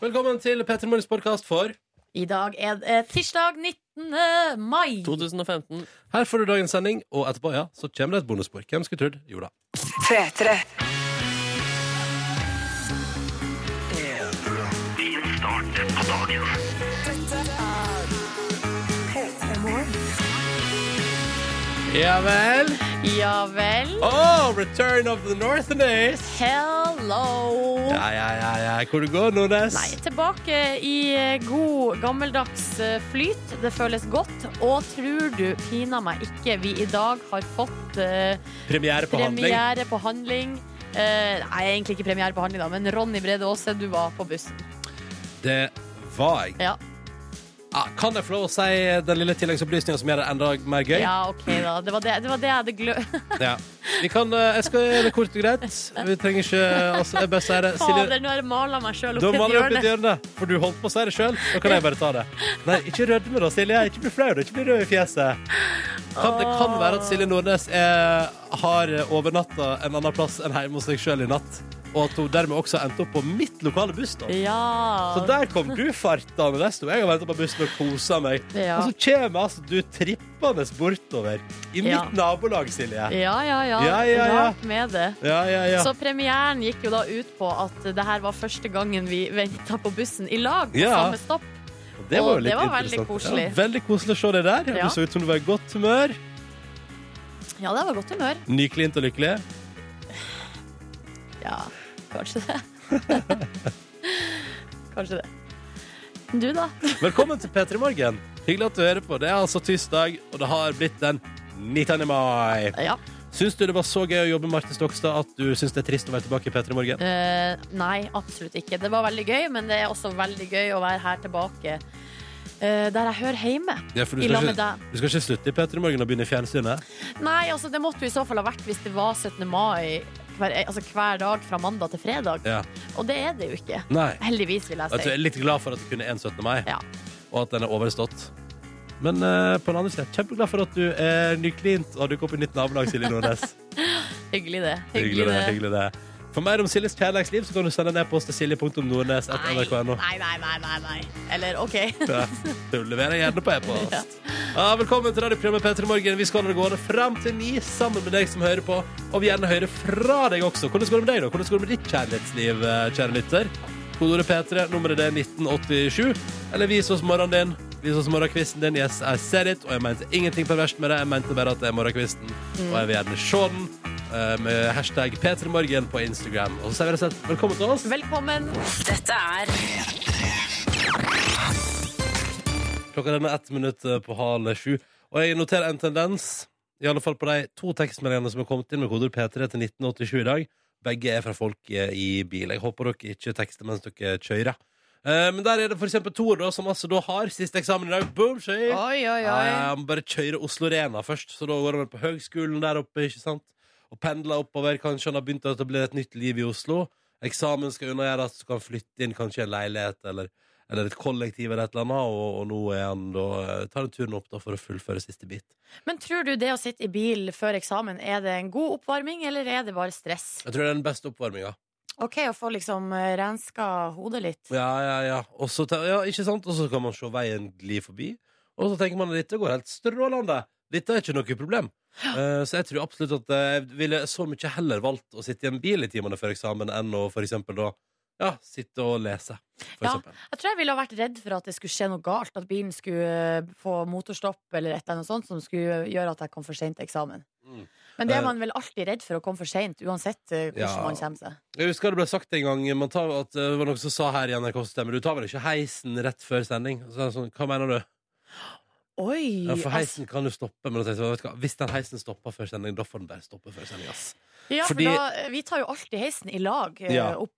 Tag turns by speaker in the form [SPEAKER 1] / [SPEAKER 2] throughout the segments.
[SPEAKER 1] Velkommen til Petter Morgens podkast for
[SPEAKER 2] I dag er det tirsdag 19. mai.
[SPEAKER 3] 2015.
[SPEAKER 1] Her får du dagens sending, og etterpå ja, så kommer det et bonusspor. Hvem skulle trodd? Jo da. Ja vel.
[SPEAKER 2] Ja vel.
[SPEAKER 1] Oh, return of the Northerners.
[SPEAKER 2] Hello.
[SPEAKER 1] Ja, ja, ja, ja. Hvor det går, Nordnes?
[SPEAKER 2] Nei, tilbake i eh, god gammeldags eh, flyt. Det føles godt. Og tror du pina meg ikke vi i dag har fått eh,
[SPEAKER 1] Premiere på handling.
[SPEAKER 2] premiere på handling? Eh, nei, egentlig ikke premiere på handling, da, men Ronny Brede Aase, du var på bussen.
[SPEAKER 1] Det var jeg.
[SPEAKER 2] Ja.
[SPEAKER 1] Ah, kan jeg få lov å si den lille tilleggsopplysninga som gjør det enda mer gøy?
[SPEAKER 2] Ja, OK, da. Det var det, det, var det jeg hadde glø...
[SPEAKER 1] Ja. Vi kan, eh, jeg skal gjøre det kort og greit. Vi trenger ikke altså, Jeg bare sier det. Silje,
[SPEAKER 2] Fader, nå har jeg mala meg sjøl
[SPEAKER 1] da
[SPEAKER 2] opp i et
[SPEAKER 1] maler du opp
[SPEAKER 2] hjørne.
[SPEAKER 1] litt hjørne, for du holdt på å si det sjøl. Da kan jeg bare ta det. Nei, ikke rødme da, Silje. Ikke bli flau. da. Ikke bli rød i fjeset. Kan, det kan være at Silje Nordnes er, har overnatta en annen plass enn hjemme hos seg sjøl i natt, og at hun dermed også endte opp på mitt lokale busstopp. Så
[SPEAKER 2] Ja.
[SPEAKER 1] der kom du fartende. Der sto jeg og venta på bussen og kosa meg.
[SPEAKER 2] Ja.
[SPEAKER 1] Og så kommer altså du trippende bortover i mitt
[SPEAKER 2] Ja.
[SPEAKER 1] nabolag, Silje.
[SPEAKER 2] Ja, ja, ja.
[SPEAKER 1] Ja, ja, ja.
[SPEAKER 2] Rart med det.
[SPEAKER 1] Ja, ja, ja.
[SPEAKER 2] Så premieren gikk jo da ut på at det her var første gangen vi venta på bussen i lag. På
[SPEAKER 1] Ja.
[SPEAKER 2] samme stopp.
[SPEAKER 1] Og Det
[SPEAKER 2] Og
[SPEAKER 1] var jo litt
[SPEAKER 2] det var veldig
[SPEAKER 1] interessant.
[SPEAKER 2] koselig.
[SPEAKER 1] Ja, veldig koselig å se deg der.
[SPEAKER 2] Ja.
[SPEAKER 1] Du så ut som du var i godt humør.
[SPEAKER 2] Ja, det var godt humør.
[SPEAKER 1] Nyklint og lykkelig.
[SPEAKER 2] Ja, kanskje det. kanskje det. Du, da?
[SPEAKER 1] Velkommen til P3 Morgen. Hyggelig at du hører på. Det er altså tirsdag, og det har blitt den 19. mai.
[SPEAKER 2] Ja.
[SPEAKER 1] Syns du det var så gøy å jobbe med Marte Stokstad at du syns det er trist å være tilbake i P3 Morgen?
[SPEAKER 2] Eh, nei, absolutt ikke. Det var veldig gøy, men det er også veldig gøy å være her tilbake. eh, der jeg hører hjemme.
[SPEAKER 1] Ja, for du
[SPEAKER 2] I lag
[SPEAKER 1] skal,
[SPEAKER 2] med
[SPEAKER 1] ikke,
[SPEAKER 2] deg.
[SPEAKER 1] du skal ikke slutte i P3 Morgen og begynne i fjernsynet?
[SPEAKER 2] Nei, altså det måtte jo i så fall ha vært hvis det var 17. mai hver, altså, hver dag fra mandag til fredag.
[SPEAKER 1] Ja.
[SPEAKER 2] Og det er det jo ikke.
[SPEAKER 1] Nei.
[SPEAKER 2] Heldigvis, vil jeg
[SPEAKER 1] Jeg tror
[SPEAKER 2] si.
[SPEAKER 1] jeg er litt glad for at du kunne en 17. mai,
[SPEAKER 2] Ja.
[SPEAKER 1] og at den er overstått. Men eh, på den andre siden, kjempeglad for at du er nyklint og har dukket opp i nytt nabolag, Silje Nordnes.
[SPEAKER 2] Hyggelig, det.
[SPEAKER 1] Hyggelig det. hyggelig det For mer om Siljes kjærlighetsliv så kan du sende en e-post til silje.nordnes.nrk.no.
[SPEAKER 2] Nei, nei, nei, nei, nei. Eller OK.
[SPEAKER 1] Du leverer gjerne på e-post. Ja, velkommen til radioprogrammet P3 Morgen. Vi skal holde det gående fram til ni sammen med deg som hører på. Og vi gjerne hører fra deg også. Hvordan går det med deg, da? Hvordan går det med ditt kjærlighetsliv, eh, kjære lytter? Kodeordet P3, nummeret det er 1987. Eller vis oss morgenen din. Vis oss morgenkvisten din. Yes, I said it. Og jeg mente ingenting perverst med det. Jeg mente bare at det er morgenkvisten. Og jeg vil gjerne se den eh, med hashtag P3morgen på Instagram. Og så sier vi rett og slett velkommen til oss.
[SPEAKER 2] Velkommen.
[SPEAKER 4] Dette er
[SPEAKER 1] Klokka den er ett minutt eh, på halv sju. Og jeg noterer en tendens, i alle fall på de to tekstmeldingene som er kommet inn med koder P3 til 1987 i dag. Begge er fra folk eh, i bil. Jeg håper dere ikke tekster mens dere kjører. Eh, Men der er det for eksempel Tor, da, som altså da har siste eksamen i dag. Boom, skøy!
[SPEAKER 2] Oi, oi, oi.
[SPEAKER 1] Ja, Jeg må bare kjøre Oslo Rena først, så da går han vel på høgskolen der oppe, ikke sant? Og pendler oppover, kanskje han har begynt å etablere et nytt liv i Oslo. Eksamen skal unnagjøres, så kan han flytte inn kanskje i en leilighet eller, eller et kollektiv eller et eller annet, og, og nå er han da, eh, tar han turen opp da for å fullføre siste bit.
[SPEAKER 2] Men tror du det å sitte i bil før eksamen, er det en god oppvarming, eller er det bare stress?
[SPEAKER 1] Jeg tror det er den beste oppvarminga.
[SPEAKER 2] OK å få liksom eh, renska hodet litt.
[SPEAKER 1] Ja, ja, ja. Og så, te- ja, ikke sant? Og så kan man se veien gli forbi, og så tenker man at dette går helt strålende. Dette er ikke noe problem. Eh, så jeg tror absolutt at eh, jeg ville så mye heller valgt å sitte i en bil i timene før eksamen enn å for eksempel da ja, sitte og lese. For
[SPEAKER 2] Ja.
[SPEAKER 1] eksempel.
[SPEAKER 2] Jeg tror jeg ville ha vært redd for at det skulle skje noe galt. At bilen skulle eh, få motorstopp eller et eller annet sånt som skulle gjøre at jeg kom for seint til eksamen.
[SPEAKER 1] Mm.
[SPEAKER 2] Men
[SPEAKER 1] Eh.
[SPEAKER 2] det er man vel alltid redd for å komme for seint, uansett eh, hvordan
[SPEAKER 1] Ja.
[SPEAKER 2] man kommer seg.
[SPEAKER 1] Jeg husker det ble sagt en gang man tar, at eh, det var noen som sa her i NRK Stemmer du tar vel ikke heisen rett før sending? Og Så er det sånn, Hva mener du?
[SPEAKER 2] Oi!
[SPEAKER 1] Ja, for
[SPEAKER 2] ass.
[SPEAKER 1] heisen kan jo stoppe, men da tenkte jeg, sånn, vet du hva, hvis den heisen stopper før sending, da får den bare stoppe før sending. ass.
[SPEAKER 2] Ja, for
[SPEAKER 1] fordi-
[SPEAKER 2] da, eh, vi tar jo alltid heisen i lag eh,
[SPEAKER 1] Ja.
[SPEAKER 2] opp.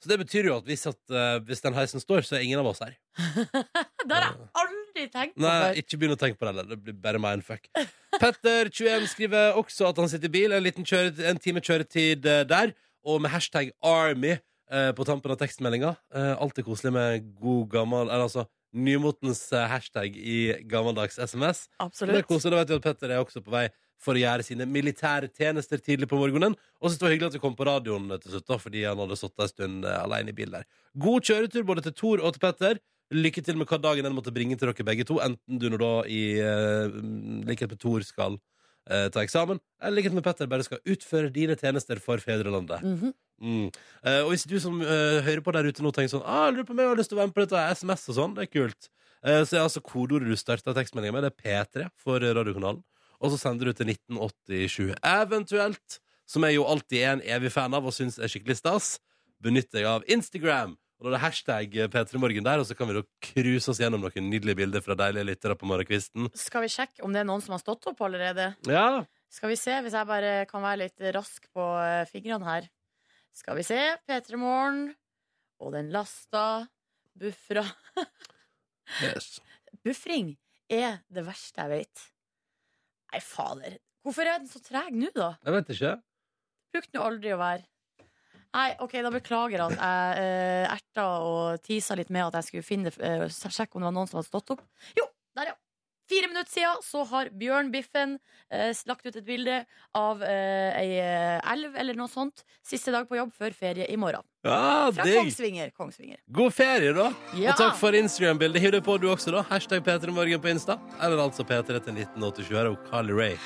[SPEAKER 1] Så det betyr jo at hvis, at, eh, hvis den heisen står, så er ingen av oss her.
[SPEAKER 2] Det har jeg aldri tenkt på før.
[SPEAKER 1] Nei, ikke begynn å tenke på det heller. Det blir bare mindfuck. Petter 21 skriver også at han sitter i bil. En, liten kjøre, en time kjøretid eh, der. Og med hashtag Army eh, på tampen av tekstmeldinga. Eh, alltid koselig med god gammel Eller altså nymotens eh, hashtag i gammeldags SMS. Det er
[SPEAKER 2] Absolutt.
[SPEAKER 1] koselig, Da vet vi at Petter er også på vei for å gjøre sine militære tjenester tidlig på morgenen. Og så det var hyggelig at vi kom på radioen til slutt, da, fordi han hadde sittet en stund eh, alene i bil der. God kjøretur både til Tor og til Petter. Lykke til med hva dagen den måtte bringe til dere begge to, enten du nå da i eh, mm, likhet med Tor skal eh, ta eksamen, eller likhet med Petter bare skal utføre dine tjenester for fedrelandet.
[SPEAKER 2] Mhm.
[SPEAKER 1] Mm. Eh, og hvis du som eh, hører på der ute nå tenker sånn ah, jeg lurer på om jeg har lyst til å være med på dette SMS og sånn, det er kult. Eh, så er altså kodeordet du starter tekstmeldinga med, det er P3 for radiokanalen. Og så sender du til 1987. Eventuelt, som jeg jo alltid er en evig fan av og syns er skikkelig stas, benytter jeg av Instagram. Og da er det hashtag eh, P3morgen der, og så kan vi da cruise oss gjennom noen nydelige bilder fra deilige lyttere på morgenkvisten.
[SPEAKER 2] Skal vi sjekke om det er noen som har stått opp allerede?
[SPEAKER 1] Ja,
[SPEAKER 2] Skal vi se, hvis jeg bare kan være litt rask på eh, fingrene her. Skal vi se. P3 Morgen. Og den lasta. Buffra.
[SPEAKER 1] yes.
[SPEAKER 2] Buffring er det verste jeg vet. Nei, fader. Hvorfor er den så treg nå, da?
[SPEAKER 1] Jeg vet ikke.
[SPEAKER 2] Brukte den jo aldri å være. Nei, ok, da beklager jeg at jeg eh, erta og tisa litt med at jeg skulle finne eh, sjekke om det var noen som hadde stått opp. Jo, der ja! Fire minutter siden så har Bjørn Biffen eh, lagt ut et bilde av eh, ei eh, elv eller noe sånt. Siste dag på jobb før ferie i morgen.
[SPEAKER 1] Ja,
[SPEAKER 2] Fra
[SPEAKER 1] digg.
[SPEAKER 2] Kongsvinger. Kongsvinger.
[SPEAKER 1] God ferie, da.
[SPEAKER 2] Ja.
[SPEAKER 1] Og takk for Instagram-bildet. Hiv det på du også, da. Hashtag P3morgen på Insta. Eller altså P3 til 1987. Her er jo Carly Rae.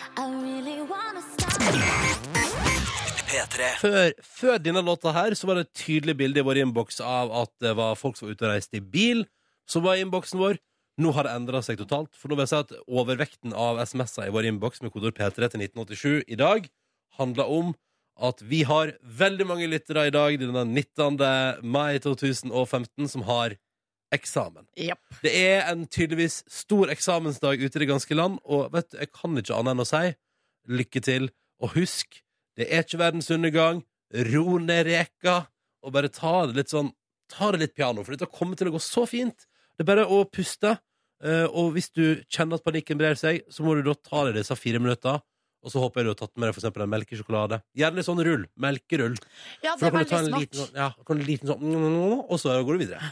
[SPEAKER 1] Før, før denne låta her så var det et tydelig bilde i vår innboks av at det var folk som var ute og reiste i bil. Så var innboksen vår. Nå har det endra seg totalt. For nå vil jeg si at overvekten av SMS-er i vår innboks med kodeord P3 til 1987 i dag handler om at vi har veldig mange lyttere i dag, denne 19. mai 2015, som har eksamen.
[SPEAKER 2] Japp.
[SPEAKER 1] Det er en tydeligvis stor eksamensdag ute i det ganske land, og vet du, jeg kan ikke annet enn å si lykke til. Og husk, det er ikke verdens undergang. Ro ned reka, og bare ta det litt sånn Ta det litt piano, for dette kommer til å gå så fint. Det er bare å puste, eh, og hvis du kjenner at panikken brer seg, så må du da ta deg disse fire minutter. Og så håper jeg du har tatt med deg for eksempel en melkesjokolade. Gjerne litt sånn rull. Melkerull.
[SPEAKER 2] Ja,
[SPEAKER 1] For da
[SPEAKER 2] det er
[SPEAKER 1] kan du ta en
[SPEAKER 2] veldig smart.
[SPEAKER 1] liten, sånn- ja, kan du en liten sånn Og så går du videre.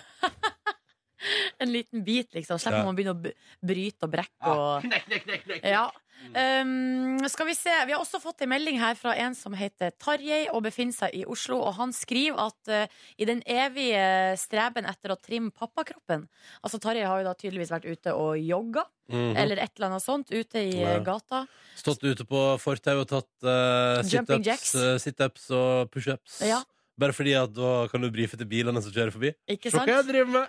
[SPEAKER 2] En liten bit, liksom. Slipper
[SPEAKER 1] Ja.
[SPEAKER 2] man å begynne å b- bryte og brekke og
[SPEAKER 1] Ah, Knekk, knekk, knekk, knekk.
[SPEAKER 2] Ja. Um, skal vi se. Vi har også fått en melding her fra en som heter Tarjei og befinner seg i Oslo. Og han skriver at eh, i den evige streben etter å trimme pappakroppen Altså Tarjei har jo da tydeligvis vært ute og jogga,
[SPEAKER 1] Mhm.
[SPEAKER 2] eller et eller annet sånt, ute i
[SPEAKER 1] Ja.
[SPEAKER 2] eh, gata.
[SPEAKER 1] Stått ute på fortau og tatt eh,
[SPEAKER 2] Jumping
[SPEAKER 1] situps
[SPEAKER 2] jacks.
[SPEAKER 1] eh, situps og pushups.
[SPEAKER 2] Ja.
[SPEAKER 1] Bare fordi at da kan du brife til bilene som kjører forbi.
[SPEAKER 2] Ikke
[SPEAKER 1] Se hva jeg
[SPEAKER 2] sant?
[SPEAKER 1] driver med!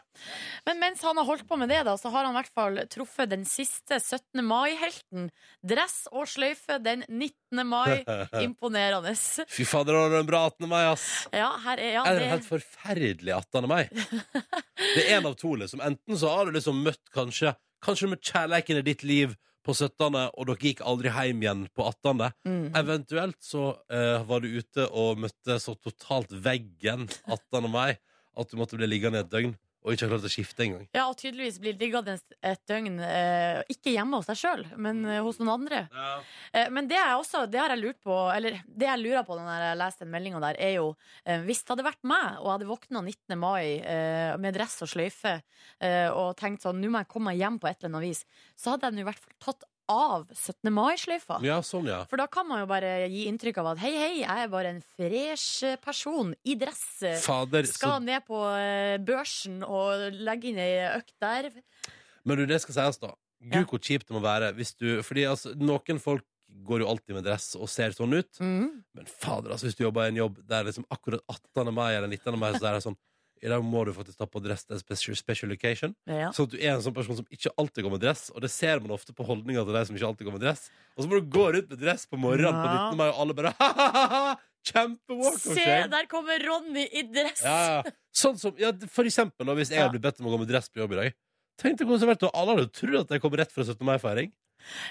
[SPEAKER 2] Men mens han har holdt på med det, da, så har han i hvert fall truffet den siste 17. mai-helten. Dress og sløyfe den 19. mai. Imponerende.
[SPEAKER 1] Fy fader, det var en bra 18. mai, ass!
[SPEAKER 2] Ja, her er ja,
[SPEAKER 1] Eller en
[SPEAKER 2] det.
[SPEAKER 1] helt forferdelig 18. mai. Det er en av to, liksom. Enten så har du liksom møtt kanskje Kanskje du møtte kjærleiken i ditt liv på 17., og dere gikk aldri hjem igjen på 18.
[SPEAKER 2] Mm.
[SPEAKER 1] Eventuelt så eh, var du ute og møtte så totalt veggen 18. mai at du måtte bli liggende i et døgn og ikke ha klart å skifte engang.
[SPEAKER 2] Ja, og tydeligvis blir ligga et døgn eh, ikke hjemme hos deg sjøl, men eh, hos noen andre.
[SPEAKER 1] Ja.
[SPEAKER 2] Eh, men det, er også, det har jeg lurt på, eller det jeg lurer på når jeg leste den meldinga der, er jo eh, hvis det hadde vært meg, og jeg hadde våkna 19. mai eh, med dress og sløyfe eh, og tenkt sånn nå må jeg komme meg hjem på et eller annet vis, så hadde jeg nå i hvert fall tatt av 17. mai-sløyfa.
[SPEAKER 1] Ja, sånn, ja.
[SPEAKER 2] For da kan man jo bare gi inntrykk av at hei, hei, jeg er bare en fresh eh, person i dress. eh,
[SPEAKER 1] Fader,
[SPEAKER 2] Skal
[SPEAKER 1] så,
[SPEAKER 2] ned på eh, børsen og legge inn ei økt der.
[SPEAKER 1] men du, det skal sies, da.
[SPEAKER 2] Ja.
[SPEAKER 1] Gud, hvor kjipt det må være hvis du Fordi altså, noen folk går jo alltid med dress og ser sånn ut,
[SPEAKER 2] Mm.
[SPEAKER 1] men fader, altså, hvis du jobber i en jobb der liksom akkurat 18. mai eller 19. mai, så er det sånn i dag må du faktisk ta på dress til en special, special occasion.
[SPEAKER 2] Ja.
[SPEAKER 1] Sånn at du er en sånn person som ikke alltid går med dress. Og det ser man ofte på holdninga til de som ikke alltid går med dress. Og så må du gå rundt med dress på morgenen på
[SPEAKER 2] Ja.
[SPEAKER 1] 19. mai, og alle bare ha-ha-ha! Kjempewalk of
[SPEAKER 2] Se,
[SPEAKER 1] shame!
[SPEAKER 2] der kommer Ronny i dress!
[SPEAKER 1] Ja, ja. Sånn som, ja, for eksempel, da, hvis jeg
[SPEAKER 2] Ja.
[SPEAKER 1] hadde blitt bedt om å gå med dress på jobb i dag Tenk deg hvordan det hadde vært, og alle hadde trodd at jeg kom rett fra 17. mai-feiring.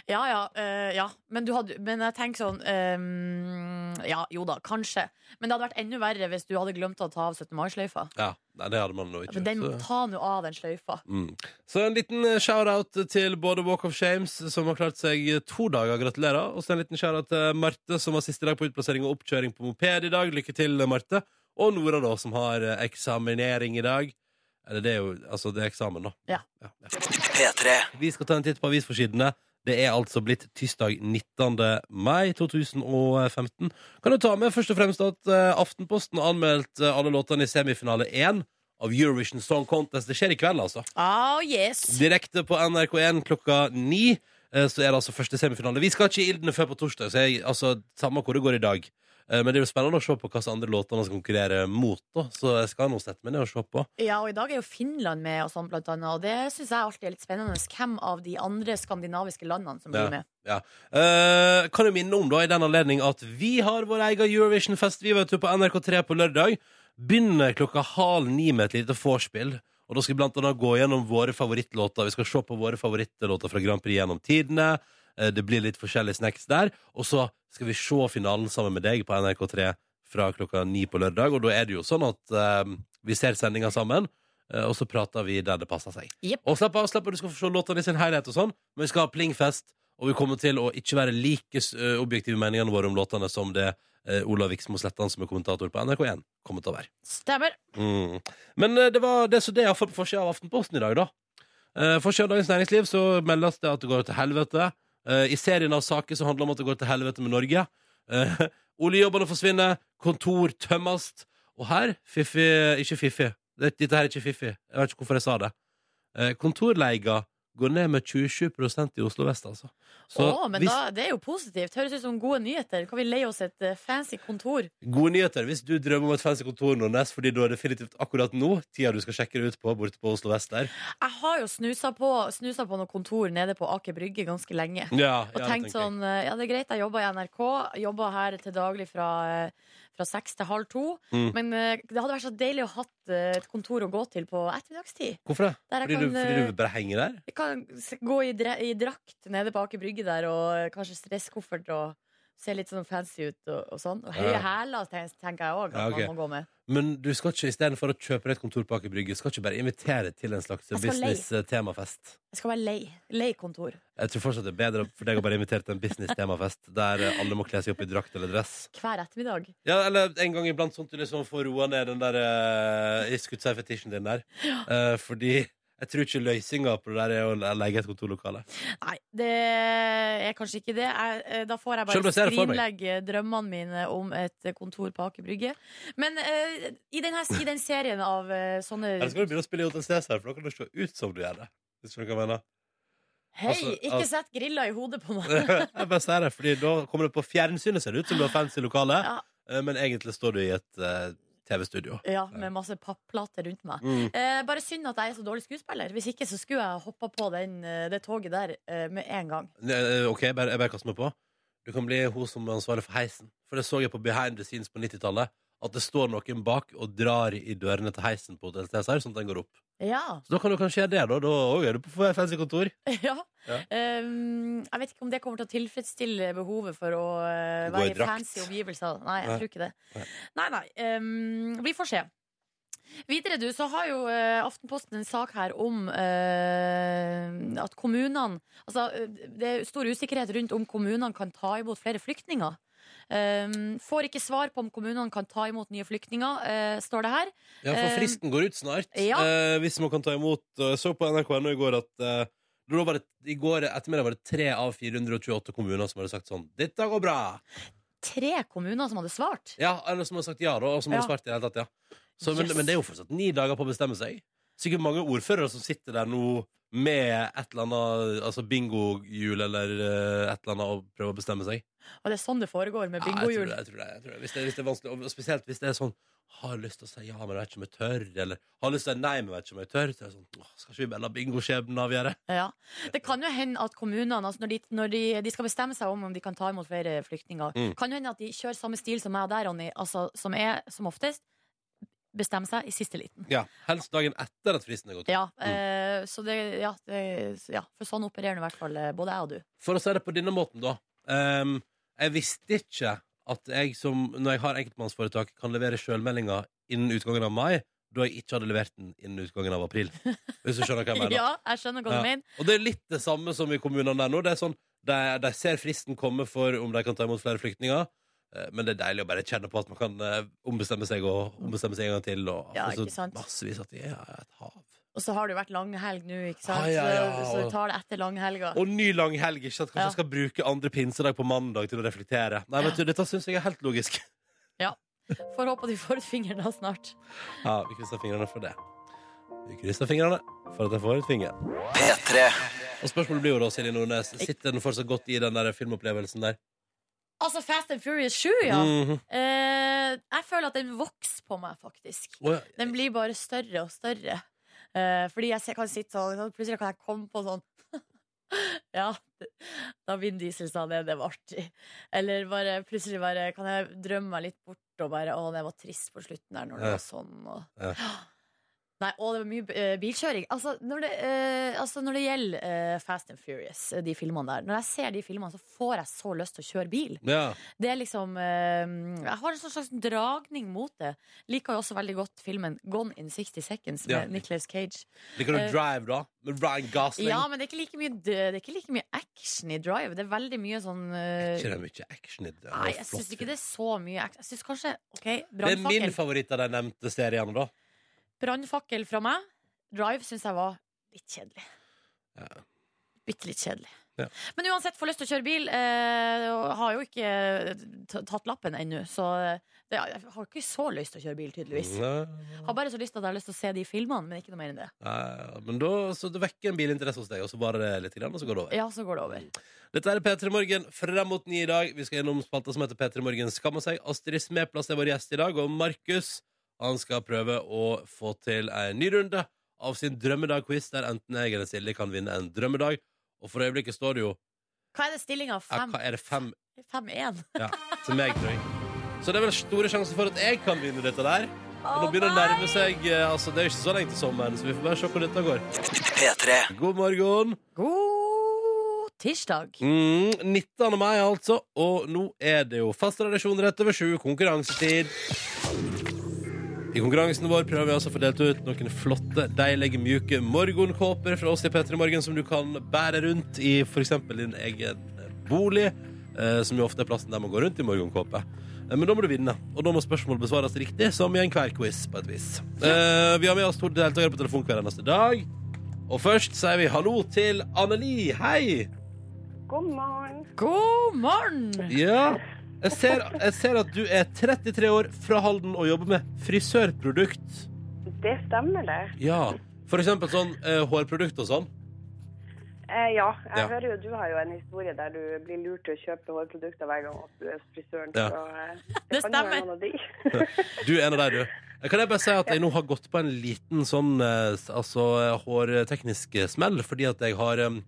[SPEAKER 2] Ja, ja, eh, ja. Men, du hadde, men jeg tenker sånn eh, Ja, jo da, kanskje. Men det hadde vært enda verre hvis du hadde glemt å ta av 17. mai-sløyfa.
[SPEAKER 1] Ja, nei, det hadde man nå ikke.
[SPEAKER 2] Men Den,
[SPEAKER 1] Så,
[SPEAKER 2] ta nå av den sløyfa.
[SPEAKER 1] mm. så en liten eh, shout-out til både Walk of Shames, som har klart seg eh, to dager, gratulerer. Og så en liten shout-out til Marte, som var siste dag på utplassering og oppkjøring på moped i dag. Lykke til, eh, Marte. Og Nora, da, som har eh, eksaminering i dag. Eller det er jo altså, det er eksamen, da.
[SPEAKER 2] Ja.
[SPEAKER 1] Vi skal ta en titt på avisforsidene. Det er altså blitt tirsdag 19. mai 2015. Kan du ta med først og fremst at eh, Aftenposten har anmeldt eh, alle låtene i semifinale 1 av Eurovision Song Contest. Det skjer i kveld, altså.
[SPEAKER 2] Oh, yes.
[SPEAKER 1] Direkte på NRK1 klokka ni eh, så er det altså første semifinale. Vi skal ikke i Ildene før på torsdag, så jeg, altså, samme hvor det går i dag. Eh, Men det er jo spennende å se på hva slags andre låter man skal konkurrere mot. Da. Så jeg skal nå sette meg ned og se på.
[SPEAKER 2] Ja, og i dag er jo Finland med, og sånn blant annet. Og det syns jeg alltid er litt spennende. Hvem av de andre skandinaviske landene som blir med?
[SPEAKER 1] Ja. Eh, kan jeg minne om da i den anledning at vi har vår egen Eurovision-fest vi vet du, på NRK3 på lørdag. Begynner klokka halv ni med et lite vorspiel. Og da skal vi blant annet gå gjennom våre favorittlåter. Vi skal se på våre favorittlåter fra Grand Prix gjennom tidene. Eh, Det blir litt forskjellige snacks der. Og så skal vi se finalen sammen med deg på NRK3 fra klokka ni på lørdag. Og da er det jo sånn at eh, vi ser sendinga sammen, eh, og så prater vi der det passer seg.
[SPEAKER 2] Jepp.
[SPEAKER 1] Og slapp av, slapp av, du skal få se låtene i sin helhet og sånn, men vi skal ha plingfest, og vi kommer til å ikke være like eh, objektive i meningene våre om låtene som det eh, Olav Viksmo Slettan, som er kommentator på NRK1, kommer til å være.
[SPEAKER 2] Stemmer.
[SPEAKER 1] Mm. Men eh, det var det som det jeg har fått på forsida av Aftenposten i dag, da. Uh, forsida av Dagens Næringsliv så meldes det at det går til helvete. Eh, I serien av saker som handler om at det går til helvete med Norge. Uh, oljejobbene forsvinner, kontor tømmes. Og her Fiffi Ikke Fiffi. Det- Dette her er ikke Fiffi. Jeg vet ikke hvorfor jeg sa det. Uh, kontorleiga går ned med 27 i Oslo vest, altså.
[SPEAKER 2] Å, men da, det er jo positivt. Høres ut som gode nyheter. Kan vi leie oss et eh, fancy kontor?
[SPEAKER 1] Gode nyheter hvis du drømmer om et fancy kontor, Nordnes, fordi da er definitivt akkurat nå tida du skal sjekke det ut på, borte på Oslo vest der.
[SPEAKER 2] Jeg har jo snusa på, snusa på noe kontor nede på Aker Brygge ganske lenge.
[SPEAKER 1] Ja,
[SPEAKER 2] Og
[SPEAKER 1] ja, det tenker
[SPEAKER 2] tenkt
[SPEAKER 1] jeg.
[SPEAKER 2] sånn, eh, ja det er greit, jeg jobber i NRK Jobber her til daglig fra, eh, fra 6 til halv 2
[SPEAKER 1] Mm.
[SPEAKER 2] Men eh, det hadde vært så deilig å ha eh, et kontor å gå til på ettermiddagstid
[SPEAKER 1] Hvorfor det?
[SPEAKER 2] Der
[SPEAKER 1] Fordi
[SPEAKER 2] jeg
[SPEAKER 1] du,
[SPEAKER 2] kan,
[SPEAKER 1] fordi
[SPEAKER 2] eh,
[SPEAKER 1] du bare henger der?
[SPEAKER 2] jeg kan s- gå i, dre i drakt nede på Aker Brygge der Og eh, kanskje stresskoffert og se litt sånn fancy ut og, og sånn Og høye
[SPEAKER 1] Ja.
[SPEAKER 2] hæler ten- tenker jeg også at
[SPEAKER 1] Ja, ok.
[SPEAKER 2] man må gå med
[SPEAKER 1] Men du skal ikke, istedenfor å kjøpe deg et kontor på Aker Brygge, skal ikke bare invitere til en slags
[SPEAKER 2] Jeg skal
[SPEAKER 1] business-temafest?
[SPEAKER 2] Jeg skal være lei, lei kontor
[SPEAKER 1] Jeg tror fortsatt det er bedre for deg å bare invitere til en business-temafest der eh, alle må kle seg opp i drakt eller dress.
[SPEAKER 2] hver ettermiddag
[SPEAKER 1] Ja, eller en gang iblant sånn at du liksom får roa ned den der uh, iskutsei-fetisjen din der. Eh, fordi jeg tror ikke løsninga på det der er å leie et kontorlokale.
[SPEAKER 2] Nei, det er kanskje ikke det. Jeg, eh, da får jeg
[SPEAKER 1] Selv om
[SPEAKER 2] bare
[SPEAKER 1] jeg ser det for meg.
[SPEAKER 2] skrinlegge drømmene mine om et eh, kontor på Aker Brygge. Men eh, i, den her, i den serien av eh, sånne
[SPEAKER 1] Eller skal du begynne å spille i Hotel Cæsar, for da kan det se ut som du gjør det. Hvis du skjønner hva jeg mener.
[SPEAKER 2] Hei,
[SPEAKER 1] altså,
[SPEAKER 2] ikke
[SPEAKER 1] altså-
[SPEAKER 2] sett grilla i hodet på meg!
[SPEAKER 1] jeg bare sier det, fordi da kommer det på fjernsynet ser det ut som du har fancy lokale,
[SPEAKER 2] Ja.
[SPEAKER 1] eh, men egentlig står du i et eh, TV-studio.
[SPEAKER 2] Ja, med masse papplater rundt meg.
[SPEAKER 1] Mm.
[SPEAKER 2] Eh, bare synd at jeg er så dårlig skuespiller. Hvis ikke så skulle jeg hoppa på den, eh, det toget der eh, med en gang.
[SPEAKER 1] Eh, OK, bare, jeg bare kaster meg på. Du kan bli hun som er ansvarlig for heisen. For det så jeg på Behind the Scenes på 90-tallet. At det står noen bak og drar i dørene til heisen på Hotel Cæsar, sånn at den går opp.
[SPEAKER 2] Ja.
[SPEAKER 1] Så da kan du kanskje gjøre det, da. Da òg er du på fancy kontor.
[SPEAKER 2] ja.
[SPEAKER 1] Ja.
[SPEAKER 2] Um, jeg vet ikke om det kommer til å tilfredsstille behovet for å eh,
[SPEAKER 1] Gå i
[SPEAKER 2] være i
[SPEAKER 1] drakt.
[SPEAKER 2] fancy omgivelser. Nei, jeg
[SPEAKER 1] Nei.
[SPEAKER 2] tror ikke det.
[SPEAKER 1] Nei.
[SPEAKER 2] Nei, nei. Um, vi får se. Videre du, så har jo eh, Aftenposten en sak her om eh, at kommunene Altså, eh, det er stor usikkerhet rundt om kommunene kan ta imot flere flyktninger. Um, får ikke svar på om kommunene kan ta imot nye flyktninger, eh, står det her.
[SPEAKER 1] Ja, for
[SPEAKER 2] Eh,
[SPEAKER 1] fristen går ut snart.
[SPEAKER 2] ja.
[SPEAKER 1] Eh, hvis man kan ta imot. Og jeg så på NRK.no i går at eh, da var det, i går ettermiddag var det tre av 428 kommuner som hadde sagt sånn 'Dette går bra'.
[SPEAKER 2] Tre kommuner som hadde svart.
[SPEAKER 1] Ja, Eller som har sagt ja, da, og som har
[SPEAKER 2] Ja.
[SPEAKER 1] svart i det hele tatt. ja. Så, men,
[SPEAKER 2] Yes.
[SPEAKER 1] men det er jo fortsatt ni dager på å bestemme seg. Sikkert mange ordførere som sitter der nå med et eller annet altså bingohjul eller eh, et eller annet og prøver å bestemme seg.
[SPEAKER 2] Og det er sånn det foregår med
[SPEAKER 1] Ja, jeg tror
[SPEAKER 2] bingohjul.
[SPEAKER 1] det, jeg tror det, jeg tror det. Hvis, det, hvis det er vanskelig, og spesielt hvis det er sånn Har lyst til å si ja, men jeg vet ikke om jeg tør, eller har lyst til å si nei, men jeg vet ikke om jeg tør. Så er det sånn, åh, skal ikke vi bare la bingoskjebnen avgjøre?
[SPEAKER 2] Ja. Det kan jo hende at kommunene, altså når, de, når de, de skal bestemme seg om om de kan ta imot flere flyktninger,
[SPEAKER 1] Mm.
[SPEAKER 2] kan jo hende at de kjører samme stil som meg og deg, Ronny, altså, som er som oftest bestemme seg i siste liten.
[SPEAKER 1] Ja, Helst dagen etter at fristen er gått.
[SPEAKER 2] Ja, eh, så det, ja, det, ja, for sånn opererer nå i hvert fall eh, både jeg og du.
[SPEAKER 1] For å si det på denne måten, da. ehm, jeg visste ikke at jeg som, når jeg har enkeltmannsforetak, kan levere sjølmeldinga innen utgangen av mai, da jeg ikke hadde levert den innen utgangen av april. Hvis du skjønner hva jeg mener.
[SPEAKER 2] Ja, jeg skjønner hva
[SPEAKER 1] Ja.
[SPEAKER 2] du mener.
[SPEAKER 1] Og det er litt det samme som i kommunene der nå. Det er sånn, de, de ser fristen komme for om de kan ta imot flere flyktninger. eh, Men det er deilig å bare kjenne på at man kan eh, ombestemme seg og ombestemme seg en gang til. Og,
[SPEAKER 2] Ja,
[SPEAKER 1] og så
[SPEAKER 2] ikke sant?
[SPEAKER 1] massevis at de er et hav.
[SPEAKER 2] Og så har det jo vært langhelg nå, ikke sant?
[SPEAKER 1] Ah, ja, ja,
[SPEAKER 2] Så, så
[SPEAKER 1] og-
[SPEAKER 2] vi tar det etter langhelga.
[SPEAKER 1] Og ny lang helg. ikke sant? Kanskje
[SPEAKER 2] Ja.
[SPEAKER 1] jeg skal bruke andre pinsedag på mandag til å reflektere. Nei, vet du, Dette syns jeg er helt logisk.
[SPEAKER 2] Får håpe de får ut fingrene snart.
[SPEAKER 1] Ja, Vi krysser fingrene for det. Vi krysser fingrene for at jeg får ut finger.
[SPEAKER 3] P3
[SPEAKER 1] Og spørsmålet blir jo da, Silje Nordnes, sitter den fortsatt godt i den der filmopplevelsen der?
[SPEAKER 2] Altså Fast and Furious 7, ja.
[SPEAKER 1] Mhm.
[SPEAKER 2] Eh, jeg føler at den vokser på meg, faktisk.
[SPEAKER 1] Å, ja.
[SPEAKER 2] Den blir bare større og større. Eh, fordi jeg se- kan sitte sånn sånn, Plutselig kan jeg komme på sånn Ja, det- da Vin Diesel sa det, det var artig. Eller bare plutselig bare kan jeg drømme meg litt bort og bare Å, det var trist på slutten der når det
[SPEAKER 1] Ja.
[SPEAKER 2] var sånn. Og,
[SPEAKER 1] Ja.
[SPEAKER 2] Nei, og det var mye eh, bilkjøring. Altså, når det, eh, altså, når det gjelder eh, Fast and Furious, eh, de filmene der Når jeg ser de filmene, så får jeg så lyst til å kjøre bil.
[SPEAKER 1] ja.
[SPEAKER 2] Det er liksom eh, Jeg har en sånn slags dragning mot det. Liker jo også veldig godt filmen Gone in 60 Seconds med
[SPEAKER 1] Ja.
[SPEAKER 2] Nicolas Cage.
[SPEAKER 1] Liker du
[SPEAKER 2] Eh,
[SPEAKER 1] Drive, da? Med Ryan Gosling?
[SPEAKER 2] Ja, men det er ikke like mye, død- det er ikke like mye action i Drive. Det er veldig mye sånn eh,
[SPEAKER 1] Ikke det er mye action i det.
[SPEAKER 2] Nei, jeg syns ikke det er så mye action. Jeg syns kanskje OK,
[SPEAKER 1] Det er min
[SPEAKER 2] brannfakkel.
[SPEAKER 1] favoritt av de nevnte seriene, da.
[SPEAKER 2] Brannfakkel fra meg. Drive syns jeg var litt kjedelig.
[SPEAKER 1] Ja.
[SPEAKER 2] Bitte litt kjedelig.
[SPEAKER 1] Ja.
[SPEAKER 2] Men uansett, får lyst til å kjøre bil. Eh, og har jo ikke t- tatt lappen ennå, så eh, det, jeg har ikke så lyst til å kjøre bil, tydeligvis.
[SPEAKER 1] Nei.
[SPEAKER 2] Har bare så lyst til at jeg har lyst til å se de filmene, men ikke noe mer enn det.
[SPEAKER 1] Nei, Men da så det vekker en bilinteresse hos deg, og så varer det litt, grann, og så går det over.
[SPEAKER 2] Ja, så går det over.
[SPEAKER 1] Dette er P3 Morgen frem mot ni i dag. Vi skal gjennom spalta som heter P3 Morgen skammer seg. Astrid Smeplass er vår gjest i dag, og Markus han skal prøve å få til en ny runde av sin drømmedag-quiz, der enten jeg eller Silje kan vinne en drømmedag. Og for øyeblikket står det jo
[SPEAKER 2] Hva er det stillinga?
[SPEAKER 1] ja, hva er det fem
[SPEAKER 2] 5-1?
[SPEAKER 1] ja, til meg, tror jeg. Så det er vel store sjanser for at jeg kan vinne dette der. Men nå
[SPEAKER 2] Å,
[SPEAKER 1] begynner det å
[SPEAKER 2] nei!
[SPEAKER 1] nærme seg eh, altså, Det er jo ikke så lenge til sommeren, så vi får bare se hvor dette går.
[SPEAKER 3] P3
[SPEAKER 1] God morgen.
[SPEAKER 2] God tirsdag.
[SPEAKER 1] Mm, 19. mai, altså. Og nå er det jo fast tradisjon rett over sju, konkurransetid. I konkurransen vår prøver vi altså å få delt ut noen flotte, deilige, mjuke morgenkåper fra oss i P3 Morgen som du kan bære rundt i f.eks. din egen bolig, eh, som jo ofte er plassen der man går rundt i morgenkåpe. Eh, Men da må du vinne, og da må spørsmål besvares riktig, som i enhver quiz, på et vis. Eh, vi har med oss to deltakere på telefon hver eneste dag. Og først sier vi hallo til Anneli. Hei!
[SPEAKER 4] God morgen.
[SPEAKER 2] God morgen!
[SPEAKER 1] Ja. Jeg ser, jeg ser at du er 33 år fra Halden og jobber med frisørprodukt.
[SPEAKER 4] Det stemmer, det.
[SPEAKER 1] Ja. For eksempel sånn eh, hårprodukt og sånn.
[SPEAKER 4] Eh, ja, jeg
[SPEAKER 1] Ja.
[SPEAKER 4] hører jo du har jo en historie der du blir lurt til å kjøpe hårprodukter hver gang at du er hos frisøren.
[SPEAKER 1] Ja.
[SPEAKER 4] Så eh,
[SPEAKER 2] Det
[SPEAKER 4] kan jo være
[SPEAKER 2] stemmer.
[SPEAKER 4] noen av de.
[SPEAKER 1] Du er en av deg, du. Kan jeg bare si at jeg nå har gått på en liten sånn eh, s- altså, eh, hårteknisk smell, fordi at jeg har eh,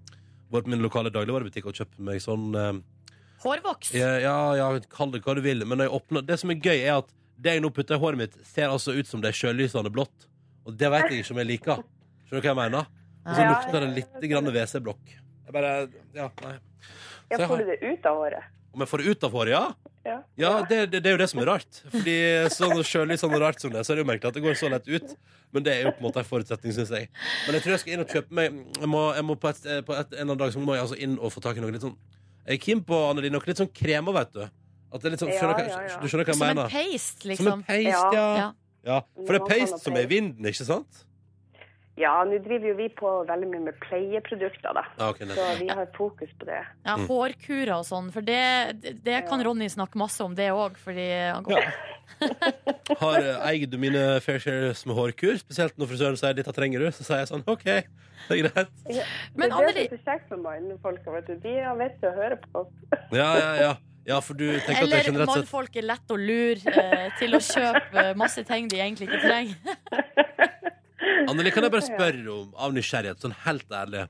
[SPEAKER 1] vært på min lokale dagligvarebutikk og kjøpt meg sånn eh,
[SPEAKER 2] Hårvoks.
[SPEAKER 1] Ja, ja, ja kall det hva du vil, men når jeg åpner, det som er gøy, er at det jeg nå putter i håret mitt, ser altså ut som det er sjølysende blått. Og det veit jeg ikke om jeg liker. Skjønner du hva jeg mener? Og så
[SPEAKER 4] Ja.
[SPEAKER 1] lukter det litt grann WC-blokk. Jeg bare Ja, nei. Så
[SPEAKER 4] Ja,
[SPEAKER 1] jeg
[SPEAKER 4] får
[SPEAKER 1] har-
[SPEAKER 4] du det ut av håret?
[SPEAKER 1] Om jeg får det ut av håret, ja?
[SPEAKER 4] Ja.
[SPEAKER 1] Ja, det, det, det er jo det som er rart. Fordi sånn sjølysende rart som det, så er det jo merkelig at det går så lett ut. Men det er jo på en måte en forutsetning, syns jeg. Men jeg tror jeg skal inn og kjøpe meg Jeg må, jeg må på, et, på et, en eller annen dag så må jeg altså inn og få tak i noe litt sånn Jeg er keen på, Anneli, noe litt sånn kremer, vet du. At det er litt sånn,
[SPEAKER 4] Ja,
[SPEAKER 1] skjønner,
[SPEAKER 4] ja,
[SPEAKER 1] hva-
[SPEAKER 4] ja.
[SPEAKER 1] Du skjønner hva jeg
[SPEAKER 2] Som en
[SPEAKER 1] mener?
[SPEAKER 2] paste,
[SPEAKER 1] Som en
[SPEAKER 2] liksom.
[SPEAKER 1] paste, ja.
[SPEAKER 2] Ja.
[SPEAKER 1] ja. For det er
[SPEAKER 4] Noe sånn
[SPEAKER 1] paste som er i vinden, ikke sant?
[SPEAKER 4] Ja, nå driver jo vi på veldig mye med pleieprodukter, da.
[SPEAKER 1] Ja, ok,
[SPEAKER 4] Så
[SPEAKER 1] nettopp.
[SPEAKER 4] vi har fokus på det.
[SPEAKER 2] ja,
[SPEAKER 1] Mm.
[SPEAKER 2] Hårkurer og sånn. For det, det- det kan Ronny snakke masse om, det òg. Fordi han går
[SPEAKER 1] Ja. Har eh, eier du mine fair shares med hårkur? Spesielt når frisøren sier 'dette trenger du', så sier jeg sånn OK, det er greit.
[SPEAKER 2] Men
[SPEAKER 4] det er det
[SPEAKER 2] Anneli-
[SPEAKER 4] som er så kjekt med mannfolka, vet du. De har vett til å høre på oss.
[SPEAKER 1] Ja, ja, ja. ja for du tenker at det er
[SPEAKER 2] Eller
[SPEAKER 1] generelt sett
[SPEAKER 2] mannfolk er lett å lure eh, til å kjøpe eh, masse ting de egentlig ikke trenger.
[SPEAKER 1] Anneli, kan jeg bare spørre om, av nysgjerrighet, sånn helt ærlig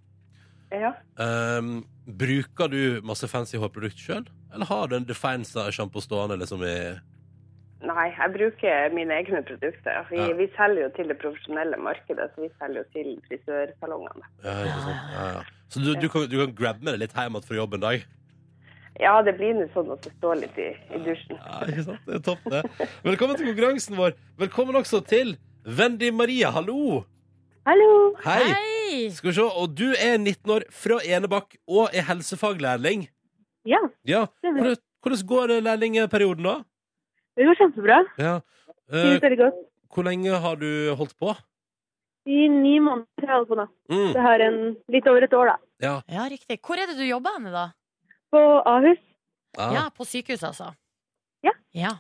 [SPEAKER 4] Ja.
[SPEAKER 1] ehm, Bruker du masse fancy hårprodukt sjøl? Eller har du en Definsa-sjampo stående liksom i
[SPEAKER 4] Nei, jeg bruker mine egne produkter. Vi,
[SPEAKER 1] Ja.
[SPEAKER 4] vi selger jo til det profesjonelle markedet, så vi selger jo til frisørsalongene.
[SPEAKER 1] ja, ikke sant? Ja, ja. Så du, du, kan, du kan grabbe med det litt hjem igjen fra jobb en dag?
[SPEAKER 4] Ja, det blir nå sånn at det står litt i, i dusjen.
[SPEAKER 1] Ja, ikke sant? Det er topp, det. Velkommen til konkurransen vår. Velkommen også til Wendy Maria, hallo!
[SPEAKER 4] Hallo!
[SPEAKER 1] Hei!
[SPEAKER 2] Hei!
[SPEAKER 1] Skal vi se, og du er 19 år, fra Enebakk og er helsefaglærling.
[SPEAKER 5] Ja,
[SPEAKER 1] Ja, Hvordan hvordan går det lærlingperioden, da?
[SPEAKER 5] det går kjempebra.
[SPEAKER 1] Ja. Eh,
[SPEAKER 5] Trives veldig godt.
[SPEAKER 1] hvor lenge har du holdt på?
[SPEAKER 3] I ni måneder har jeg holdt på nå.
[SPEAKER 1] Mm.
[SPEAKER 3] Det har en, litt over et år, da.
[SPEAKER 1] Ja.
[SPEAKER 2] Ja, riktig. Hvor er det du jobber henne, da?
[SPEAKER 3] På Ahus.
[SPEAKER 1] Ah.
[SPEAKER 2] Ja, På sykehuset, altså?
[SPEAKER 3] Ja.
[SPEAKER 2] ja.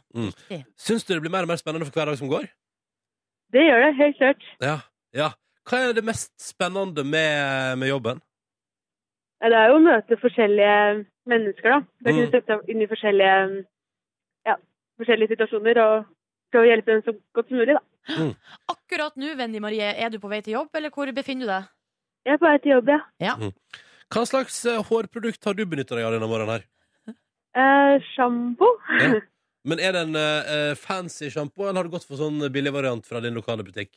[SPEAKER 1] Syns du det blir mer og mer spennende for hver dag som går?
[SPEAKER 3] Det gjør det, helt klart.
[SPEAKER 1] Ja. ja. Hva er det mest spennende med, med jobben?
[SPEAKER 3] Nei, Det er jo å møte forskjellige mennesker, da. Du
[SPEAKER 1] Mm.
[SPEAKER 3] kan sette deg inn i forskjellige, ja, forskjellige situasjoner og prøve å hjelpe dem så godt som mulig, da.
[SPEAKER 2] Akkurat nå, Wendy Marie, er du på vei til jobb, eller hvor befinner du deg?
[SPEAKER 3] Jeg er på vei til jobb, ja.
[SPEAKER 1] Hva slags eh, hårprodukt har du benytta deg av denne morgenen her?
[SPEAKER 3] Eh, Sjampo.
[SPEAKER 1] Ja. Men er det en eh, eh, fancy sjampo, eller har du gått for sånn billig variant fra din lokale butikk?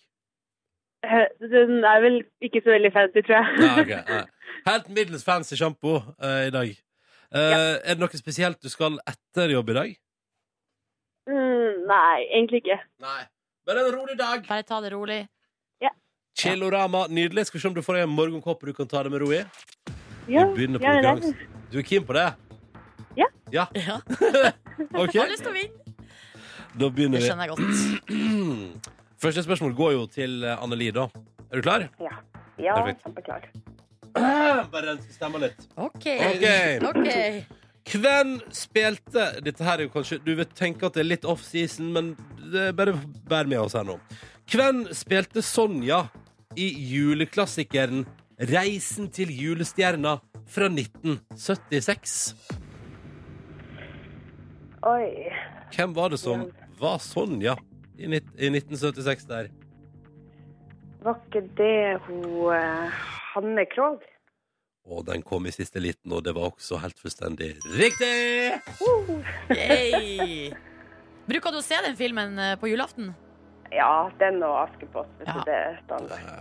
[SPEAKER 3] Eh, Den er vel ikke så veldig fancy, tror jeg.
[SPEAKER 1] Nei, ok, nei. Helt middels fancy sjampo eh, i dag. Eh, Er det noe spesielt du skal etter jobb i dag?
[SPEAKER 3] Mm, Nei, egentlig ikke.
[SPEAKER 1] Nei. Bare en rolig dag.
[SPEAKER 2] Bare ta det rolig.
[SPEAKER 1] Chillorama, nydelig. Skal vi se om du får deg en morgenkåpe du kan ta det med ro i.
[SPEAKER 3] Ja,
[SPEAKER 1] Vi begynner på
[SPEAKER 3] jeg er der.
[SPEAKER 1] konkurransen. Du er keen på det?
[SPEAKER 3] Ja.
[SPEAKER 1] Ja,
[SPEAKER 2] Ja.
[SPEAKER 1] ok.
[SPEAKER 2] Har lyst til å vinne.
[SPEAKER 1] Da begynner vi. Mm.
[SPEAKER 2] Det skjønner jeg godt.
[SPEAKER 1] Første spørsmål går jo til eh, Anneli, da. Er du klar?
[SPEAKER 4] Ja. ja
[SPEAKER 1] Perfekt.
[SPEAKER 4] kjempeklar.
[SPEAKER 1] Bare den skal stemme litt.
[SPEAKER 2] OK.
[SPEAKER 1] Ok.
[SPEAKER 2] Ok.
[SPEAKER 1] Hvem spilte Dette her er jo kanskje Du vil tenke at det er litt off-season, men det, bare bær med oss her nå. Hvem spilte Sonja i juleklassikeren 'Reisen til julestjerna' fra 1976?
[SPEAKER 4] Oi.
[SPEAKER 1] Hvem var det som var Sonja i, nitt- i 1976 der?
[SPEAKER 4] Var ikke det hun eh, Hanne Krogh?
[SPEAKER 1] Og den kom i siste liten, og det var også helt fullstendig riktig!
[SPEAKER 2] Yay. Bruker du å se den filmen eh, på julaften?
[SPEAKER 4] Ja, den og Askepott. Hvis
[SPEAKER 2] Ja.
[SPEAKER 4] det er standard.
[SPEAKER 1] Ja.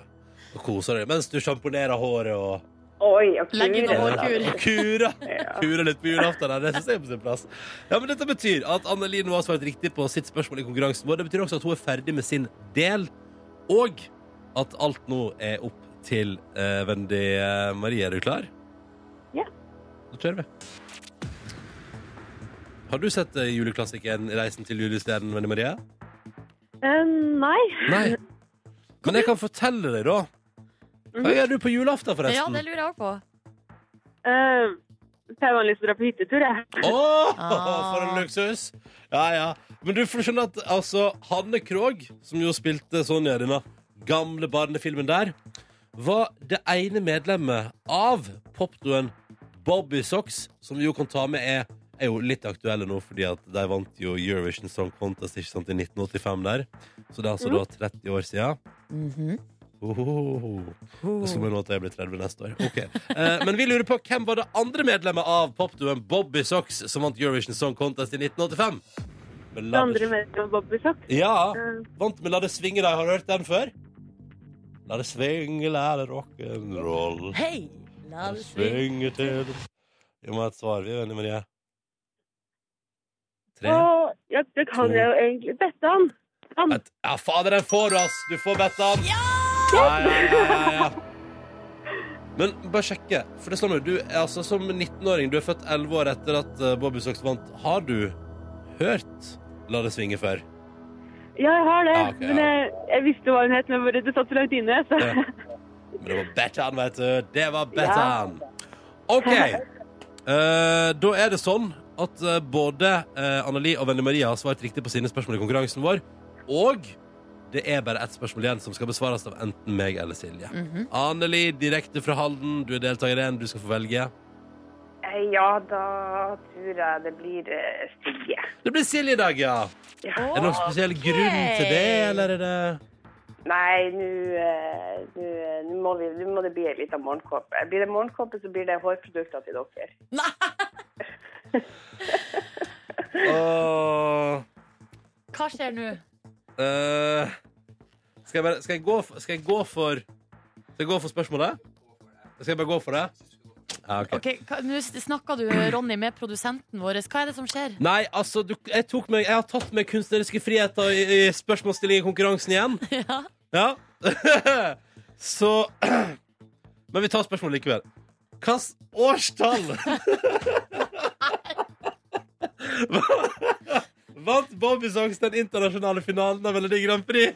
[SPEAKER 1] Og koser deg mens du sjamponerer håret og
[SPEAKER 4] Oi, og
[SPEAKER 2] Legg inn noe
[SPEAKER 4] kurer.
[SPEAKER 2] hårkur.
[SPEAKER 1] Og kurer.
[SPEAKER 4] Ja.
[SPEAKER 1] Kurer litt på julaften. her, Det synes jeg er på sin plass. Ja, men Dette betyr at Anneli nå har svart riktig på sitt spørsmål i konkurransen vår. Det betyr også at hun er ferdig med sin del, og at alt nå er opp til eh, Wendy eh, Marie. Er du klar?
[SPEAKER 3] Ja.
[SPEAKER 1] Da kjører vi. Har du sett eh, juleklassikeren 'Reisen til julestjernen', Wendy Marie?
[SPEAKER 3] Eh, Nei.
[SPEAKER 1] Nei.
[SPEAKER 2] Mm-hmm.
[SPEAKER 1] Men jeg kan fortelle deg, da. Hva gjør du på julaften, forresten?
[SPEAKER 2] Ja, det lurer jeg òg på.
[SPEAKER 3] Eh, så jeg vanligvis drar på hyttetur, jeg.
[SPEAKER 1] Åh,
[SPEAKER 2] Ah.
[SPEAKER 1] for en luksus! Ja, ja. Men du får skjønne at altså, Hanne Krogh, som jo spilte Sonja i denne gamle barnefilmen der, var det ene medlemmet av popduoen Bobby Socks, som vi jo kan ta med er, er jo litt aktuelle nå, fordi at de vant jo Eurovision Song Contest ikke sant, i 1985 der. Så det er altså
[SPEAKER 2] Mm-hmm.
[SPEAKER 1] da 30 år siden. Ohohoho. Det skulle nå at jeg blir 30 neste år. Ok. Eh, men vi lurer på hvem var det andre medlemmet av popduoen Bobby Socks som vant Eurovision Song Contest i 1985? Med
[SPEAKER 3] Det
[SPEAKER 1] La det-
[SPEAKER 3] andre med med Bobbysokk.
[SPEAKER 1] Ja.
[SPEAKER 3] Eh,
[SPEAKER 1] Vant med La det svinge deg. Har du hørt den før? La det svinge, la det rock'n'roll.
[SPEAKER 2] Hei! La
[SPEAKER 1] La
[SPEAKER 2] det
[SPEAKER 1] det
[SPEAKER 2] svinge.
[SPEAKER 1] svinge til Vi må ha et svar, vi, Venner Marie. Tre
[SPEAKER 3] Og ja, det kan jeg jo egentlig bette han. Han.
[SPEAKER 1] Et- Ja, fader, den får du, ass! Du får Bettan.
[SPEAKER 2] Ja!
[SPEAKER 1] Ja, ja, ja, ja, ja. Men bare sjekke, for det slår meg, du er altså som 19-åring, du er født 11 år etter at eh, Bobby Socks vant. Har du hørt La det svinge før?
[SPEAKER 3] Ja, jeg har det.
[SPEAKER 1] Ja, Ah, ok, ja.
[SPEAKER 3] Men jeg, jeg visste hva hun het, men bare det satt så langt inne. Så.
[SPEAKER 1] Ja. Men det var Bettan, vet du. Det var Bettan. OK. Eh, da er det sånn at eh, både uh, Anneli og Venne Maria har svart riktig på sine spørsmål i konkurransen vår. Og det er bare ett spørsmål igjen som skal besvares av enten meg eller Silje.
[SPEAKER 2] Mhm.
[SPEAKER 1] Anneli, direkte fra Halden, du er deltaker én, du skal få velge.
[SPEAKER 4] Eh, Ja, da tror jeg det blir eh, Silje.
[SPEAKER 1] Det blir Silje i dag, ja. Er det noen spesiell grunn til det, eller er det
[SPEAKER 4] Nei, nå eh, nå, eh, nå må, vi- nå må det bli ei lita morgenkåpe. Blir det morgenkåpe, så blir det hårprodukter til dere.
[SPEAKER 1] Åh,
[SPEAKER 2] Hva skjer nå?
[SPEAKER 1] eh, skal, jeg bare, skal, jeg gå for, skal jeg gå for Skal jeg gå for spørsmålet? Skal jeg bare gå for det? Ja, ok.
[SPEAKER 2] Ok, hva- Nå snakka du, Ronny, med produsenten vår. Hva er det som skjer?
[SPEAKER 1] Nei, altså, du, jeg, tok meg, jeg har tatt meg kunstneriske friheter i, i spørsmålsstilling i konkurransen igjen.
[SPEAKER 2] Ja.
[SPEAKER 1] Ja. Så Men vi tar spørsmålet likevel. Hvilket årstall Vant Bobby Songs den internasjonale finalen av Melodi Grand Prix?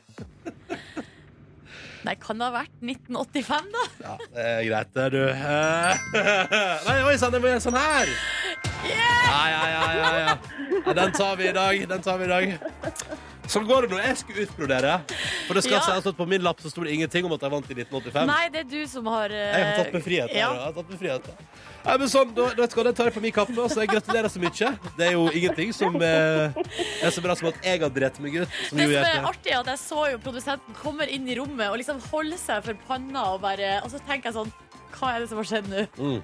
[SPEAKER 2] Nei, kan det ha vært 1985, da?
[SPEAKER 1] Ja, det er greit, det, du. Eh, Nei, oi sann, det må gjøre sånn her! Ja, ja, ja, ja, ja. ja. Den tar vi i dag. Den tar vi i dag. Sånn går det når jeg skulle utbrodere. For det skal
[SPEAKER 2] Ja.
[SPEAKER 1] sies at på min lapp så sto det ingenting om at jeg vant i 1985.
[SPEAKER 2] Nei, det er du som har eh,
[SPEAKER 1] Jeg har tatt meg frihet. her,
[SPEAKER 2] Ja.
[SPEAKER 1] da. Jeg har tatt meg frihet da. Nei, men sånn, da, da skal jeg ta det på min kappe, og så jeg gratulerer så mye. Det er jo ingenting som eh, er så bra som at jeg har drept meg ut. Som
[SPEAKER 2] Det
[SPEAKER 1] jo
[SPEAKER 2] som
[SPEAKER 1] gjør
[SPEAKER 2] er
[SPEAKER 1] det.
[SPEAKER 2] artig, er at jeg så jo produsenten kommer inn i rommet og liksom holde seg for panna og bare Og så tenker jeg sånn Hva er det som har skjedd nå?
[SPEAKER 1] Mm.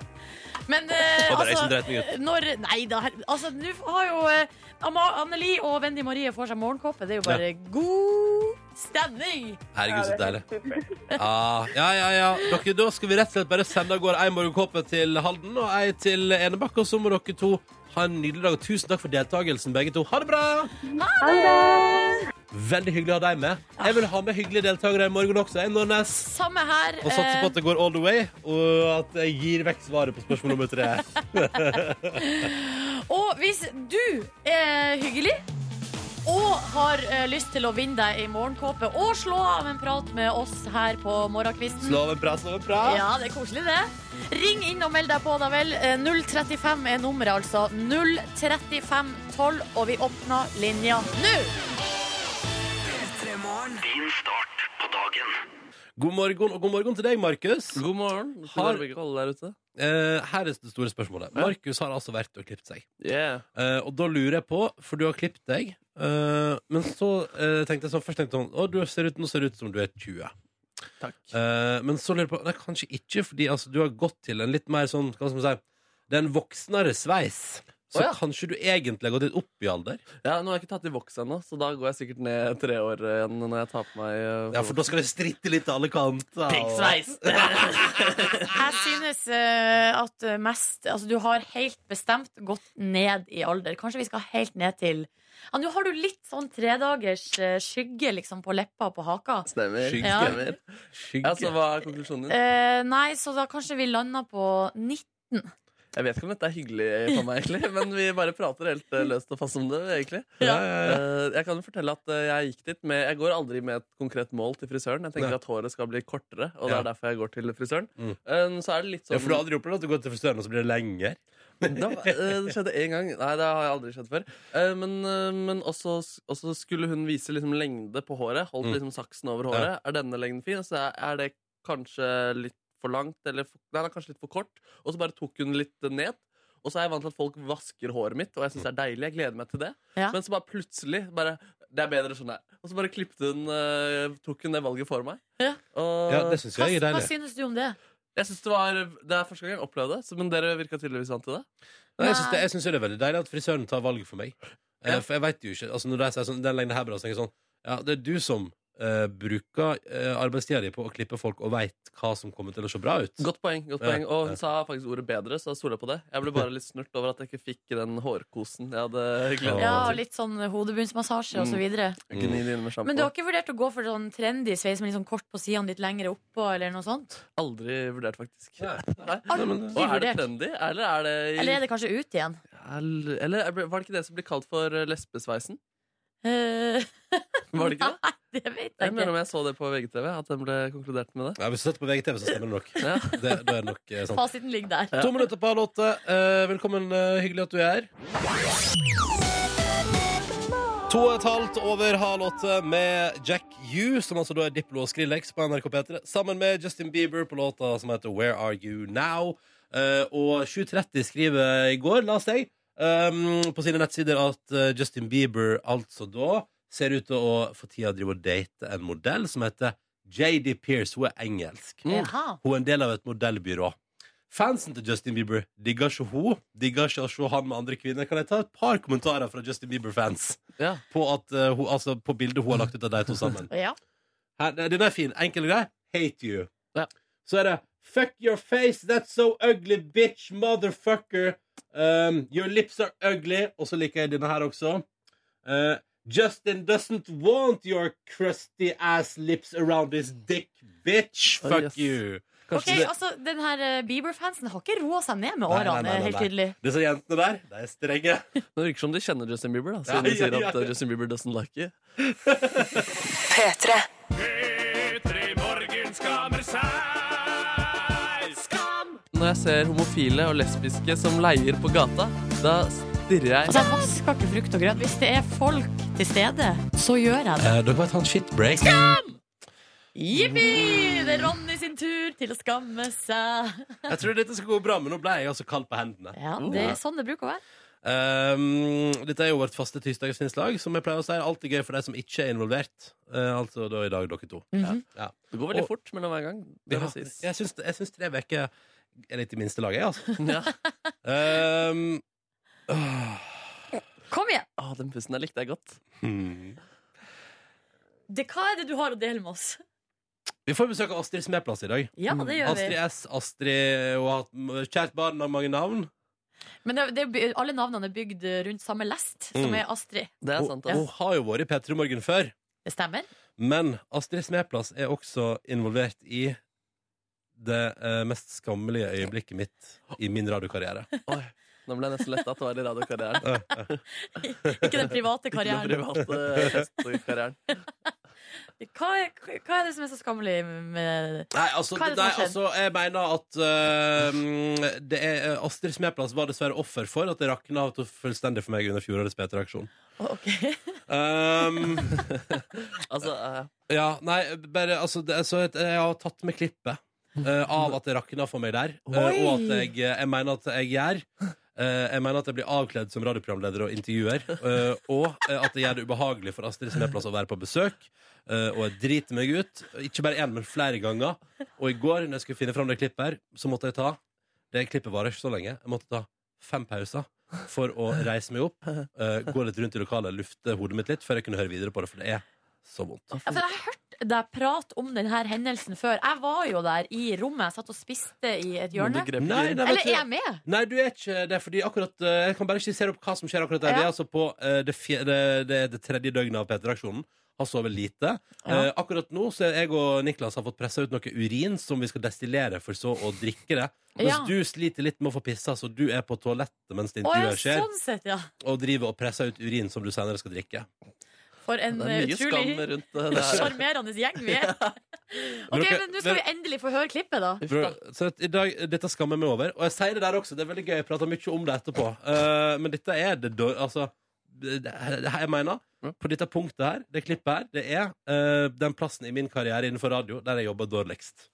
[SPEAKER 2] Men eh,
[SPEAKER 1] Og det er liksom jeg som
[SPEAKER 2] altså
[SPEAKER 1] dreit meg ut.
[SPEAKER 2] når, Nei da, her- altså nå har jo eh, Ama- Anneli og Wendy Marie får seg morgenkåpe. Det er jo bare god stemning.
[SPEAKER 1] Herregud, så
[SPEAKER 4] det er
[SPEAKER 1] deilig.
[SPEAKER 4] helt supert.
[SPEAKER 1] Ja, Ah, ja, ja. ja. Dere, da skal vi rett og slett bare sende av gårde ei morgenkåpe til Halden og ei til Enebakk. Og så må dere to ha en nydelig dag. og Tusen takk for deltakelsen, begge to. Ha det bra!
[SPEAKER 2] Ha det!
[SPEAKER 1] Veldig hyggelig å ha deg med. Jeg vil ha med hyggelige deltakere i morgen også. Jeg, Nordnes.
[SPEAKER 2] Samme her.
[SPEAKER 1] Og satser
[SPEAKER 2] eh,
[SPEAKER 1] på at det går all the way, og at jeg gir vekk svaret på spørsmål nummer tre.
[SPEAKER 2] Og hvis du er hyggelig og har eh, lyst til å vinne deg ei morgenkåpe og slå av en prat med oss her på morgenkvisten
[SPEAKER 1] Slå av en prat, slå av en prat.
[SPEAKER 2] Ja, det er koselig, det. Ring inn og meld deg på, da vel. Eh, 035 er nummeret, altså. 03512, og vi åpner linja nå!
[SPEAKER 1] God morgen, og god morgen til deg, Markus.
[SPEAKER 5] God morgen.
[SPEAKER 1] Har-
[SPEAKER 5] Det skal være begge alle der ute.
[SPEAKER 1] Eh, her er det store spørsmålet.
[SPEAKER 5] Ja.
[SPEAKER 1] Markus har altså vært og klippet seg.
[SPEAKER 5] Yeah.
[SPEAKER 1] Eh, og da lurer jeg på, for du har klippet deg, eh, men så eh, tenkte jeg sånn, først tenkte jeg sånn, å, du ser ut, nå ser det ut som du er 20.
[SPEAKER 5] Takk.
[SPEAKER 1] Eh, men så lurer jeg på, nei, kanskje ikke, fordi altså, du har gått til en litt mer sånn, hva skal man si, det er en voksnere sveis. Så
[SPEAKER 5] Å, ja.
[SPEAKER 1] kanskje du egentlig har gått litt opp i alder.
[SPEAKER 5] Ja, nå har jeg ikke tatt i voks ennå, så da går jeg sikkert ned tre år eh, igjen når jeg tar på meg eh,
[SPEAKER 1] Ja, for da skal det stritte litt til alle kanter. og-
[SPEAKER 2] Jeg synes eh, at mest Altså, du har helt bestemt gått ned i alder. Kanskje vi skal helt ned til Ja, nå har du litt sånn tredagers eh, skygge, liksom, på leppa og på haka.
[SPEAKER 5] Stemmer.
[SPEAKER 1] Skygge.
[SPEAKER 2] Ja.
[SPEAKER 5] Stemmer. Ja, så
[SPEAKER 1] Skygge.
[SPEAKER 5] hva er konklusjonen din?
[SPEAKER 2] Eh, nei, så da kanskje vi lander på 90.
[SPEAKER 5] Jeg vet ikke om dette er hyggelig eh, for meg, egentlig, men vi bare prater helt eh, løst og fast om det, egentlig.
[SPEAKER 1] Ja, ja, ja.
[SPEAKER 5] Eh, Jeg kan jo fortelle at eh, jeg gikk dit med Jeg går aldri med et konkret mål til frisøren. Jeg tenker
[SPEAKER 1] Nei.
[SPEAKER 5] at håret skal bli kortere, og det
[SPEAKER 1] Ja.
[SPEAKER 5] er derfor jeg går til frisøren.
[SPEAKER 1] Mm.
[SPEAKER 5] Eh, Så er det litt
[SPEAKER 1] Ja,
[SPEAKER 5] sånn
[SPEAKER 1] for du har aldri opplevd at du går til frisøren, og så blir det lenger?
[SPEAKER 5] Da, eh, det skjedde én gang. Nei, det har jeg aldri skjedd før. Eh, men eh, men også, også skulle hun vise liksom lengde på håret. Holdt
[SPEAKER 1] Mm.
[SPEAKER 5] liksom saksen over håret. Er denne lengden fin? Så er- er det kanskje litt for langt? Eller for, nei, det er kanskje litt for kort. Og så bare tok hun litt ned. Og så er jeg vant til at folk vasker håret mitt, og jeg synes det er deilig. Jeg gleder meg til det.
[SPEAKER 2] Ja.
[SPEAKER 5] Men så bare plutselig bare, Det er bedre sånn her. Og så bare klippte hun eh, tok hun det valget for meg.
[SPEAKER 2] Ja.
[SPEAKER 5] Og
[SPEAKER 1] Ja, det syns
[SPEAKER 2] Hva,
[SPEAKER 1] jeg er
[SPEAKER 2] hva
[SPEAKER 1] deilig.
[SPEAKER 2] synes du om det?
[SPEAKER 5] jeg synes det var Det er første gang jeg opplevde det, så- men dere virka tydeligvis vant til det.
[SPEAKER 1] Nei, jeg syns det, jeg synes jo det er veldig deilig at frisøren tar valget for meg. Eh,
[SPEAKER 5] Ja.
[SPEAKER 1] For jeg vet jo ikke altså Når de sier sånn, den lengden her, bra, så tenker jeg sånn Ja, det er du som eh, bruker uh, arbeidstida di på å klippe folk og veit hva som kommer til å se bra ut.
[SPEAKER 5] Godt poeng. godt
[SPEAKER 1] Ja,
[SPEAKER 5] poeng Og
[SPEAKER 1] ja.
[SPEAKER 5] hun sa faktisk ordet bedre, så jeg stoler på det. Jeg ble bare litt snurt over at jeg ikke fikk den hårkosen jeg hadde gledet
[SPEAKER 2] Ja,
[SPEAKER 5] meg til.
[SPEAKER 2] litt sånn hodebunnsmassasje og så
[SPEAKER 5] Mm.
[SPEAKER 2] videre.
[SPEAKER 5] Gni det inn med
[SPEAKER 2] Men du
[SPEAKER 5] sjampo.
[SPEAKER 2] har ikke vurdert å gå for sånn trendy sveis med litt sånn kort på sidene, litt lengre oppå, eller noe sånt?
[SPEAKER 5] Aldri vurdert, faktisk.
[SPEAKER 1] Nei.
[SPEAKER 5] Nei.
[SPEAKER 2] Aldri
[SPEAKER 5] Og er
[SPEAKER 2] vurdert.
[SPEAKER 5] det trendy, eller er det
[SPEAKER 2] Eller er det kanskje ut igjen?
[SPEAKER 5] Eller- Eller var det ikke det som ble kalt for lesbesveisen?
[SPEAKER 2] Eh,
[SPEAKER 5] Var det ikke det?
[SPEAKER 2] Nei, det vet
[SPEAKER 5] Jeg
[SPEAKER 2] jeg
[SPEAKER 5] mener
[SPEAKER 2] ikke.
[SPEAKER 5] om jeg så det på VGTV, at den ble konkludert med det.
[SPEAKER 1] Ja, hvis du setter på VGTV, så stemmer det nok.
[SPEAKER 5] Ja.
[SPEAKER 1] Det, da er det nok eh, sant.
[SPEAKER 2] Fasiten ligger der.
[SPEAKER 1] To minutter på halv åtte. Eh, velkommen. eh, hyggelig at du er her. To og et halvt over halv åtte med Jack U, som altså da er Diplo og Skrillex på NRK P3, sammen med Justin Bieber på låta som heter Where Are You Now? Eh, og 7.30 skriver i går, la oss si, ehm, på sine nettsider at eh, Justin Bieber altså da ser ut til å for tida drive og date en modell som heter JD Pierce. Hun er engelsk.
[SPEAKER 2] Jaha.
[SPEAKER 1] Hun er en del av et modellbyrå. Fansen til Justin Bieber digger ikke hun, digger ikke å se han med andre kvinner. Kan jeg ta et par kommentarer fra Justin Bieber-fans
[SPEAKER 5] Ja.
[SPEAKER 1] på, at, eh, hun- altså, på bildet hun har lagt ut av de to sammen?
[SPEAKER 2] Ja.
[SPEAKER 1] Her, den er fin. Enkel og grei. Hate you.
[SPEAKER 5] Ja.
[SPEAKER 1] Så er det Fuck your face, that's so ugly, bitch, motherfucker. Um, your lips are ugly. Og så liker jeg denne her også. Eh, Justin doesn't want your crusty ass lips around his dick, bitch.
[SPEAKER 5] Oi,
[SPEAKER 1] Fuck
[SPEAKER 5] yes.
[SPEAKER 1] you.
[SPEAKER 2] Ok, altså, den her eh, Bieber-fansen har ikke roa seg ned med
[SPEAKER 1] Nei, nei,
[SPEAKER 2] årene,
[SPEAKER 1] nei, nei,
[SPEAKER 2] helt
[SPEAKER 1] nei.
[SPEAKER 2] tydelig.
[SPEAKER 1] Disse jentene der, de er strenge.
[SPEAKER 5] Det virker som de kjenner Justin Bieber, da,
[SPEAKER 1] Ja,
[SPEAKER 5] siden de
[SPEAKER 1] ja,
[SPEAKER 5] sier at
[SPEAKER 1] ja.
[SPEAKER 5] eh, Justin Bieber doesn't like you.
[SPEAKER 6] P3.
[SPEAKER 7] P3 Morgen.
[SPEAKER 5] når jeg ser homofile og lesbiske som leier på gata, da stirrer jeg
[SPEAKER 2] Altså, jeg vasker ikke frukt og grønt. Hvis det er folk til stede, så gjør jeg det.
[SPEAKER 1] Eh, dere må ta en shitbreak.
[SPEAKER 2] Jippi! Det er Ronny sin tur til å skamme seg.
[SPEAKER 1] Jeg tror dette skal gå bra, men nå ble jeg altså kald på hendene.
[SPEAKER 2] Ja, det
[SPEAKER 1] Mm.
[SPEAKER 2] er sånn det bruker å være.
[SPEAKER 1] Um, dette er jo vårt faste tirsdagsinnslag, som jeg pleier å si er alltid gøy for de som ikke er involvert. Eh, altså da i dag dere to.
[SPEAKER 2] Mhm.
[SPEAKER 1] Ja.
[SPEAKER 5] Det går veldig fort mellom hver gang. Det
[SPEAKER 1] Ja,
[SPEAKER 5] må sies.
[SPEAKER 1] jeg syns jeg syns tre uker er litt i minste laget, jeg, altså.
[SPEAKER 5] Ja.
[SPEAKER 1] Um, åh,
[SPEAKER 2] Kom igjen!
[SPEAKER 5] Å, den pusten der likte jeg godt.
[SPEAKER 1] hmm.
[SPEAKER 2] Det, hva er det du har å dele med oss?
[SPEAKER 1] Vi får besøk av Astrid Smeplass i dag.
[SPEAKER 2] Ja, det gjør vi.
[SPEAKER 1] Astrid S. Astrid Hun har hatt kjært barn har mange navn.
[SPEAKER 2] Men det, det, er by- alle navnene er bygd eh, rundt samme lest, som
[SPEAKER 1] Mm.
[SPEAKER 2] er Astrid.
[SPEAKER 5] Det er
[SPEAKER 1] Hun,
[SPEAKER 5] sant, ass.
[SPEAKER 1] hun har jo vært i P3 Morgen før,
[SPEAKER 2] Det stemmer?
[SPEAKER 1] men Astrid Smeplass er også involvert i det eh, mest skammelige øyeblikket mitt i min radiokarriere.
[SPEAKER 5] Oi, nå ble jeg nesten letta at det var i radiokarrieren.
[SPEAKER 1] Eh, eh.
[SPEAKER 2] Ikke den private
[SPEAKER 5] Ikke den
[SPEAKER 2] karrieren.
[SPEAKER 5] private radiokarrieren.
[SPEAKER 2] Hva er, hva er det som er så skammelig med
[SPEAKER 1] Nei, altså,
[SPEAKER 2] Hva er det
[SPEAKER 1] nei,
[SPEAKER 2] som har skjedd?
[SPEAKER 1] altså jeg mener at eh, det er, eh, Astrid Smeplass var dessverre offer for at det rakna av to- fullstendig for meg under fjorårets P3-aksjon.
[SPEAKER 2] Å, OK.
[SPEAKER 1] Um,
[SPEAKER 5] Altså, eh,
[SPEAKER 1] ja, nei, bare altså, det, er så et, Jeg har tatt med klippet eh, av at det rakna for meg der, eh,
[SPEAKER 2] Oi.
[SPEAKER 1] og at jeg, eh, jeg mener at jeg gjør eh, jeg mener at jeg blir avkledd som radioprogramleder og intervjuer. eh, og eh, at jeg gjør det ubehagelig for Astrid Smeplass å være på besøk. eh, og jeg driter meg ut. Ikke bare én, men flere ganger. Og i går når jeg skulle finne fram det klippet her, så måtte jeg ta Det klippet varer ikke så lenge. Jeg måtte ta fem pauser for å reise meg opp, eh, gå litt rundt i lokalet, lufte hodet mitt litt, før jeg kunne høre videre på det, for det er så vondt.
[SPEAKER 2] Ja, for jeg har hørt deg prate om denne hendelsen før. Jeg var jo der i rommet. Jeg satt og spiste i et hjørne.
[SPEAKER 5] men du grep ikke
[SPEAKER 1] Nei,
[SPEAKER 5] inn.
[SPEAKER 1] nei, vet
[SPEAKER 2] Eller
[SPEAKER 1] du-
[SPEAKER 2] er jeg med?
[SPEAKER 1] Nei, du er ikke det, er fordi akkurat eh, Jeg kan bare skissere opp hva som skjer akkurat der. Vi
[SPEAKER 2] Ja.
[SPEAKER 1] er altså på eh, det, fje, det, det, det tredje døgnet av P3-aksjonen. Har sovet lite. Eh, akkurat nå så er jeg og Niklas har fått pressa ut noe urin som vi skal destillere for så å drikke det. Mens
[SPEAKER 2] Ja.
[SPEAKER 1] du sliter litt med å få pissa, så du er på toalettet mens det
[SPEAKER 2] Å, ja,
[SPEAKER 1] intervjuet skjer,
[SPEAKER 2] sånn sett, ja.
[SPEAKER 1] og driver og presser ut urin som du senere skal drikke.
[SPEAKER 2] For en
[SPEAKER 5] Det er mye skam
[SPEAKER 2] utrolig
[SPEAKER 5] rundt eh, det her.
[SPEAKER 2] sjarmerende gjeng vi er. Ok,
[SPEAKER 1] dere-
[SPEAKER 2] men Nå skal vi endelig få høre klippet, da.
[SPEAKER 5] Uff
[SPEAKER 1] Bro,
[SPEAKER 5] da.
[SPEAKER 1] så at i dag, dette skammer meg over. Og jeg sier det der også. Det er veldig gøy. Jeg prater mye om det etterpå. Eh, men dette er det dår- Altså, det, det, det her jeg mener,
[SPEAKER 5] Mm.
[SPEAKER 1] på dette punktet her, det klippet her, det er eh, den plassen i min karriere innenfor radio der jeg jobber dårligst.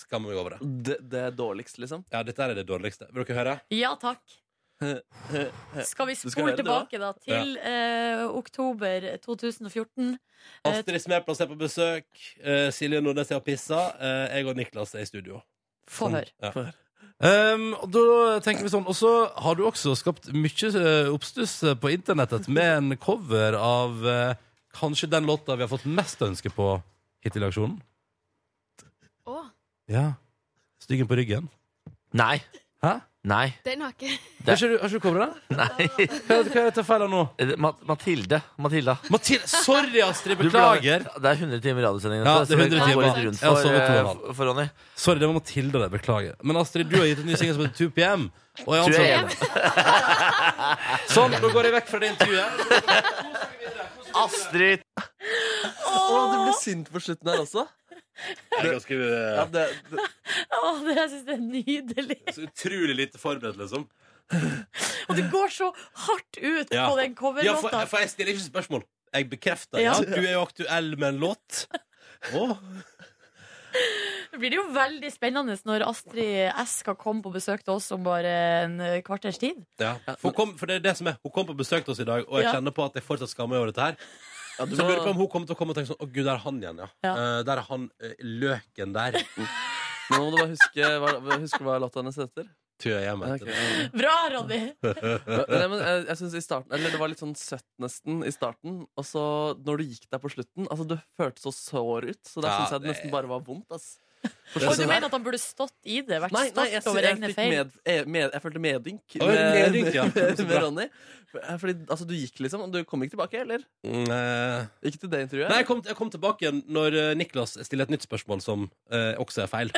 [SPEAKER 1] Skammer meg over det.
[SPEAKER 5] Det, det er dårligst, liksom.
[SPEAKER 1] Ja, dette er det dårligste. Vil dere høre?
[SPEAKER 2] Ja takk. Skal vi
[SPEAKER 5] Du skal
[SPEAKER 2] spole
[SPEAKER 5] høre det, da?
[SPEAKER 2] tilbake da til eh, oktober 2014? Eh,
[SPEAKER 1] Astrid Smeplass er på besøk. eh, Silje Nordnes er og pisser. eh, jeg og Niklas er i studio.
[SPEAKER 2] Få høre.
[SPEAKER 1] Ja.
[SPEAKER 6] Ehm, og da tenker vi sånn Og så har du også skapt mye eh, oppstuss eh, på internettet med en cover av eh, kanskje den låta vi har fått mest ønske på hittil i aksjonen.
[SPEAKER 7] Å.
[SPEAKER 6] Ja. Styggen på ryggen.
[SPEAKER 8] Nei.
[SPEAKER 6] Hæ?
[SPEAKER 8] Nei.
[SPEAKER 7] Den har ikke
[SPEAKER 6] Har ikke du, har ikke du coveret?
[SPEAKER 8] Nei.
[SPEAKER 6] Hva er det- hva er det jeg tar feil av nå?
[SPEAKER 8] Eh, Ma- Mathilde. Mathilda.
[SPEAKER 6] Mathilde, sorry, Astrid.
[SPEAKER 8] Du
[SPEAKER 6] Beklager.
[SPEAKER 8] ble- Det er 100 timer radiosending.
[SPEAKER 6] Ja,
[SPEAKER 8] dette, så
[SPEAKER 6] det er
[SPEAKER 8] vi
[SPEAKER 6] 100
[SPEAKER 8] går
[SPEAKER 6] timer.
[SPEAKER 8] litt rundt
[SPEAKER 6] Jeg har
[SPEAKER 8] for,
[SPEAKER 6] sovet to og en
[SPEAKER 8] eh,
[SPEAKER 6] halv.
[SPEAKER 8] for Ronny.
[SPEAKER 6] Sorry, det var Mathilde der. Beklager. Men Astrid, du har gitt en ny singel som heter 2 PM. Og jeg
[SPEAKER 8] Tror jeg
[SPEAKER 6] anser- sånn, nå går jeg vekk fra det intervjuet.
[SPEAKER 8] Astrid!
[SPEAKER 5] Å, du ble sint på slutten her også.
[SPEAKER 1] Jeg er ganske eh,
[SPEAKER 5] Ja, det, det,
[SPEAKER 2] Å, det jeg synes det er nydelig.
[SPEAKER 1] så utrolig lite forberedt, liksom.
[SPEAKER 2] Og det går så hardt ut
[SPEAKER 1] Ja.
[SPEAKER 2] på den
[SPEAKER 1] Ja, for,
[SPEAKER 2] coverlåta.
[SPEAKER 1] for jeg stiller ikke spørsmål. Jeg bekrefter
[SPEAKER 2] Ja.
[SPEAKER 1] ja. Du er jo aktuell med en låt. Åh
[SPEAKER 2] Det blir det jo veldig spennende når Astrid S skal komme på besøk til oss om bare en eh, kvarters tid.
[SPEAKER 1] Ja. For, hun kom, for det er det som er Hun kom på besøk til oss i dag, og jeg
[SPEAKER 2] Ja.
[SPEAKER 1] kjenner på at jeg fortsatt skammer meg over dette her.
[SPEAKER 5] ja, du
[SPEAKER 1] Så jeg lurer på
[SPEAKER 5] må,
[SPEAKER 1] om hun kommer til å komme og tenke sånn Å, gud, der er han igjen, ja.
[SPEAKER 2] Ja.
[SPEAKER 1] Eh, der er han eh, løken der.
[SPEAKER 5] nå må du bare huske hva, huske hva låta hennes heter.
[SPEAKER 1] Tror jeg jeg
[SPEAKER 5] Ja,
[SPEAKER 1] mente
[SPEAKER 5] ok.
[SPEAKER 1] det.
[SPEAKER 2] Bra, Ronny!
[SPEAKER 5] Men- Nei, men jeg, jeg synes i starten Eller det var litt sånn søtt nesten i starten Og så når du gikk der på slutten Altså du hørte så sår ut Så der
[SPEAKER 1] Ja,
[SPEAKER 5] synes jeg det
[SPEAKER 1] det-
[SPEAKER 5] nesten bare var vondt ass.
[SPEAKER 1] Det er
[SPEAKER 2] Og
[SPEAKER 1] sånn
[SPEAKER 2] du
[SPEAKER 1] her.
[SPEAKER 2] mener at han burde stått i det? Vært
[SPEAKER 5] Nei, nei, jeg,
[SPEAKER 2] stolt over
[SPEAKER 5] jeg,
[SPEAKER 2] egne
[SPEAKER 5] fikk
[SPEAKER 2] feil?
[SPEAKER 5] med, eh, med, jeg følte medynk
[SPEAKER 1] Oi, medynk, ja.
[SPEAKER 5] med,
[SPEAKER 1] Så
[SPEAKER 5] med
[SPEAKER 1] bra.
[SPEAKER 5] Ronny Fordi altså, du gikk liksom og Du kom ikke tilbake, eller?
[SPEAKER 1] Mm, eh,
[SPEAKER 5] Ikke til det intervjuet?
[SPEAKER 1] Nei, jeg kom, jeg kom tilbake igjen når eh, Niklas stiller et nytt spørsmål som eh, også er feil.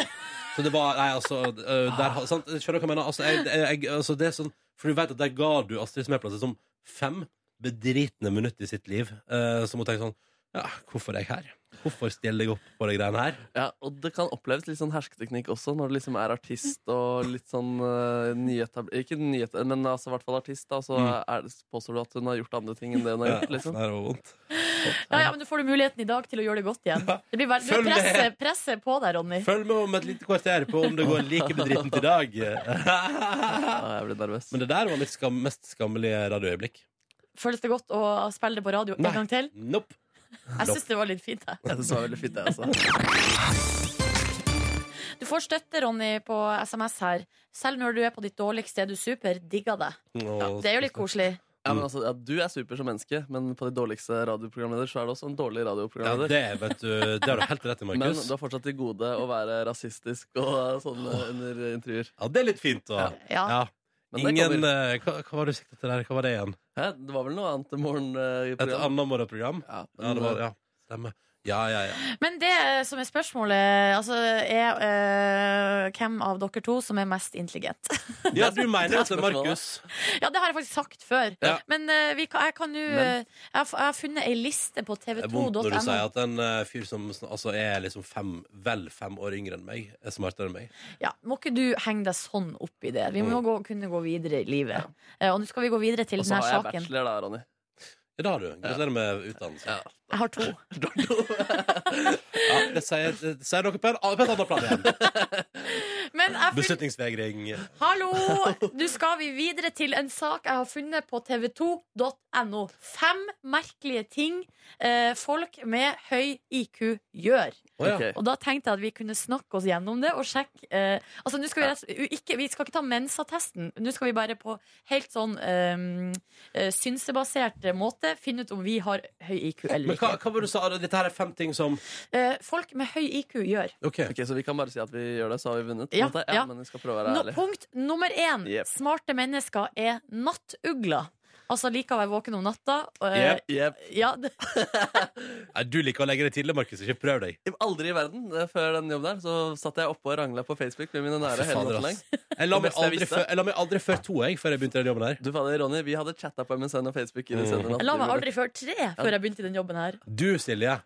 [SPEAKER 1] Så det var Nei, altså eh, der, har- sant? Skjønner du hva jeg mener? Altså, jeg, jeg, jeg, altså, det er sånn, for du vet at der ga du Astrid Smeplass liksom fem bedritne minutter i sitt liv, eh, som hun tenker sånn Ja, hvorfor er jeg her? Hvorfor stiller jeg opp på de greiene her?
[SPEAKER 5] Ja, og det kan oppleves litt sånn hersketeknikk også, når du liksom er artist og litt sånn uh, nyetablert Ikke nyhet, men altså i hvert fall artist, da, så
[SPEAKER 1] Mm.
[SPEAKER 5] er det, påstår du at hun har gjort andre ting enn det hun har gjort, liksom.
[SPEAKER 1] Det her var vondt.
[SPEAKER 2] Ja, ja, men du får du muligheten i dag til å gjøre det godt igjen. Det blir
[SPEAKER 1] Følg
[SPEAKER 2] veldig
[SPEAKER 1] med.
[SPEAKER 2] presse, presse på deg, Ronny.
[SPEAKER 1] Følg med om et lite kvarter på om det går like bedrittent i dag.
[SPEAKER 5] Ja, Ah, jeg blir nervøs.
[SPEAKER 1] Men det der var mitt skam, mest skammelige radioøyeblikk.
[SPEAKER 2] Føles det godt å spille det på radio
[SPEAKER 1] Nei.
[SPEAKER 2] en gang til?
[SPEAKER 1] Nope.
[SPEAKER 2] Jeg syns det var litt fint. Jeg.
[SPEAKER 5] Jeg synes det var veldig fint, det, altså.
[SPEAKER 2] Du får støtte, Ronny, på SMS her. Selv når du er på ditt dårligste, er du super. Digger det.
[SPEAKER 1] Å,
[SPEAKER 2] Det er jo litt koselig.
[SPEAKER 5] Ja, men altså, ja, du er super som menneske, men på de dårligste radioprogramleder så er du også en dårlig
[SPEAKER 1] Ja,
[SPEAKER 5] radioprogramleder.
[SPEAKER 1] det, vet du, det har du helt rett i,
[SPEAKER 5] men
[SPEAKER 1] Markus.
[SPEAKER 5] du har fortsatt til gode å være rasistisk og uh, sånn uh, under intervjuer.
[SPEAKER 1] Ja, det er litt fint, da.
[SPEAKER 2] Ja.
[SPEAKER 1] Ja.
[SPEAKER 5] Men det
[SPEAKER 1] Ingen,
[SPEAKER 5] kommer.
[SPEAKER 1] eh, hva, hva var det du siktet til der? Hva var det igjen?
[SPEAKER 5] Hæ? Det var vel noe annet enn morgen uh, i
[SPEAKER 1] Et
[SPEAKER 5] programmet?
[SPEAKER 1] annet morgenprogram?
[SPEAKER 5] Ja,
[SPEAKER 1] Ja, det var, ja.
[SPEAKER 5] ja.
[SPEAKER 1] Stemmer. Ja, ja, ja.
[SPEAKER 2] Men det eh, som er spørsmålet, altså, er eh, hvem av dere to som er mest intelligent?
[SPEAKER 1] ja du mener at det er
[SPEAKER 5] spørsmålet.
[SPEAKER 1] Markus.
[SPEAKER 2] ja, det har jeg faktisk sagt før.
[SPEAKER 1] Ja.
[SPEAKER 2] Men eh, vi, kan- jeg kan nå eh,
[SPEAKER 5] Men-
[SPEAKER 2] jeg, har f- jeg har funnet ei liste på
[SPEAKER 1] Det er vondt når du sier
[SPEAKER 2] tv2.no.
[SPEAKER 1] at en eh, fyr som sn- altså, er liksom fem, vel fem år yngre enn meg, er smartere enn meg.
[SPEAKER 2] Ja, må ikke du henge deg sånn opp i det? Vi må
[SPEAKER 1] Mm.
[SPEAKER 2] gå, kunne gå videre i livet. Eh, og nå skal vi gå videre til
[SPEAKER 5] Og så
[SPEAKER 2] denne
[SPEAKER 5] har jeg
[SPEAKER 2] saken.
[SPEAKER 5] bachelor, da, Ronny.
[SPEAKER 1] Ja, det har du. Gratulerer med utdannelse. Ja.
[SPEAKER 2] Jeg har to.
[SPEAKER 1] det, sier, det sier noe på, en, på et annet plan igjen.
[SPEAKER 2] Men jeg har funnet
[SPEAKER 1] Beslutningsvegring.
[SPEAKER 2] Hallo! Nå skal vi videre til en sak jeg har funnet på tv2.no. Fem merkelige ting eh, folk med høy IQ gjør.
[SPEAKER 1] Å, ja.
[SPEAKER 5] Ok.
[SPEAKER 2] Og da tenkte jeg at vi kunne snakke oss gjennom det og sjekke eh, Altså, nå skal vi, rett, ikke, vi skal ikke ta mensatesten. Nå skal vi bare på helt sånn eh, eh, synsebasert måte finne ut om vi har høy IQ eller
[SPEAKER 1] Men hva,
[SPEAKER 2] ikke.
[SPEAKER 1] hva var det du sa? Ah, Dette her er fem ting som
[SPEAKER 2] Eh, folk med høy IQ gjør.
[SPEAKER 1] OK.
[SPEAKER 5] Ok, Så vi kan bare si at vi gjør det, så har vi vunnet? på en
[SPEAKER 2] Ja,
[SPEAKER 5] måte?
[SPEAKER 2] ja.
[SPEAKER 5] Men vi skal prøve å være
[SPEAKER 2] No,
[SPEAKER 5] ærlige.
[SPEAKER 2] punkt nummer én.
[SPEAKER 5] Jep.
[SPEAKER 2] Smarte mennesker er nattugler. Altså liker å være våken om natta. og, eh,
[SPEAKER 1] Jep.
[SPEAKER 5] Jep.
[SPEAKER 2] ja, d-
[SPEAKER 1] Nei, du liker å legge det tidlig, Markus. Ikke prøv deg.
[SPEAKER 5] Aldri i verden eh, før den jobben der Så satt jeg oppe og rangla på Facebook med mine nære
[SPEAKER 1] Fy
[SPEAKER 5] hele
[SPEAKER 1] fader,
[SPEAKER 5] natten lang.
[SPEAKER 1] ass. Jeg la meg
[SPEAKER 5] Det beste jeg
[SPEAKER 1] aldri,
[SPEAKER 5] visste.
[SPEAKER 1] før- jeg la meg aldri før to jeg, før jeg begynte den jobben her.
[SPEAKER 5] Du fader, Ronny, Vi hadde chatta på MSN og Facebook. i de
[SPEAKER 1] Mm.
[SPEAKER 5] senere
[SPEAKER 2] jeg la meg
[SPEAKER 5] natttimene.
[SPEAKER 2] aldri før tre før jeg begynte i den jobben her.
[SPEAKER 1] Du, Silje,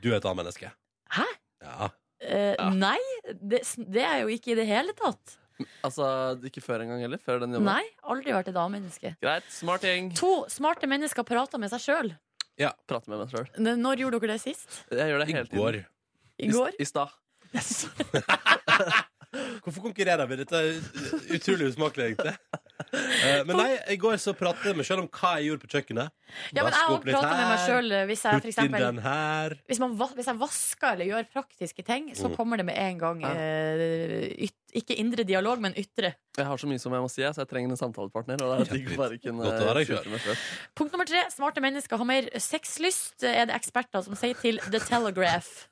[SPEAKER 1] du er et annet menneske.
[SPEAKER 2] Hæ?
[SPEAKER 1] Ja.
[SPEAKER 2] Eh,
[SPEAKER 5] Ja.
[SPEAKER 2] Nei, det, det er jo ikke i det hele tatt.
[SPEAKER 5] Altså, Ikke før engang heller? Før den jobben?
[SPEAKER 2] Nei, aldri vært et A-menneske.
[SPEAKER 5] Greit, smart gjeng.
[SPEAKER 2] To smarte mennesker prater med seg sjøl.
[SPEAKER 5] Prate med meg sjøl.
[SPEAKER 2] Når gjorde dere det sist?
[SPEAKER 5] Jeg gjør det
[SPEAKER 1] I
[SPEAKER 5] hele tiden.
[SPEAKER 1] går.
[SPEAKER 2] I går?
[SPEAKER 5] I stad.
[SPEAKER 1] Hvorfor konkurrerer vi? Dette er ut- utrolig usmakelig, egentlig. Eh, Men nei, i går så pratet jeg med meg selv om hva jeg gjorde på kjøkkenet.
[SPEAKER 2] Ja, men jeg
[SPEAKER 1] Vaske
[SPEAKER 2] har
[SPEAKER 1] opp litt
[SPEAKER 2] pratet med meg
[SPEAKER 1] her,
[SPEAKER 2] sjøl hvis jeg for
[SPEAKER 1] Putt inn
[SPEAKER 2] eksempel
[SPEAKER 1] den her.
[SPEAKER 2] hvis, man, va- hvis jeg vasker eller gjør praktiske ting, så
[SPEAKER 1] Mm.
[SPEAKER 2] kommer det med en gang
[SPEAKER 5] Ja.
[SPEAKER 2] eh, yt, Ikke indre dialog, men ytre.
[SPEAKER 5] Jeg har så mye som jeg må si, så jeg trenger en samtalepartner. Og det er digg å bare kunne
[SPEAKER 1] Godt å være deg
[SPEAKER 5] skjule meg selv.
[SPEAKER 2] Punkt nummer tre. Smarte mennesker har mer sexlyst, er det eksperter som sier til The Telegraph.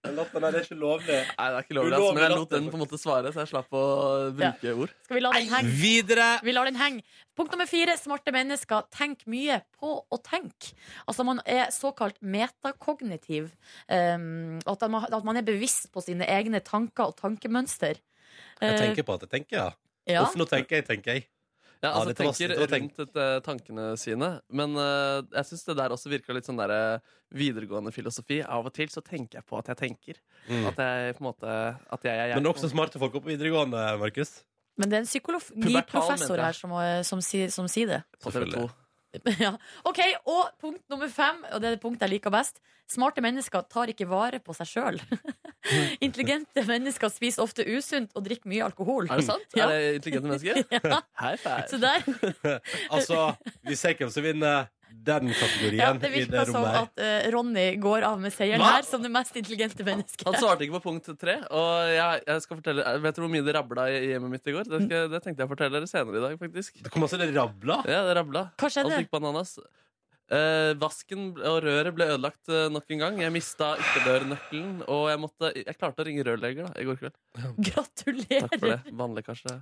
[SPEAKER 1] Den lappen her er ikke lovlig.
[SPEAKER 5] Nei, det er ikke lovlig, altså, men jeg lot den på en måte svare, så jeg slapp å bruke ord.
[SPEAKER 2] Skal vi la den henge?
[SPEAKER 1] Videre.
[SPEAKER 2] Vi lar den henge. Punkt nummer fire. Smarte mennesker tenker mye på å tenke. Altså man er såkalt metakognitiv. Um, at, man, at man er bevisst på sine egne tanker og tankemønster.
[SPEAKER 1] Jeg
[SPEAKER 2] Eh,
[SPEAKER 1] tenker på at jeg tenker, ja.
[SPEAKER 2] ja.
[SPEAKER 1] Uff, nå tenker jeg, tenker jeg.
[SPEAKER 5] Ja,
[SPEAKER 1] Ja,
[SPEAKER 5] altså
[SPEAKER 1] det er
[SPEAKER 5] tenker
[SPEAKER 1] vanskelig å tenke.
[SPEAKER 5] rundt dette tankene sine. Men eh, jeg syns det der også virka litt sånn der eh, videregående filosofi. Av og til så tenker jeg på at jeg tenker. At jeg på en måte At jeg er jeg.
[SPEAKER 1] Mm. Men også smarte folk oppe på videregående, Markus.
[SPEAKER 2] Men det er en
[SPEAKER 5] mente
[SPEAKER 2] psykologiprofessor
[SPEAKER 5] jeg.
[SPEAKER 2] her som, eh, som, sier- som sier det.
[SPEAKER 5] på TV 2.
[SPEAKER 2] ja. OK, og punkt nummer fem, og det er det punktet jeg liker best. Smarte mennesker tar ikke vare på seg sjøl. Intelligente mennesker spiser ofte usunt og drikker mye alkohol.
[SPEAKER 5] Er det sant?
[SPEAKER 2] Ja.
[SPEAKER 5] Er det intelligente mennesker?
[SPEAKER 2] Ja,
[SPEAKER 5] Hei,
[SPEAKER 2] så
[SPEAKER 5] fei.
[SPEAKER 2] der
[SPEAKER 1] Altså, vi ser hvem som vinner den kategorien
[SPEAKER 2] ja, Det
[SPEAKER 1] i
[SPEAKER 2] virka
[SPEAKER 1] det
[SPEAKER 2] som
[SPEAKER 1] rommet her.
[SPEAKER 2] at eh, Ronny går av med seieren
[SPEAKER 5] Hva?
[SPEAKER 2] her som det mest intelligente mennesket.
[SPEAKER 5] Han svarte ikke på punkt tre. Og jeg, jeg skal fortelle jeg Vet du hvor mye det rabla i hjemmet mitt i går? Det, skal, det tenkte jeg å fortelle dere senere i dag, faktisk.
[SPEAKER 1] Det kom altså det rabla.
[SPEAKER 5] Ja, det rabla.
[SPEAKER 2] Hva skjedde?
[SPEAKER 5] Alt gikk bananas. Eh, vasken og røret ble ødelagt eh, nok en gang. Jeg mista ytterdørnøkkelen, og jeg, måtte, jeg klarte å ringe rørlegger da, i går kveld. Takk for
[SPEAKER 2] Gratulerer!
[SPEAKER 5] det. Vannlekkasje.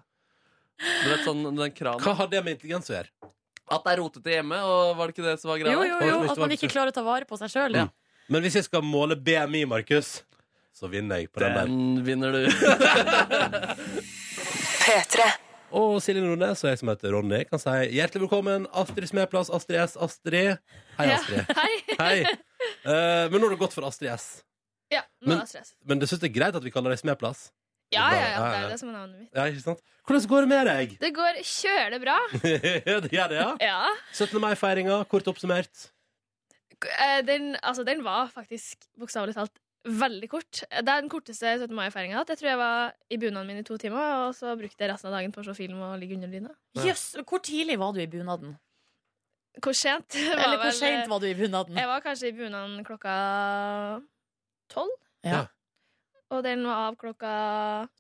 [SPEAKER 5] Du vet sånn den kranen
[SPEAKER 1] Hva har det med intelligens å gjøre?
[SPEAKER 5] At det er rotete hjemme, og var det ikke det som var greia?
[SPEAKER 2] Jo,
[SPEAKER 5] der?
[SPEAKER 2] jo, jo, at man ikke klarer å ta vare på seg sjøl.
[SPEAKER 5] Mm.
[SPEAKER 1] Ja. Men hvis jeg skal måle BMI, Markus, så vinner jeg på den der.
[SPEAKER 5] Den vinner du.
[SPEAKER 1] Og Silje Nordnes og jeg som heter Ronny, kan si hjertelig velkommen. Astrid Smeplass, Astrid S, Astrid. Hei, Astrid.
[SPEAKER 7] Hei.
[SPEAKER 1] Hei. Eh, men nå har det gått for Astrid S.
[SPEAKER 7] Ja, nå
[SPEAKER 1] Men-
[SPEAKER 7] er det stress.
[SPEAKER 1] Men du syns det er greit at vi kaller deg Smeplass?
[SPEAKER 7] Ja,
[SPEAKER 1] bra.
[SPEAKER 7] ja,
[SPEAKER 1] Ja,
[SPEAKER 7] ja, det er
[SPEAKER 1] ja.
[SPEAKER 7] jo det som er navnet mitt.
[SPEAKER 1] Ja, ikke sant? Hvordan går det med deg?
[SPEAKER 7] Det går kjølig bra.
[SPEAKER 1] det gjør det, ja?
[SPEAKER 7] Ja.
[SPEAKER 1] 17. mai-feiringa, kort oppsummert.
[SPEAKER 7] K- eh, Den, altså, den var faktisk bokstavelig talt veldig kort. Det er den korteste 17. mai-feiringa jeg har hatt. Jeg tror jeg var i bunaden min i to timer, og så brukte jeg resten av dagen på å se film og ligge under dyna.
[SPEAKER 2] Jøss, hvor tidlig var du i bunaden?
[SPEAKER 7] Hvor sent? var
[SPEAKER 2] Eller hvor
[SPEAKER 7] vel- eh,
[SPEAKER 2] seint var du i bunaden?
[SPEAKER 7] Jeg var kanskje i bunaden klokka tolv.
[SPEAKER 2] Ja.
[SPEAKER 7] Og den var av klokka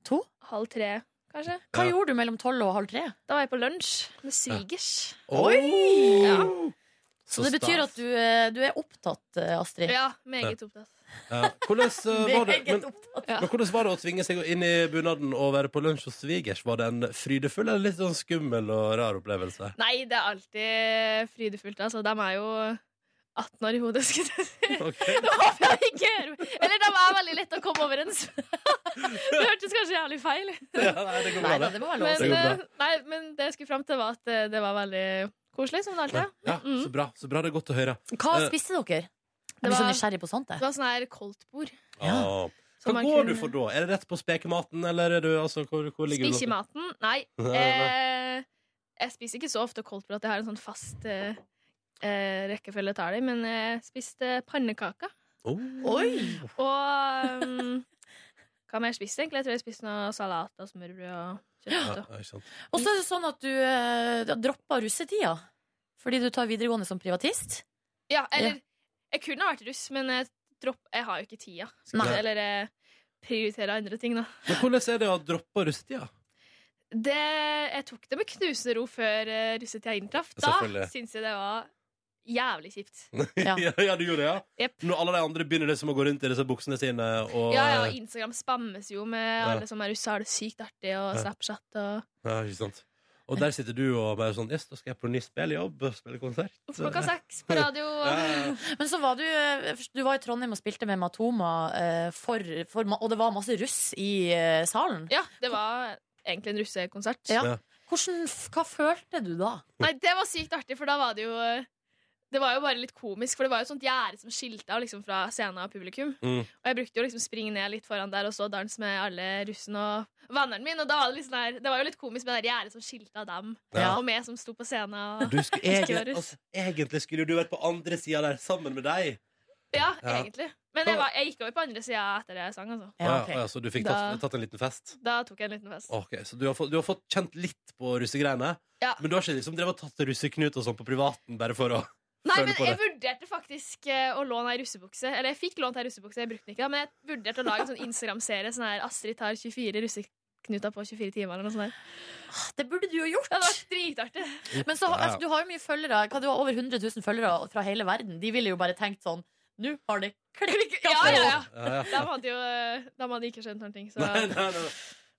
[SPEAKER 2] To?
[SPEAKER 7] halv tre, kanskje.
[SPEAKER 2] Hva gjorde du mellom tolv og halv tre?
[SPEAKER 7] Da var jeg på lunsj med svigers.
[SPEAKER 1] Oi!
[SPEAKER 7] Ja.
[SPEAKER 2] Så det betyr at du, eh, du er opptatt, eh, Astrid.
[SPEAKER 7] Ja, meget opptatt.
[SPEAKER 1] ja. Hvordan eh, var det men,
[SPEAKER 2] Meget opptatt.
[SPEAKER 7] Ja.
[SPEAKER 1] men hvordan var det å tvinge seg inn i bunaden og være på lunsj hos svigers? Var det en frydefull eller litt sånn skummel og rar opplevelse?
[SPEAKER 7] Nei, det er alltid frydefullt. Altså, de er jo 18 år i hodet, skulle jeg si.
[SPEAKER 1] Ok.
[SPEAKER 7] Nå håper jeg de ikke hører meg. Eller de er veldig lette å komme overens med. Det hørtes kanskje jævlig feil
[SPEAKER 1] Ja, nei, det går
[SPEAKER 2] Nei
[SPEAKER 1] bra,
[SPEAKER 2] da,
[SPEAKER 1] det.
[SPEAKER 2] det må være lov. å
[SPEAKER 7] men,
[SPEAKER 2] si.
[SPEAKER 1] går bra.
[SPEAKER 7] eh, nei, men det jeg skulle fram til, var at eh, det var veldig koselig, som det alltid er.
[SPEAKER 1] Ja,
[SPEAKER 7] Mm.
[SPEAKER 1] så bra. Så bra det er godt å høre.
[SPEAKER 2] Hva
[SPEAKER 7] eh,
[SPEAKER 2] spiste dere? Jeg blir så
[SPEAKER 7] var-
[SPEAKER 2] nysgjerrig på sånt.
[SPEAKER 7] Det
[SPEAKER 2] Jeg.
[SPEAKER 7] var sånn her koldtbord.
[SPEAKER 1] Ah.
[SPEAKER 7] som
[SPEAKER 1] Hva
[SPEAKER 7] man
[SPEAKER 1] går du
[SPEAKER 7] kunne-
[SPEAKER 1] for da? Er det rett på spekematen, eller er du altså Hvor, hvor ligger du?
[SPEAKER 7] Spiser maten? Nei.
[SPEAKER 1] Nei,
[SPEAKER 7] Eh, jeg spiser ikke så ofte koldtbrød at jeg har en sånn fast eh, eh, rekkefølge jeg tar det i, men jeg spiste pannekaker.
[SPEAKER 1] Oh.
[SPEAKER 2] Oi!
[SPEAKER 7] Og um, hva mer spiste jeg egentlig? Jeg tror jeg spiste noe salat og smørbrød
[SPEAKER 1] Ja,
[SPEAKER 7] og kjøtt. og-
[SPEAKER 1] ikke sant.
[SPEAKER 2] Og så er det sånn at du eh, droppa russetida fordi du tar videregående som privatist.
[SPEAKER 7] Ja, eller Jeg kunne ha vært russ, men jeg, dropp, jeg har jo ikke tida. Skal-
[SPEAKER 2] Nei.
[SPEAKER 7] Eller jeg prioriterer andre ting, da.
[SPEAKER 1] Men hvordan er det å droppe russetida?
[SPEAKER 7] Det, jeg tok det med knusende ro før uh, russetida inntraff. Da
[SPEAKER 1] Selvfølgelig.
[SPEAKER 7] syns jeg det var jævlig kjipt.
[SPEAKER 1] Ja.
[SPEAKER 2] Ja.
[SPEAKER 1] ja, du gjorde det, ja?
[SPEAKER 7] Jepp.
[SPEAKER 1] Når alle de andre begynner liksom å gå rundt i disse buksene sine og
[SPEAKER 7] Ja, ja, og Instagram spammes jo med alle som er russa, har det sykt artig, og
[SPEAKER 1] Ja.
[SPEAKER 7] Snapchat og
[SPEAKER 1] Ja, ikke sant. Og der sitter du og bare sånn Yes, da skal jeg på ny spilljobb, spille konsert.
[SPEAKER 7] Opp klokka seks på radio.
[SPEAKER 1] Ja, ja, ja.
[SPEAKER 2] Men så var du, eh, du var i Trondheim og spilte med Matoma, eh, for, for, ma- og det var masse russ i eh, salen.
[SPEAKER 7] Ja, det var egentlig en russekonsert.
[SPEAKER 2] Ja.
[SPEAKER 1] Ja.
[SPEAKER 2] Hvordan, f- hva følte du da?
[SPEAKER 7] Nei, det var sykt artig, for da var det jo Det var jo bare litt komisk, for det var jo et sånt gjerde som skilte av liksom, fra scenen og publikum.
[SPEAKER 1] Mm.
[SPEAKER 7] Og jeg brukte jo liksom springe ned litt foran der og stå og danse med alle russen og venneren min. Og da var det liksom der, det var jo litt komisk med det der gjerdet som skilte av dem,
[SPEAKER 2] Ja.
[SPEAKER 7] og meg som sto på scenen. Og...
[SPEAKER 1] Du skulle,
[SPEAKER 7] Ikke være
[SPEAKER 1] egentlig,
[SPEAKER 7] russ.
[SPEAKER 1] altså, egentlig skulle jo du vært på andre sida der sammen med deg.
[SPEAKER 7] Ja,
[SPEAKER 1] Ja.
[SPEAKER 7] egentlig. Men jeg, var, jeg gikk over på andre sida etter jeg sang, altså.
[SPEAKER 2] Ja,
[SPEAKER 1] Å
[SPEAKER 2] ok.
[SPEAKER 1] å så du fikk
[SPEAKER 7] Da-
[SPEAKER 1] tatt, tatt en liten fest?
[SPEAKER 7] Da tok jeg en liten fest.
[SPEAKER 1] Ok, Så du har fått, du har fått kjent litt på russegreiene,
[SPEAKER 7] Ja.
[SPEAKER 1] men du har ikke liksom drevet og tatt russeknut og sånn på privaten bare for å
[SPEAKER 7] Nei,
[SPEAKER 1] Føler
[SPEAKER 7] men
[SPEAKER 1] på
[SPEAKER 7] jeg vurderte faktisk eh, å låne ei russebukse. Eller jeg fikk lånt ei russebukse, jeg brukte den ikke, da, men jeg vurderte å lage en sånn Instagram-serie sånn her Astrid tar 24 russeknuter på 24 timer, eller noe sånt. der.
[SPEAKER 2] Det burde du jo
[SPEAKER 7] Det hadde
[SPEAKER 2] gjort!
[SPEAKER 7] vært dritartig.
[SPEAKER 2] Men så,
[SPEAKER 1] Ja.
[SPEAKER 2] altså, du har jo mye følgere. Hva, du har over 100 000 følgere fra hele verden. De ville jo bare tenkt sånn Nå har det klikka
[SPEAKER 7] Ja, ja, ja.
[SPEAKER 1] Ja, ja.
[SPEAKER 7] De hadde jo eh, de hadde ikke skjønt noen ting, så
[SPEAKER 1] Nei, nei, nei.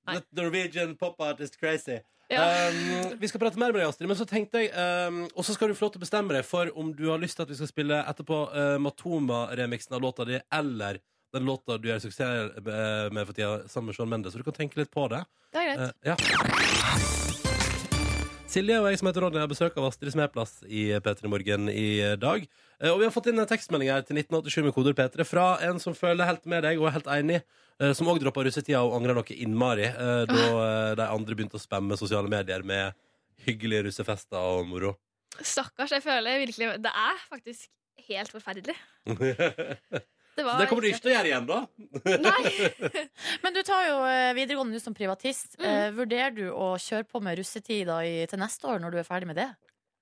[SPEAKER 7] Nei.
[SPEAKER 1] The Norwegian pop artist crazy.
[SPEAKER 7] ja.
[SPEAKER 1] Um, vi skal prate mer med deg, Astrid, men så tenkte jeg um, Og så skal du få lov til å bestemme deg for om du har lyst til at vi skal spille etterpå uh, Matoma-remixen av låta di, eller den låta du gjør suksess eh, med for tida, sammen med Sean Mendes. Så du kan tenke litt på det.
[SPEAKER 7] Det er greit.
[SPEAKER 1] Eh, ja. Silje og jeg som heter Ronny har besøk av Astrid Smeplass i P3 Morgen i dag. Eh, Og vi har fått inn en tekstmelding her til 1987 med koder P3 fra en som føler helt med deg og er helt enig, eh, som òg droppa russetida og angra noe innmari eh, da
[SPEAKER 7] Ah.
[SPEAKER 1] eh, de andre begynte å spamme sosiale medier med hyggelige russefester og moro.
[SPEAKER 7] Stakkars, jeg føler virkelig Det er faktisk helt forferdelig. Det, var
[SPEAKER 1] Det kommer du ikke til å gjøre igjen, da?
[SPEAKER 7] Nei!
[SPEAKER 2] Men du tar jo eh, videregående nå som privatist.
[SPEAKER 7] Mm.
[SPEAKER 2] Eh, Vurderer du å kjøre på med russetida i- til neste år når du er ferdig med det?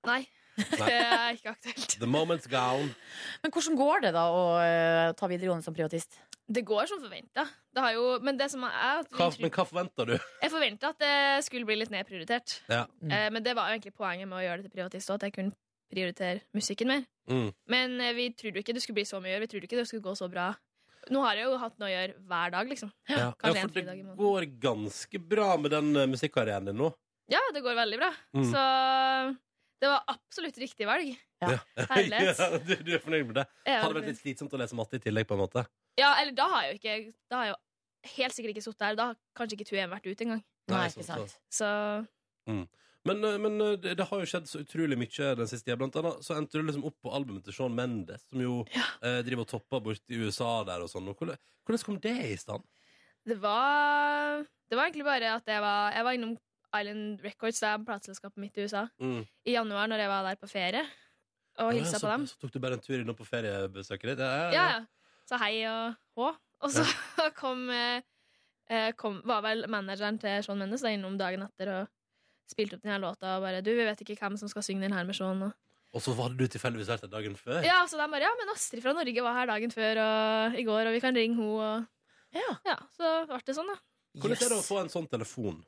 [SPEAKER 7] Nei. Det er ikke aktuelt.
[SPEAKER 1] The moment's gone.
[SPEAKER 2] Men hvordan går det da å eh, ta videregående som privatist?
[SPEAKER 7] Det går som forventa. Det har jo, men det som er at vi
[SPEAKER 1] Hva,
[SPEAKER 7] tror-
[SPEAKER 1] men hva forventer du?
[SPEAKER 7] Jeg forventa at det skulle bli litt nedprioritert.
[SPEAKER 1] Ja.
[SPEAKER 2] Mm.
[SPEAKER 7] Eh, men det var jo egentlig poenget med å gjøre det til privatist også, at jeg kunne prioritere musikken mer.
[SPEAKER 1] Mm.
[SPEAKER 7] Men eh, vi trodde jo ikke det skulle bli så mye å gjøre. Vi trodde ikke det skulle gå så bra. Nå har jeg jo hatt noe å gjøre hver dag, liksom.
[SPEAKER 1] Ja.
[SPEAKER 7] Kanskje
[SPEAKER 1] for
[SPEAKER 7] en
[SPEAKER 1] det
[SPEAKER 7] fridag i måneden.
[SPEAKER 1] går ganske bra med den eh, musikkarrieren din nå.
[SPEAKER 7] Ja, det går veldig bra.
[SPEAKER 1] Mm.
[SPEAKER 7] Så det var absolutt riktig valg.
[SPEAKER 2] Ja.
[SPEAKER 7] Herlighet.
[SPEAKER 1] Ja, du, du er fornøyd med det?
[SPEAKER 7] Jeg er
[SPEAKER 1] Hadde
[SPEAKER 7] veldig
[SPEAKER 1] vært litt
[SPEAKER 7] fornøyd.
[SPEAKER 1] slitsomt å lese matte i tillegg, på en måte.
[SPEAKER 7] Ja, eller da har jeg jo ikke Da har
[SPEAKER 1] sånn
[SPEAKER 7] jeg jo helt sikkert ikke sittet her. Da har kanskje ikke 2M vært ute engang.
[SPEAKER 2] Nei,
[SPEAKER 1] Nei,
[SPEAKER 2] ikke
[SPEAKER 1] sant,
[SPEAKER 2] sant.
[SPEAKER 7] Så
[SPEAKER 1] Men, eh, men eh, det, det har jo skjedd så utrolig mye den siste tida. Blant annet så endte du liksom opp på albumet til Sean Mendes, som jo eh, driver og topper bort i USA der og sånn. Og Hvordan, hvordan kom det i stand?
[SPEAKER 7] Det var, det var egentlig bare at jeg var, jeg var innom Island Records, det er plateselskapet mitt i USA,
[SPEAKER 1] Mm.
[SPEAKER 7] i januar når jeg var der på ferie. Og
[SPEAKER 1] Ja,
[SPEAKER 7] hilsa
[SPEAKER 1] så,
[SPEAKER 7] på dem.
[SPEAKER 1] Så tok du bare en tur innom på feriebesøket ditt?
[SPEAKER 7] Ja, ja. Så hei og hå. Og så kom, eh, eh, kom Var vel manageren til Sean Mendes da, innom dagen etter og spilte opp denne låta og bare Du, vi vet ikke hvem som skal synge den her med Sean. Og...
[SPEAKER 1] Og så hadde du tilfeldigvis vært der dagen før?
[SPEAKER 7] Ja, så de bare Ja, men Astrid fra Norge var her dagen før og i går, og vi kan ringe henne og
[SPEAKER 2] Ja.
[SPEAKER 7] Ja, så ble det sånn, da.
[SPEAKER 1] Hvordan er det å
[SPEAKER 2] Yes.
[SPEAKER 1] få en sånn telefon?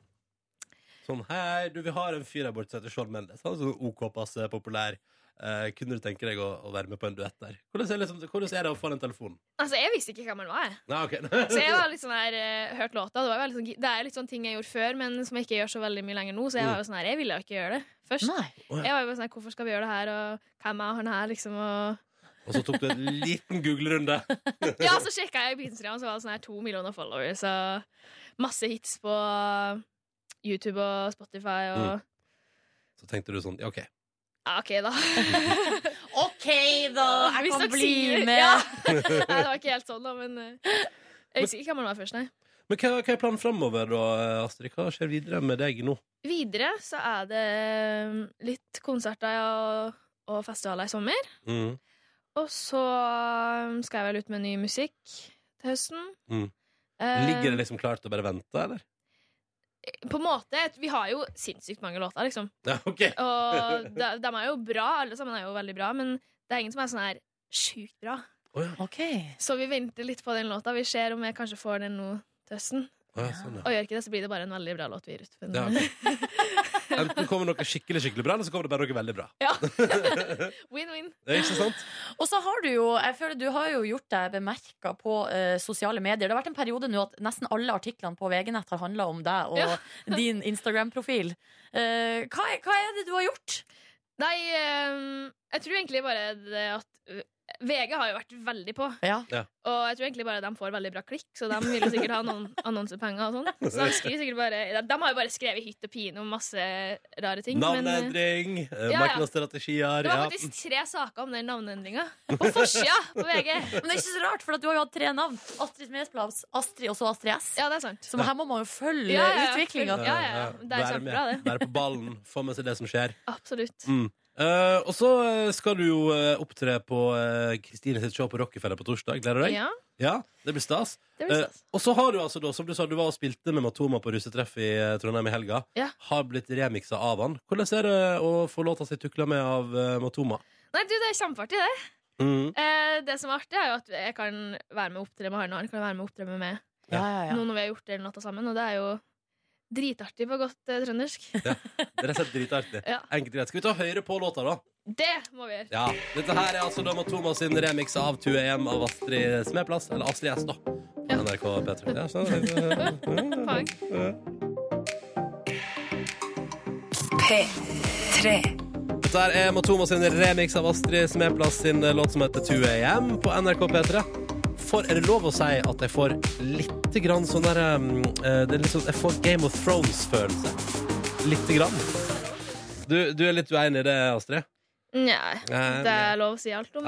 [SPEAKER 1] Sånn, hei, du, vi har en fyr her borte som heter Sean Mendes. Han er sånn OK passe populær. Eh, kunne du tenke deg å, å være med på en duett der? Hvordan er, det liksom, hvordan er det å få den telefonen?
[SPEAKER 7] Altså, jeg visste ikke hvem han var, jeg.
[SPEAKER 1] Nei, ok.
[SPEAKER 7] Så jeg var litt sånn her, eh, hørt låta. Det, var jo veldig sånn, det er litt sånn ting jeg gjorde før, men som jeg ikke gjør så veldig mye lenger nå. Så jeg var jo sånn her, jeg ville jo ikke gjøre det først.
[SPEAKER 2] Nei.
[SPEAKER 7] Jeg var jo bare sånn her, Hvorfor skal vi gjøre det her, og hvem er han her, liksom? Og...
[SPEAKER 1] Og så tok du en liten google-runde.
[SPEAKER 7] Ja, så sjekka jeg på Instagram, så var det sånn her to millioner followers og masse hits på YouTube og Spotify og
[SPEAKER 1] Mm. Så tenkte du sånn, ja, OK.
[SPEAKER 7] Ja, OK, da.
[SPEAKER 2] OK, da! Jeg
[SPEAKER 7] Hvis
[SPEAKER 2] kan
[SPEAKER 7] dere
[SPEAKER 2] bli
[SPEAKER 7] sier-
[SPEAKER 2] med.
[SPEAKER 7] Ja. Nei, det var ikke helt sånn, da, men eh, jeg husker ikke hvem han var først, nei.
[SPEAKER 1] Men hva, hva er planen framover, da, Astrid? Hva skjer videre med deg nå?
[SPEAKER 7] Videre så er det eh, litt konserter og, og festivaler i sommer.
[SPEAKER 1] Mm.
[SPEAKER 7] Og så um, skal jeg vel ut med ny musikk til høsten.
[SPEAKER 1] Mm.
[SPEAKER 7] Eh,
[SPEAKER 1] Ligger det liksom klart å bare vente, eller?
[SPEAKER 7] På en måte, Vi har jo sinnssykt mange låter, liksom.
[SPEAKER 1] Ja, OK.
[SPEAKER 7] Og de, dem er jo bra, alle sammen er jo veldig bra, men det er ingen som er sånn her sjukt bra.
[SPEAKER 1] Å ja.
[SPEAKER 2] OK.
[SPEAKER 7] Så vi venter litt på den låta. Vi ser om jeg kanskje får den nå til høsten.
[SPEAKER 1] Å ja, sånn, ja.
[SPEAKER 7] Og gjør ikke det, så blir det bare en veldig bra låt vi gir ut. Men,
[SPEAKER 1] Ja, ok. Enten kommer noe skikkelig skikkelig bra, eller så kommer det bare noe veldig bra.
[SPEAKER 7] Win-win.
[SPEAKER 1] Det er ikke sant?
[SPEAKER 2] Og så har du jo jeg føler du har jo gjort deg bemerka på eh, sosiale medier. Det har vært en periode nå at nesten alle artiklene på VG-nett har handla om deg og
[SPEAKER 7] Ja.
[SPEAKER 2] din Instagram-profil. Eh, hva, er- hva er det du har gjort?
[SPEAKER 7] Nei, um, jeg tror egentlig bare det at uh, VG har jo vært veldig på.
[SPEAKER 2] Ja.
[SPEAKER 7] Og jeg tror egentlig bare de får veldig bra klikk, så de vil jo sikkert ha noen annonsepenger og sånn. Så de skriver sikkert bare De de har jo bare skrevet hytt og pine om masse rare ting. Men eh,
[SPEAKER 1] Navneendring, eh,
[SPEAKER 7] ja.
[SPEAKER 1] markedsstrategier
[SPEAKER 7] det var
[SPEAKER 1] ja.
[SPEAKER 7] faktisk tre saker om den navneendringa. På forsida på VG.
[SPEAKER 2] Men det er ikke så rart, for at du har jo hatt tre navn. Astrid Mesplaus, Astrid og så Astrid S.
[SPEAKER 7] Ja, det er sant.
[SPEAKER 2] Så her må man jo følge
[SPEAKER 7] Ja, ja, ja.
[SPEAKER 2] utviklinga.
[SPEAKER 7] Ja, ja, ja. Det er
[SPEAKER 1] Være
[SPEAKER 7] kjempebra,
[SPEAKER 1] med.
[SPEAKER 7] det.
[SPEAKER 1] Være på ballen, få med seg det som skjer.
[SPEAKER 7] Absolutt.
[SPEAKER 1] Eh, og så eh, skal du jo eh, opptre på eh, Kristine sitt show på Rockefeller på torsdag. Gleder du deg?
[SPEAKER 7] Ja,
[SPEAKER 1] Ja, det blir stas.
[SPEAKER 7] det blir stas.
[SPEAKER 1] Eh, og så har du altså, da, som du sa, du var og spilte med Matoma på russetreff i eh, Trondheim i helga.
[SPEAKER 7] Ja.
[SPEAKER 1] Har blitt remiksa av han. Hvordan er det å få låta si tukla med av eh, Matoma?
[SPEAKER 7] Nei, du, det er kjempeartig, det.
[SPEAKER 1] Mm.
[SPEAKER 7] Eh, det som er artig, er jo at jeg kan være med å opptre med han, og han kan være med å opptre med meg
[SPEAKER 2] Ja, ja, ja.
[SPEAKER 7] nå når vi har gjort det hele natta sammen, og det er jo dritartig på godt eh, trøndersk.
[SPEAKER 1] Det er rett og slett dritartig.
[SPEAKER 7] Ja.
[SPEAKER 1] Enkelt og greit. Skal vi ta høyre på låta, da?
[SPEAKER 7] Det må vi gjøre.
[SPEAKER 1] Ja, Dette her er altså Dama Thomas sin remix av 2AM av Astrid Smeplass, eller Astrid S, da. På
[SPEAKER 7] Ja.
[SPEAKER 1] NRK P3. Ja, sånn, eh,
[SPEAKER 7] Fang.
[SPEAKER 1] Dette her er Matoma sin remix av Astrid Smeplass sin eh, låt som heter 2AM på NRK P3. For er det lov å si at jeg får litt grann sånn der um, eh, det er litt sånn, Jeg får Game of Thrones-følelse. Lite grann. Du, du er litt uenig i det, Astrid?
[SPEAKER 7] Nei,
[SPEAKER 1] Nei,
[SPEAKER 7] det er lov å si alt om eh,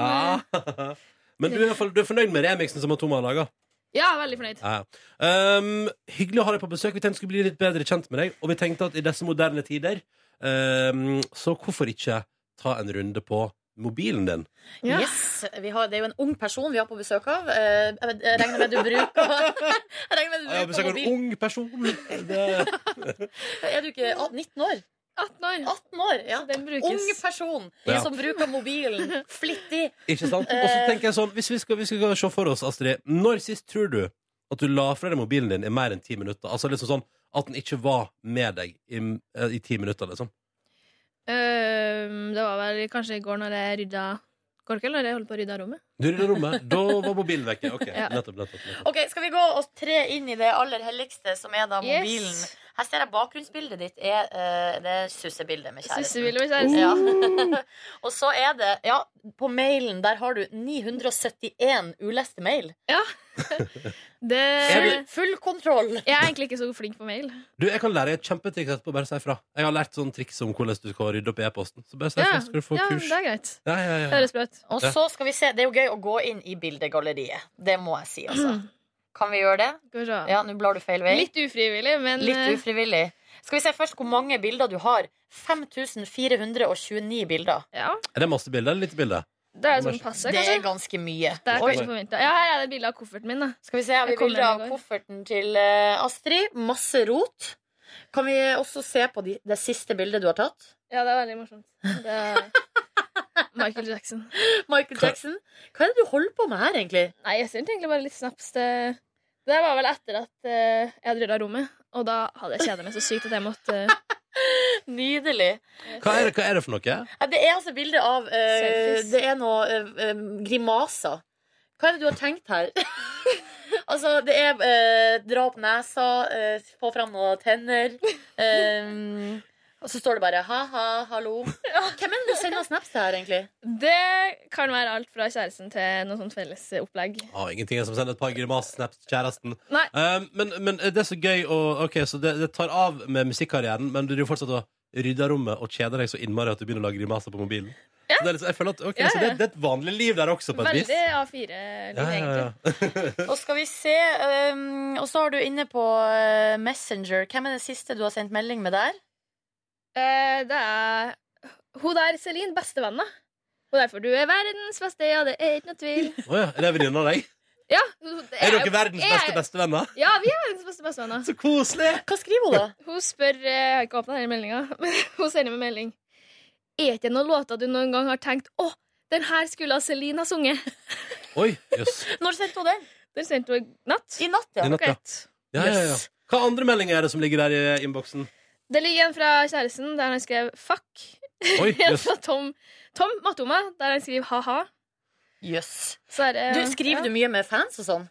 [SPEAKER 1] Ja. Men du er, i hvert fall- du er fornøyd med remixen som Matoma har laga?
[SPEAKER 7] Ja, veldig fornøyd.
[SPEAKER 1] Ja. Um, hyggelig å ha deg på besøk. Vi tenkte vi skulle bli litt bedre kjent med deg. Og vi tenkte at i disse moderne tider, um, så hvorfor ikke ta en runde på mobilen din?
[SPEAKER 7] Ja.
[SPEAKER 2] Yes, vi har, Det er jo en ung person vi har på besøk av. Eh, Jeg jeg regner med du bruker Jeg regner med
[SPEAKER 1] Jeg har
[SPEAKER 2] du bruker
[SPEAKER 1] besøk av en
[SPEAKER 2] mobil.
[SPEAKER 1] ung person. Det,
[SPEAKER 2] Er du ikke ah, 19 år?
[SPEAKER 7] 18 år.
[SPEAKER 2] 18 år, ja.
[SPEAKER 7] Så den brukes.
[SPEAKER 2] Ung person
[SPEAKER 1] Ja.
[SPEAKER 2] som bruker mobilen flittig.
[SPEAKER 1] ikke sant? Og så tenker jeg sånn, hvis vi, skal, vi skal se for oss, Astrid, når sist tror du at du la fra deg mobilen din i mer enn ti minutter? Altså liksom sånn at den ikke var med deg i, i ti minutter, liksom.
[SPEAKER 7] Øhm, Ehm, det var vel kanskje i går når jeg rydda Går kveld når jeg holdt på å rydde rommet.
[SPEAKER 1] Du rydder rommet, da var mobilen vekke. Ok,
[SPEAKER 7] Ja.
[SPEAKER 1] nettopp, nettopp, nettopp.
[SPEAKER 2] Ok, Skal vi gå og tre inn i det aller helligste, som er da
[SPEAKER 7] Yes.
[SPEAKER 2] mobilen? Her ser jeg bakgrunnsbildet ditt. Er, eh, det er sussebildet med kjæresten.
[SPEAKER 7] Sussebil og kjæreste.
[SPEAKER 2] Ja. og så er det Ja, på mailen der har du 971 uleste mail.
[SPEAKER 7] Ja. Det,
[SPEAKER 9] Full, full kontroll.
[SPEAKER 7] jeg er egentlig ikke så flink på mail.
[SPEAKER 1] Du, jeg kan lære deg et kjempetriks etterpå. Bare si fra. Jeg har lært sånn triks om hvordan du skal rydde opp i e-posten. Så bare si fra,
[SPEAKER 7] Ja,
[SPEAKER 1] så skal du få
[SPEAKER 7] ja
[SPEAKER 1] kurs.
[SPEAKER 7] det er greit.
[SPEAKER 1] Ja, ja,
[SPEAKER 7] Det
[SPEAKER 1] ja.
[SPEAKER 7] høres bra ut.
[SPEAKER 9] Og
[SPEAKER 1] Ja.
[SPEAKER 9] så skal vi se. Det er jo gøy å gå inn i bildegalleriet. Det må jeg si, altså. Kan vi gjøre det?
[SPEAKER 7] Skal vi se.
[SPEAKER 9] Ja, nå blar du feil vei.
[SPEAKER 7] Mm. Litt ufrivillig, men
[SPEAKER 9] Litt
[SPEAKER 7] eh,
[SPEAKER 9] ufrivillig. Skal vi se først hvor mange bilder du har. 5429 bilder.
[SPEAKER 7] eh, ja,
[SPEAKER 1] Er det masse bilder eller lite bilder?
[SPEAKER 7] det er jo sånn passe,
[SPEAKER 9] Det er
[SPEAKER 7] kanskje.
[SPEAKER 9] ganske mye.
[SPEAKER 7] Det er
[SPEAKER 9] Oi.
[SPEAKER 7] kanskje forventet. Ja, her er det et bilde av kofferten min. Da.
[SPEAKER 9] Skal vi se, har vi
[SPEAKER 7] Jeg kom
[SPEAKER 9] bilder
[SPEAKER 7] hjem i
[SPEAKER 9] av
[SPEAKER 7] går.
[SPEAKER 9] kofferten til eh, Astrid. Masse rot. Kan vi også se på de, det siste bildet du har tatt?
[SPEAKER 7] Ja, det er veldig morsomt. Det er Michael Jackson.
[SPEAKER 9] Michael Jackson. Hva er det du holder på med her, egentlig?
[SPEAKER 7] Nei, jeg sendte egentlig bare litt snaps til Det var vel etter at eh, jeg hadde rydda rommet, og da hadde jeg kjeda meg så sykt at jeg måtte eh,
[SPEAKER 9] Nydelig.
[SPEAKER 1] Hva er det, hva er det for noe?
[SPEAKER 9] Nei, Det er altså bilde av eh,
[SPEAKER 7] Selfies.
[SPEAKER 9] Det er noe eh, eh, grimaser. Hva er det du har tenkt her? altså, det er eh, dra opp nesa, eh, få fram noen tenner. eh, og så står det bare ha-ha, hallo. Hvem er det du sender snaps til her, egentlig?
[SPEAKER 7] Det kan være alt fra kjæresten til noe sånt felles eh, opplegg.
[SPEAKER 1] Ah, ingenting er som sender et par grimas-snaps til kjæresten.
[SPEAKER 7] Nei.
[SPEAKER 1] Um, men, men det er så gøy å Ok, så det, det tar av med musikkarrieren, men du driver fortsatt og rydder rommet og kjeder deg så innmari at du begynner å lage grimaser på mobilen. Så det er liksom, jeg føler at ok,
[SPEAKER 7] Ja,
[SPEAKER 1] så det,
[SPEAKER 7] ja.
[SPEAKER 1] det er et vanlig liv der også, på et vis.
[SPEAKER 7] Veldig A4-liv,
[SPEAKER 1] Ja, ja,
[SPEAKER 7] egentlig.
[SPEAKER 1] ja.
[SPEAKER 9] Og skal vi se eh, Og så har du inne på eh, Messenger. Hvem er det siste du har sendt melding med der?
[SPEAKER 7] Eh, det er hun der, Celine, bestevenna. Og derfor du er verdens beste, ja, det er ikke noe tvil.
[SPEAKER 1] Å ja, er det venninna di?
[SPEAKER 7] Ja, hun- det
[SPEAKER 1] Er
[SPEAKER 7] jo-
[SPEAKER 1] dere verdens
[SPEAKER 7] jeg-
[SPEAKER 1] beste bestevenner?
[SPEAKER 7] Ja, vi er verdens beste bestevenner.
[SPEAKER 1] Så koselig!
[SPEAKER 9] Hva skriver hun, da?
[SPEAKER 7] Hun spør eh, Jeg har ikke åpna denne meldinga, men hun sender meg melding. Er ikke det noen låter du noen gang har tenkt Å, den her skulle ha Celine ha sunget?
[SPEAKER 1] Oi, jøss.
[SPEAKER 9] Når sendte hun den?
[SPEAKER 7] Den sendte hun i natt.
[SPEAKER 9] I natt, ja.
[SPEAKER 1] I natt, ja.
[SPEAKER 7] Akkurat.
[SPEAKER 1] Ja, ja, ja.
[SPEAKER 9] Yes.
[SPEAKER 1] Hva andre meldinger er det som ligger der i innboksen?
[SPEAKER 7] Det ligger en fra kjæresten der han skrev 'fuck'.
[SPEAKER 1] Oi,
[SPEAKER 7] En
[SPEAKER 1] jøss.
[SPEAKER 7] fra Tom, Tom Matoma der han skriver 'ha-ha'.
[SPEAKER 9] Jøss. Eh,
[SPEAKER 7] Så er det,
[SPEAKER 9] Du, skriver
[SPEAKER 7] ja.
[SPEAKER 9] du mye med fans og sånn?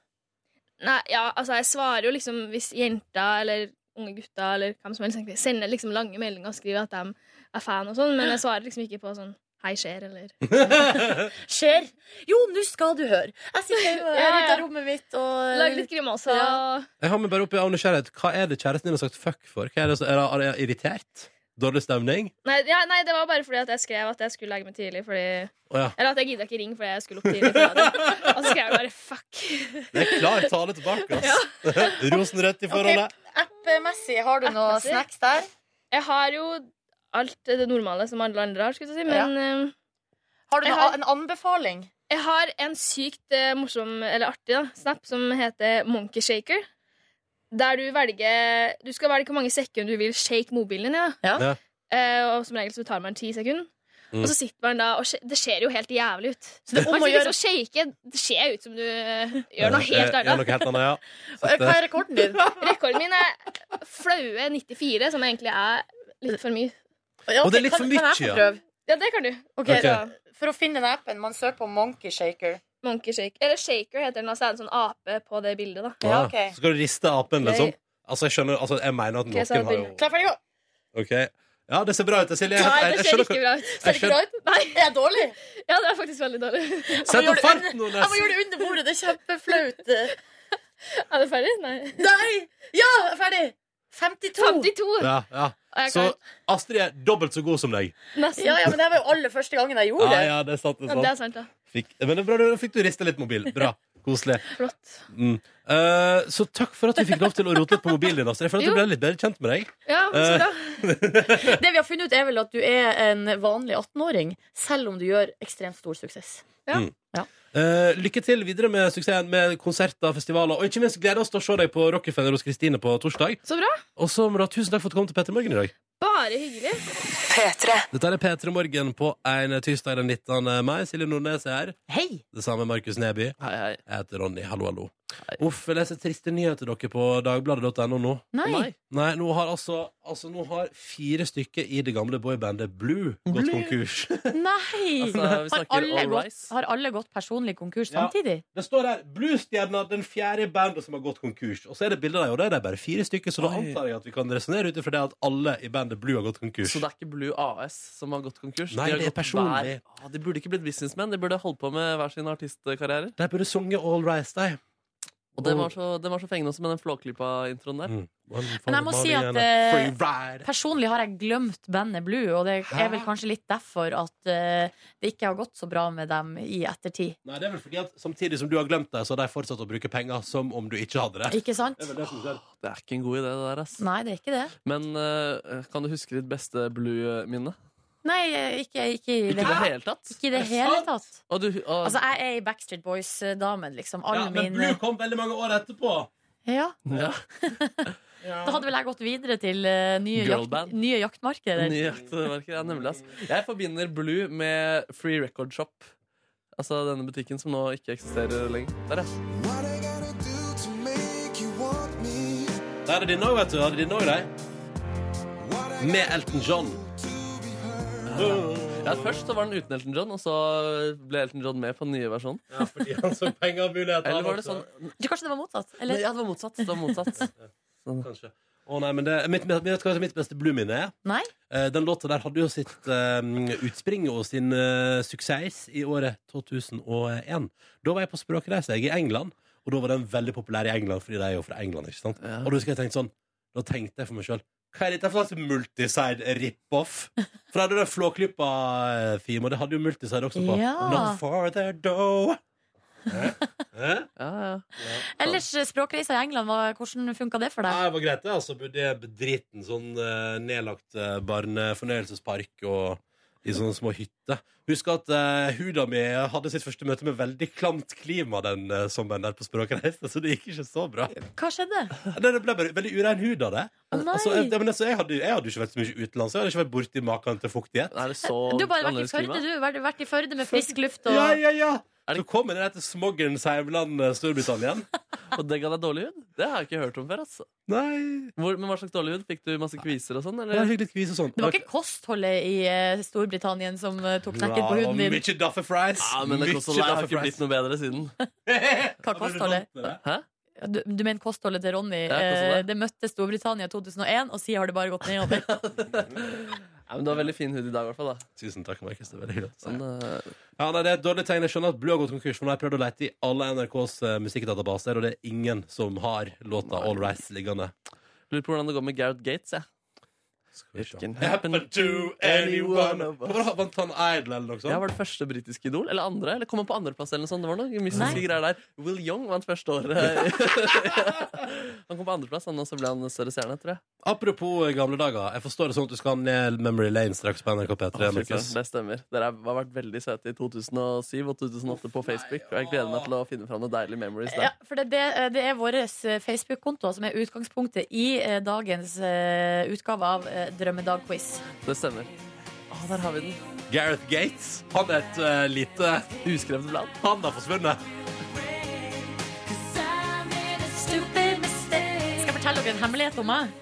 [SPEAKER 7] Nei, ja, altså jeg svarer jo liksom hvis jenta eller unge gutta eller hvem som helst egentlig sender liksom lange meldinger og skriver at de er fan og sånn, men jeg svarer liksom ikke på sånn Hei, skjer, eller
[SPEAKER 9] skjer. Jo, nå skal du høre. Jeg sitter
[SPEAKER 7] Ja,
[SPEAKER 9] ja,
[SPEAKER 7] ja.
[SPEAKER 9] ut av rommet mitt og eh,
[SPEAKER 7] Lag litt grimaser.
[SPEAKER 9] Ja.
[SPEAKER 7] og-
[SPEAKER 1] Jeg har meg bare oppi av nysgjerrighet. Hva er det kjæresten din har sagt fuck for? Hva er, det, som- er, det, er det irritert? Dårlig stemning?
[SPEAKER 7] Nei, ja, nei, det var bare fordi at jeg skrev at jeg skulle legge meg tidlig fordi
[SPEAKER 1] Å ja.
[SPEAKER 7] Eller at jeg gidda ikke ringe fordi jeg skulle opp tidlig. på radioen. Og så skrev jeg bare fuck.
[SPEAKER 1] Det er klar tale tilbake, ass. Rosenrødt i forholdet.
[SPEAKER 9] App-messig, har du noe
[SPEAKER 7] App-messig?
[SPEAKER 9] snacks der?
[SPEAKER 7] Jeg har jo alt det normale som alle andre har, skulle jeg til å si, men eh,
[SPEAKER 9] Har du
[SPEAKER 7] Jeg
[SPEAKER 9] noe,
[SPEAKER 7] har-
[SPEAKER 9] en anbefaling?
[SPEAKER 7] Jeg har en sykt eh, morsom, eller artig da, snap som heter Monkey Shaker. Der du velger Du skal velge hvor mange sekunder du vil shake mobilen din. i, da.
[SPEAKER 9] Ja.
[SPEAKER 1] Ja.
[SPEAKER 7] Eh, og som regel så tar man ti sekunder.
[SPEAKER 1] Mm.
[SPEAKER 7] Og så sitter man da og sh- Det ser jo helt jævlig ut.
[SPEAKER 9] Så det er
[SPEAKER 7] Man
[SPEAKER 9] om å
[SPEAKER 7] sitter
[SPEAKER 9] gjøre
[SPEAKER 7] og shaker. Det ser ut som du eh, gjør noe helt
[SPEAKER 1] Eh, Gjør
[SPEAKER 7] annet.
[SPEAKER 1] noe helt annet, ja.
[SPEAKER 9] Hva er rekorden din?
[SPEAKER 7] Rekorden min er flaue 94, som egentlig er litt for mye.
[SPEAKER 9] Ja,
[SPEAKER 1] Og det er
[SPEAKER 9] ok,
[SPEAKER 1] litt
[SPEAKER 9] kan-
[SPEAKER 1] for
[SPEAKER 9] kan jeg
[SPEAKER 1] mye,
[SPEAKER 9] få
[SPEAKER 1] ja.
[SPEAKER 9] prøve?
[SPEAKER 7] Ja, det kan du.
[SPEAKER 9] Ok,
[SPEAKER 1] Ok.
[SPEAKER 9] da. For å finne den appen, man søker på Monkey Shaker.
[SPEAKER 7] Monkey Shaker. Eller Shaker heter den, og så er det en sånn ape på det bildet. da
[SPEAKER 9] Ja, ok.
[SPEAKER 1] Så skal du riste apen, liksom?
[SPEAKER 9] Nei.
[SPEAKER 1] Altså, jeg skjønner altså, Jeg mener at
[SPEAKER 7] Ok, så har
[SPEAKER 1] noen har jo
[SPEAKER 7] jeg
[SPEAKER 9] Klar, ferdig, gå!
[SPEAKER 1] OK. Ja, det ser bra ut, Silje. Jeg,
[SPEAKER 7] Nei,
[SPEAKER 1] jeg,
[SPEAKER 7] det
[SPEAKER 1] jeg skjønner
[SPEAKER 7] ser ikke
[SPEAKER 1] hva
[SPEAKER 7] bra ut.
[SPEAKER 9] Ser det ikke bra ut? Nei, er jeg dårlig?
[SPEAKER 7] Ja, det er faktisk veldig dårlig.
[SPEAKER 1] Sett
[SPEAKER 9] Jeg må
[SPEAKER 1] opp
[SPEAKER 9] gjøre det
[SPEAKER 1] farten,
[SPEAKER 9] Jeg må
[SPEAKER 1] Nordnes!
[SPEAKER 9] gjøre det under bordet, det er kjempeflaut.
[SPEAKER 7] Er det ferdig? Nei.
[SPEAKER 9] Nei! Ja, jeg er ferdig! 52.
[SPEAKER 7] 52!
[SPEAKER 1] Ja, ja.
[SPEAKER 7] Og jeg
[SPEAKER 1] Så
[SPEAKER 7] kan
[SPEAKER 1] Astrid er dobbelt så god som deg.
[SPEAKER 7] nesten.
[SPEAKER 9] Ja, ja, men det var jo aller første gangen jeg gjorde
[SPEAKER 1] Ja,
[SPEAKER 9] det.
[SPEAKER 1] ja, det er sant. Det
[SPEAKER 7] Ja,
[SPEAKER 1] er
[SPEAKER 7] det
[SPEAKER 1] sant.
[SPEAKER 7] er sant, da.
[SPEAKER 1] Fikk, men det er bra, da fikk du rista litt mobil. Bra. Koselig.
[SPEAKER 7] Flott.
[SPEAKER 1] Mm. Eh, så takk for at vi fikk lov til å rote litt på mobilen din. Astrid. Jeg føler at
[SPEAKER 7] Jo.
[SPEAKER 1] jeg ble litt bedre kjent med deg.
[SPEAKER 7] Ja, men
[SPEAKER 1] Eh.
[SPEAKER 7] så bra.
[SPEAKER 9] Det vi har funnet ut, er vel at du er en vanlig 18-åring, selv om du gjør ekstremt stor suksess.
[SPEAKER 1] Eh, lykke til videre med suksessen med konserter, festivaler, og ikke minst gleder oss til å se deg på Rockefeller hos Kristine på torsdag.
[SPEAKER 7] Så bra.
[SPEAKER 1] Og så må du ha tusen takk for at du kom til Petter Morgen i dag.
[SPEAKER 7] Bare hyggelig.
[SPEAKER 1] Dette er P3 Morgen på en tirsdag den 19. mai. Silje Nordnes er her.
[SPEAKER 9] Hei!
[SPEAKER 1] Det samme er Markus Neby.
[SPEAKER 5] Hei, hei.
[SPEAKER 1] Jeg heter Ronny. Hallo, hallo. Uff, jeg leser triste nyheter dere på dagbladet.no nå.
[SPEAKER 9] Nei.
[SPEAKER 1] Nei, nå har altså, altså nå har fire stykker i det gamle boybandet Blue gått konkurs.
[SPEAKER 9] Nei!
[SPEAKER 5] Altså, vi
[SPEAKER 9] har,
[SPEAKER 5] snakker
[SPEAKER 9] alle
[SPEAKER 5] All
[SPEAKER 9] gått,
[SPEAKER 5] Rise.
[SPEAKER 9] har alle gått personlig konkurs
[SPEAKER 1] Ja.
[SPEAKER 9] samtidig?
[SPEAKER 1] Det står her Blues-stjerna, den fjerde i bandet som har gått konkurs. Og så er det bilder der, og det er det bare fire stykker, så da
[SPEAKER 5] Oi.
[SPEAKER 1] antar jeg at vi kan resonnere ut ifra det at alle i bandet Blue har gått konkurs.
[SPEAKER 5] Så det er ikke Blue AS som har gått konkurs?
[SPEAKER 1] Nei,
[SPEAKER 5] De har
[SPEAKER 1] det er
[SPEAKER 5] gått
[SPEAKER 1] personlig.
[SPEAKER 5] hver- Å, de burde ikke blitt businessmenn. De burde holdt på med hver sin artistkarriere.
[SPEAKER 1] De burde sunget All Rise, de.
[SPEAKER 5] Og det var så, det var så fengende også med den Flåklypa-introen der.
[SPEAKER 2] Men jeg må si at eh, personlig har jeg glemt bandet Blue, og det er vel kanskje litt derfor at eh, det ikke har gått så bra med dem i ettertid.
[SPEAKER 1] Nei, det er vel fordi at Samtidig som du har glemt det, så har de fortsatt å bruke penger som om du ikke hadde det.
[SPEAKER 2] Ikke sant?
[SPEAKER 1] Det er vel det som skjer.
[SPEAKER 5] Det er ikke en god idé, det der, ass.
[SPEAKER 2] Nei, det er ikke det.
[SPEAKER 5] Men eh, kan du huske ditt beste blue-minne?
[SPEAKER 2] Nei, eh, ikke, ikke, i
[SPEAKER 5] Ikke i
[SPEAKER 2] det,
[SPEAKER 5] det hele tatt?
[SPEAKER 2] ikke i det hele tatt.
[SPEAKER 5] Og du, og,
[SPEAKER 2] Altså, jeg er i Backstreet Boys-damen, liksom. All
[SPEAKER 1] Ja, men
[SPEAKER 2] min
[SPEAKER 1] Blue kom veldig mange år etterpå.
[SPEAKER 2] ja.
[SPEAKER 5] ja.
[SPEAKER 2] Da hadde vel jeg gått videre til eh, nye,
[SPEAKER 5] Girlband.
[SPEAKER 2] jakt, nye jaktmarkeder.
[SPEAKER 5] Nye jaktverker, ja, nemlig. Ass. Jeg forbinder Blue med Free Record Shop. Altså denne butikken som nå ikke eksisterer lenger. Der, ja.
[SPEAKER 1] Der er dine òg, vet du. Der er dine også, de. Med Elton John.
[SPEAKER 5] ja. Først så var den uten Elton John, og så ble Elton John med på den nye versjonen.
[SPEAKER 1] Ja, fordi han så penger og muligheter.
[SPEAKER 5] Eller var det sånn
[SPEAKER 2] Jeg tror kanskje det var motsatt?
[SPEAKER 5] Nei,
[SPEAKER 2] Eller?
[SPEAKER 5] ja, det var motsatt. Det var motsatt.
[SPEAKER 1] Kanskje. Å nei, men det, mitt, mitt, vet du hva mitt beste Blue-minne er?
[SPEAKER 2] Nei?
[SPEAKER 1] Eh, Den låta der hadde jo sitt eh, utspring og sin eh, suksess i året 2001. Da var jeg på språkreise jeg, i England, og da var den veldig populær i England fordi de er jo fra England. ikke sant?
[SPEAKER 5] Ja.
[SPEAKER 1] Og da husker jeg tenkte sånn, da tenkte jeg for meg sjøl hva er dette for slags multiside rip-off? For da hadde det Flåklypa-theme, og det hadde jo multiside også på.
[SPEAKER 2] Ja.
[SPEAKER 1] Not farther though. Hæ? Hæ?
[SPEAKER 5] Ja, ja.
[SPEAKER 2] Ellers, eh, språkreisa i England, hva- hvordan funka det for deg?
[SPEAKER 1] Nei, det var greit, det. Altså, bodde jeg bedriten sånn eh, nedlagt eh, barnefornøyelsespark og i sånne små hytter. Husk at eh, huda mi hadde sitt første møte med veldig klamt klima den eh, sommeren der på språkreise, så det gikk ikke så bra.
[SPEAKER 2] Hva skjedde?
[SPEAKER 1] Nei, Det ble bare veldig urein hud av det.
[SPEAKER 2] Å, nei.
[SPEAKER 1] Altså, jeg, men altså, jeg, hadde, jeg hadde jo ikke vært så mye utenlands, jeg hadde ikke vært borti maken til fuktighet.
[SPEAKER 5] Er det så
[SPEAKER 2] Du har bare vært i
[SPEAKER 5] annerledes klima?
[SPEAKER 2] Førde, du. Vært, vært i Førde med frisk luft og
[SPEAKER 1] Ja, ja, ja!
[SPEAKER 5] Er det-
[SPEAKER 1] Så kom jeg ned til smoggerens heimland, eh, Storbritannia.
[SPEAKER 5] Og det ga deg dårlig hud? Det har jeg ikke hørt om før. ass.
[SPEAKER 1] Nei
[SPEAKER 5] Hvor, men hva slags dårlig hud? Fikk du masse kviser og sånn?
[SPEAKER 1] Det var
[SPEAKER 5] Eller?
[SPEAKER 1] hyggelig kvise og sånn.
[SPEAKER 2] Det var ikke kostholdet i eh, Storbritannia som eh, tok knekken
[SPEAKER 1] Ja,
[SPEAKER 2] på
[SPEAKER 1] det var
[SPEAKER 2] huden din.
[SPEAKER 1] Mye daffe fries.
[SPEAKER 5] Ja, men det
[SPEAKER 1] Mye
[SPEAKER 5] koster, har
[SPEAKER 1] daffe
[SPEAKER 5] ikke
[SPEAKER 1] fries.
[SPEAKER 5] blitt noe bedre siden.
[SPEAKER 2] Hva kostholdet?
[SPEAKER 5] Hæ?
[SPEAKER 2] Ja, Du, du mener kostholdet til Ronny.
[SPEAKER 5] Ja, kostholdet.
[SPEAKER 2] eh, det møtte Storbritannia i 2001, og siden har det bare gått nedover.
[SPEAKER 5] Ja, men du har veldig fin hud i dag, i hvert fall. da.
[SPEAKER 1] Tusen takk, Markus. Det er veldig hyggelig. å si.
[SPEAKER 5] Sånn, eh,
[SPEAKER 1] Ja, nei, det er et dårlig tegn. Jeg skjønner at Blue har gått konkurs, for nå har jeg prøvd å lete i alle NRKs eh, musikkdatabaser, og det er ingen som har låta All Rise liggende.
[SPEAKER 5] lurer på hvordan det går med Gareth Gates. jeg.
[SPEAKER 1] It can
[SPEAKER 5] happen
[SPEAKER 1] happen to anyone of us. Hva var det? Vant han Idol eller noe
[SPEAKER 5] Ja,
[SPEAKER 1] sånt?
[SPEAKER 5] var det første britiske Idol? Eller andre? Eller kom han på andreplass? eller noe sånt? Det var noe mystiske
[SPEAKER 2] Nei.
[SPEAKER 5] greier der. Will Young vant første året. han kom på andreplass, han, og så ble han en større stjerne, tror jeg.
[SPEAKER 1] Apropos gamle dager. Jeg forstår det sånn at du skal ned Memory Lane straks på NRK P3.
[SPEAKER 5] Å, fy
[SPEAKER 1] Markus.
[SPEAKER 5] søren, det stemmer. Dere har vært veldig søte i 2007 og 2008 på Facebook, og jeg gleder meg til å finne fram noen deilige memories
[SPEAKER 2] Ja,
[SPEAKER 5] der.
[SPEAKER 2] for det, det, eh, det er vår Facebook-konto som er utgangspunktet i eh, dagens eh, utgave av eh, Drømmedag-quiz.
[SPEAKER 5] Det stemmer. Å, der har vi den.
[SPEAKER 1] Gareth Gates. Han er et eh, lite
[SPEAKER 5] Uskrevet blad.
[SPEAKER 1] Han har forsvunnet.
[SPEAKER 2] Skal jeg fortelle dere en hemmelighet om meg?